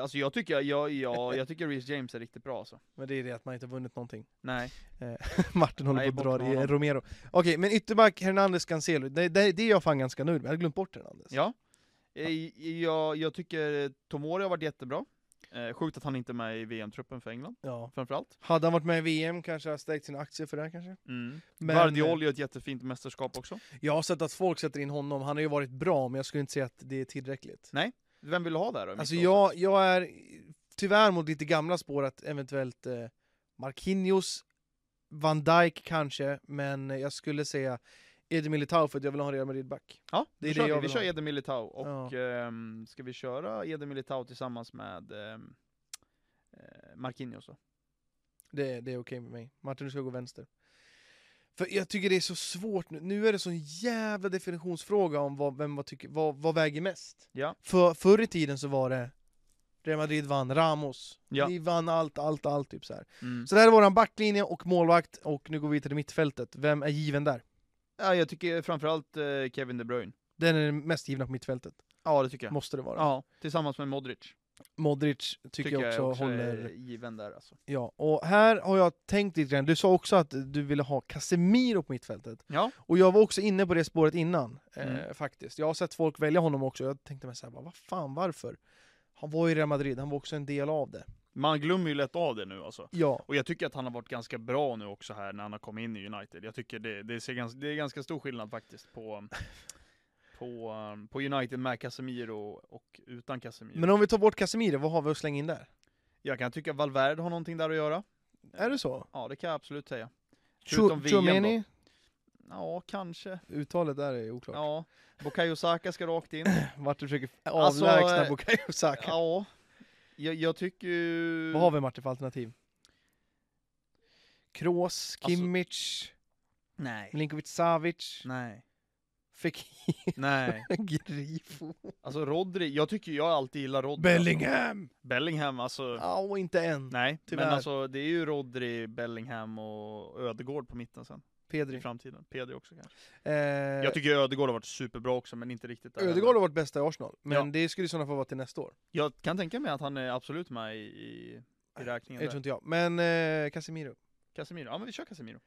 Speaker 2: Alltså jag tycker, jag, jag, jag tycker Reece James är riktigt bra alltså.
Speaker 1: Men det är det att man inte har vunnit någonting. Eh,
Speaker 2: Nej.
Speaker 1: Martin håller
Speaker 2: Nej,
Speaker 1: på
Speaker 2: bort
Speaker 1: att
Speaker 2: med
Speaker 1: dra i
Speaker 2: honom.
Speaker 1: Romero. Okej, men ytterback Hernandez Cancelo, det, det, det är jag fan ganska nöjd med. Jag hade glömt bort Hernandez.
Speaker 2: Ja. Eh, Jag, jag tycker eh, Tomori har varit jättebra. Eh, sjukt att han inte är med i VM-truppen för England,
Speaker 1: Ja.
Speaker 2: framförallt.
Speaker 1: Hade han varit med i VM kanske jag stärkt sina aktier för det här kanske?
Speaker 2: Mm.
Speaker 1: Men-
Speaker 2: Vardiol gör ett jättefint mästerskap också.
Speaker 1: Jag har sett att folk sätter in honom, han har ju varit bra men jag skulle inte säga att det är tillräckligt.
Speaker 2: Vem vill du ha där då? i
Speaker 1: Alltså
Speaker 2: mittbacken?
Speaker 1: jag, jag är tyvärr mot lite gamla spår att eventuellt eh, Marquinhos, Van Dijk kanske, men jag skulle säga Eder Militao för att jag vill ha en Real Madrid-back.
Speaker 2: Ja,
Speaker 1: det
Speaker 2: det
Speaker 1: är
Speaker 2: är
Speaker 1: det jag
Speaker 2: vi.
Speaker 1: vill
Speaker 2: Vi kör
Speaker 1: ha.
Speaker 2: Eder Militao, och ehm, ska vi köra Eder Militao tillsammans med ehm, eh, Marquinhos då?
Speaker 1: Det, det är okej med mig. Martin, du ska gå vänster. För jag tycker det är så svårt nu. Nu är det sån jävla definitionsfråga om vad, vem, vad, tycker, vad, vad väger mest.
Speaker 2: Ja.
Speaker 1: För, förr i tiden så var det Real Madrid vann, Ramos.
Speaker 2: Ja.
Speaker 1: Vi vann allt, allt, allt. Typ så, här.
Speaker 2: Mm.
Speaker 1: så där är våran backlinje och målvakt och nu går vi till mittfältet. Vem är given där?
Speaker 2: Ja, jag tycker framförallt eh, Kevin De Bruyne.
Speaker 1: Den är den mest givna på mittfältet.
Speaker 2: Ja, det tycker jag.
Speaker 1: Måste det vara.
Speaker 2: Ja, tillsammans med Modric.
Speaker 1: Modric tycker, jag också, håller...
Speaker 2: är given där alltså.
Speaker 1: Ja, och här har jag tänkt lite grann. Du sa också att du ville ha Casemiro på mittfältet.
Speaker 2: Ja.
Speaker 1: Och jag var också inne på det spåret innan, eh,
Speaker 2: Mm.
Speaker 1: faktiskt. Jag har sett folk välja honom också, jag tänkte mig såhär, vad fan varför? Han var ju i Real Madrid, han var också en del av det.
Speaker 2: Man glömmer ju lätt av det nu alltså.
Speaker 1: Ja,
Speaker 2: Och jag tycker att han har varit ganska bra nu också här när han har kommit in i United. Jag tycker det, det, ser ganska, det är ganska stor skillnad faktiskt på, um, på, um, på United med Casemiro och utan Casemiro.
Speaker 1: men om vi tar bort Casemiro, vad har vi att slänga in där?
Speaker 2: Jag kan tycka Valverde har någonting där att göra.
Speaker 1: Är det så?
Speaker 2: Ja, det kan jag absolut säga. Förutom
Speaker 1: Chou-
Speaker 2: VM då.
Speaker 1: Chouameni?
Speaker 2: Ja, kanske.
Speaker 1: Uttalet där är oklart.
Speaker 2: Ja. Bukayo Saka ska rakt in.
Speaker 1: Vart du försöker
Speaker 2: Alltså,
Speaker 1: avlägsna
Speaker 2: eh,
Speaker 1: Bukayo Saka.
Speaker 2: Ja. Jag, jag tycker ju...
Speaker 1: Vad har vi Martin för alternativ? Kroos, Kimmich,
Speaker 2: Alltså- Nej.
Speaker 1: Milinkovic Savic,
Speaker 2: Nej.
Speaker 1: Fekir,
Speaker 2: Nej.
Speaker 1: Grifo,
Speaker 2: Alltså Rodri, jag tycker jag alltid gillar Rodri. alltså.
Speaker 1: Bellingham!
Speaker 2: Bellingham alltså.
Speaker 1: Ja, och inte än.
Speaker 2: Nej,
Speaker 1: Tyvärr.
Speaker 2: men alltså det är ju Rodri, Bellingham och Ödegård på mitten sen. I
Speaker 1: Pedri.
Speaker 2: framtiden. Pedri också kanske.
Speaker 1: Eh,
Speaker 2: Jag tycker Ödegård har varit superbra också, men inte riktigt där.
Speaker 1: Ödegaard har varit bästa i Arsenal, men
Speaker 2: Ja.
Speaker 1: det skulle i sådana fall vara till nästa år.
Speaker 2: Jag kan tänka mig att han är absolut med i, i, i
Speaker 1: Det
Speaker 2: räkningen
Speaker 1: tror
Speaker 2: där.
Speaker 1: inte jag. Men eh, Casemiro
Speaker 2: Casemiro. Ja men vi kör Casemiro.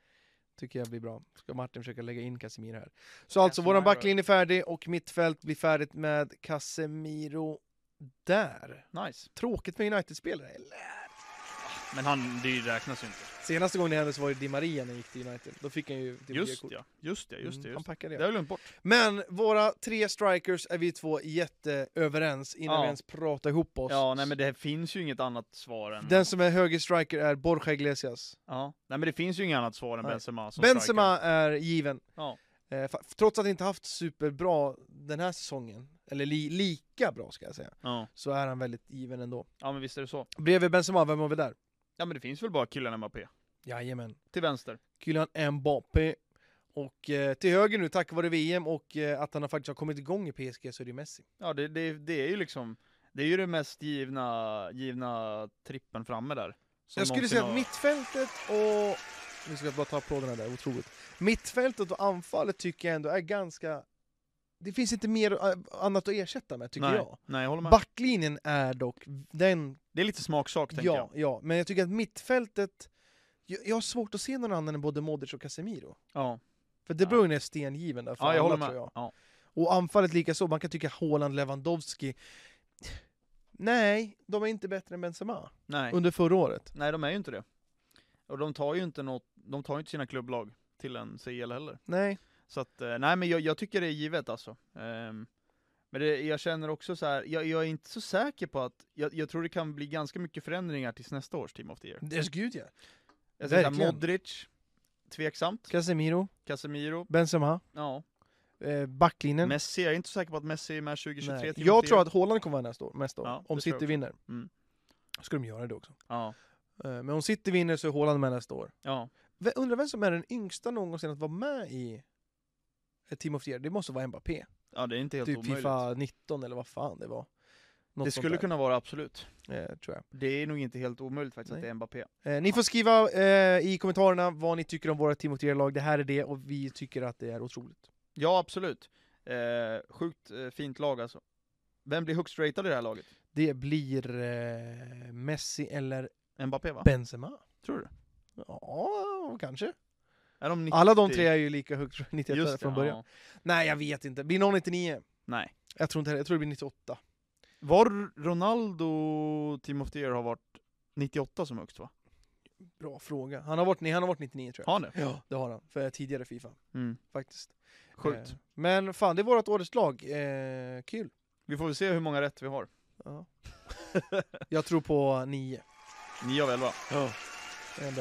Speaker 1: tycker jag blir bra. Ska Martin försöka lägga in Casemiro här. Så alltså,
Speaker 2: Casemiro.
Speaker 1: våran backlinje är färdig och mittfält blir färdigt med Casemiro där.
Speaker 2: Nice.
Speaker 1: Tråkigt med United-spelare, eller?
Speaker 2: Men han, det räknas ju inte.
Speaker 1: Senaste gången det hände så var det Di Maria när han gick till United. Då fick han ju det
Speaker 2: Just
Speaker 1: gula
Speaker 2: ja, just det, just det.
Speaker 1: Mm, han
Speaker 2: Just det.
Speaker 1: packade
Speaker 2: det
Speaker 1: det.
Speaker 2: har jag glömt bort.
Speaker 1: Men våra tre strikers är vi två jätteöverens innan
Speaker 2: Ja.
Speaker 1: vi ens pratar ihop oss.
Speaker 2: Ja, nej men det finns ju inget annat svar än...
Speaker 1: Den som är höger striker är Borja Iglesias.
Speaker 2: Ja. Nej men det finns ju inget annat svar än
Speaker 1: Nej.
Speaker 2: Benzema som
Speaker 1: Benzema är given.
Speaker 2: Ja.
Speaker 1: Eh, fa- trots att han inte haft superbra den här säsongen, eller li lika bra ska jag säga,
Speaker 2: striker. Ja.
Speaker 1: så är han väldigt given ändå.
Speaker 2: ja, men visst är det så.
Speaker 1: Bredvid Benzema, vem har vi där?
Speaker 2: Ja men det finns väl bara Kylian Mbappé.
Speaker 1: Jajamän.
Speaker 2: Till vänster.
Speaker 1: Kylian Mbappé. Och eh, till höger nu, tack vare VM och eh, att han har faktiskt har kommit igång i PSG, så är det Messi.
Speaker 2: Ja, det, det, det är ju liksom... Det är ju det mest givna, givna trippen framme där. Som
Speaker 1: jag skulle
Speaker 2: någonsin
Speaker 1: säga
Speaker 2: har-
Speaker 1: att mittfältet och... Nu ska jag bara ta applåderna där, otroligt. Mittfältet och anfallet tycker jag ändå är ganska... Det finns inte mer eh, annat att ersätta med, tycker
Speaker 2: nej,
Speaker 1: jag.
Speaker 2: Nej, jag håller med.
Speaker 1: Backlinjen är dock, den
Speaker 2: det är lite smaksak, tänker
Speaker 1: ja,
Speaker 2: jag.
Speaker 1: Ja, men jag tycker att mittfältet... Jag, jag har svårt att se någon annan än både Modric och Casemiro.
Speaker 2: Ja,
Speaker 1: För De
Speaker 2: Ja.
Speaker 1: Bruyne är stengiven där för
Speaker 2: ja jag
Speaker 1: alla,
Speaker 2: håller
Speaker 1: tror
Speaker 2: med.
Speaker 1: jag.
Speaker 2: Ja.
Speaker 1: Och anfallet lika så. man kan tycka Haaland, Lewandowski... Nej, de är inte bättre än Benzema
Speaker 2: Nej.
Speaker 1: under förra året.
Speaker 2: nej, de är ju inte det. Och de tar ju inte något, de tar ju inte sina klubblag till en CL heller.
Speaker 1: Nej.
Speaker 2: Så att, eh, nej men jag, jag tycker det är givet alltså. Ehm, men det, jag känner också så här, jag, jag är inte så säker på att, jag, jag tror det kan bli ganska mycket förändringar tills nästa års Team of the Year.
Speaker 1: Yes, gud ja.
Speaker 2: Jag säger så här,
Speaker 1: Verkligen.
Speaker 2: Modric, tveksamt.
Speaker 1: Casemiro,
Speaker 2: Casemiro,
Speaker 1: Benzema,
Speaker 2: ja.
Speaker 1: eh, backlinjen.
Speaker 2: Messi, jag är inte så säker på att Messi är med 2023
Speaker 1: Nej.
Speaker 2: Team of
Speaker 1: Jag
Speaker 2: the
Speaker 1: tror
Speaker 2: Year.
Speaker 1: att Haaland kommer vara nästa år, mest år,
Speaker 2: Ja, det
Speaker 1: om
Speaker 2: tror jag
Speaker 1: City
Speaker 2: också.
Speaker 1: vinner.
Speaker 2: Mm.
Speaker 1: Ska de göra det också.
Speaker 2: Ja,
Speaker 1: Eh, Men om City vinner så är Haaland med nästa år.
Speaker 2: ja.
Speaker 1: V- Undrar vem som är den yngsta någonsin att vara med i ett Team of the Year? Det måste vara Mbappé.
Speaker 2: ja, det är inte helt
Speaker 1: typ
Speaker 2: omöjligt.
Speaker 1: Fifa 19 eller vad fan det var. Något
Speaker 2: det
Speaker 1: sånt
Speaker 2: skulle
Speaker 1: där,
Speaker 2: kunna vara absolut.
Speaker 1: eh, tror jag.
Speaker 2: Det är nog inte helt omöjligt faktiskt
Speaker 1: Nej.
Speaker 2: att det är Mbappé.
Speaker 1: Eh, ni får skriva eh, i kommentarerna vad ni tycker om våra Team of the Year-lag. Det här är det och vi tycker att det är otroligt.
Speaker 2: Ja, absolut. Eh, sjukt eh, fint lag alltså. Vem blir högst ratad i det här laget?
Speaker 1: Det blir eh, Messi eller
Speaker 2: Mbappé va?
Speaker 1: Benzema.
Speaker 2: Tror du?
Speaker 1: Ja, kanske.
Speaker 2: Är de 90?
Speaker 1: Alla de tre är ju lika högt 91
Speaker 2: Just det,
Speaker 1: från början.
Speaker 2: Ja.
Speaker 1: Nej, jag vet inte. Blir någon 99?
Speaker 2: Nej.
Speaker 1: Jag tror inte heller. Jag tror det blir 98.
Speaker 2: Var Ronaldo Team of the Year har varit 98 som högst va?
Speaker 1: Bra fråga. Han har varit, nej, han har varit 99 tror jag.
Speaker 2: Har han det?
Speaker 1: Ja, det har han. För tidigare Fifa,
Speaker 2: Mm.
Speaker 1: faktiskt.
Speaker 2: Sjukt.
Speaker 1: Eh, men fan, det är vårt årets lag. Eh, kul.
Speaker 2: Vi får väl se hur många rätt vi har.
Speaker 1: Ja. jag tror på Eh, 9.
Speaker 2: 9 av 11.
Speaker 1: Ja.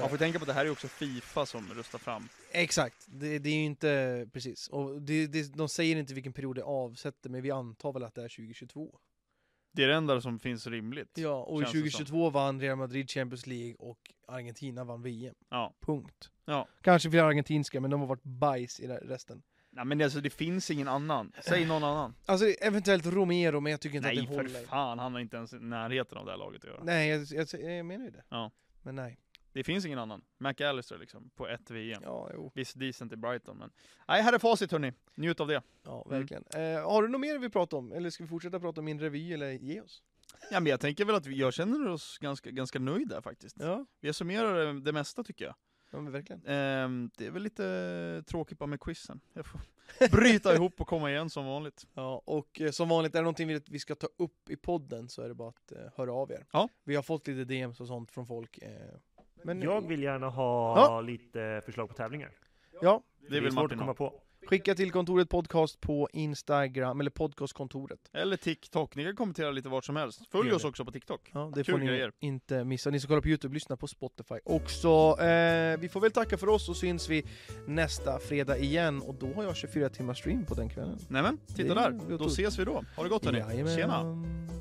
Speaker 2: Man får tänka på att det här är också Fifa som röstar fram.
Speaker 1: Exakt, det, det är ju inte precis. Och det, det, de säger inte vilken period det avsätter, men vi antar väl att det är 2022.
Speaker 2: Det är det enda som finns rimligt.
Speaker 1: Ja, och i
Speaker 2: Känns det
Speaker 1: 2022 vann Real Madrid Champions League och Argentina vann VM.
Speaker 2: Ja.
Speaker 1: Punkt.
Speaker 2: Ja.
Speaker 1: Kanske flera argentinska, men de har varit bajs i re- resten.
Speaker 2: Nej men alltså det finns ingen annan. Säg någon annan.
Speaker 1: Alltså eventuellt Romero, men jag tycker inte
Speaker 2: Nej
Speaker 1: att den
Speaker 2: för
Speaker 1: håller.
Speaker 2: fan, han har inte ens i närheten av det här laget att göra.
Speaker 1: Nej, jag, jag, jag menar ju det.
Speaker 2: Ja.
Speaker 1: Men nej.
Speaker 2: Det finns ingen annan. McAllister liksom, på ett VM.
Speaker 1: Ja, jo.
Speaker 2: Visst decent i Brighton men... Nej, här är facit hörni. Njut av det.
Speaker 1: Ja,
Speaker 2: Mm.
Speaker 1: verkligen. Eh, har du något mer vi pratar om? Eller ska vi fortsätta prata om min revy eller ge oss?
Speaker 2: Ja men jag tänker väl att vi, jag känner oss ganska, ganska nöjda faktiskt.
Speaker 1: Ja,
Speaker 2: Vi har summerat det, det mesta tycker jag.
Speaker 1: ja men verkligen.
Speaker 2: Ehm, det är väl lite tråkigt bara med quizen. Jag får bryta ihop och komma igen som vanligt.
Speaker 1: Ja, och eh, som vanligt, är det någonting vi, vi ska ta upp i podden så är det bara att eh, höra av er.
Speaker 2: Ja.
Speaker 1: Vi har fått lite DMs och sånt från folk. Eh, men
Speaker 3: Jag vill gärna ha
Speaker 1: Ja.
Speaker 3: lite förslag på tävlingar.
Speaker 1: Ja,
Speaker 2: Det är väl
Speaker 3: svårt
Speaker 2: Martin
Speaker 3: att komma
Speaker 2: ha.
Speaker 3: på.
Speaker 1: skicka till kontoret podcast på Instagram, eller podcastkontoret.
Speaker 2: Eller TikTok, ni kan kommentera lite vart som helst. Följ
Speaker 1: Gör
Speaker 2: oss
Speaker 1: det.
Speaker 2: också på TikTok.
Speaker 1: Ja, det
Speaker 2: Kul
Speaker 1: får ni
Speaker 2: grejer.
Speaker 1: inte missa. Ni som kollar på Youtube, lyssna på Spotify också. Eh, vi får väl tacka för oss och syns vi nästa fredag igen. Och då har jag 24 timmar stream på den kvällen.
Speaker 2: Nämen,
Speaker 1: Det är
Speaker 2: titta där.
Speaker 1: ju
Speaker 2: Då
Speaker 1: otroligt.
Speaker 2: ses vi då. Ha det gott hörni.
Speaker 1: Jajamän.
Speaker 2: Tjena!
Speaker 1: Tjena!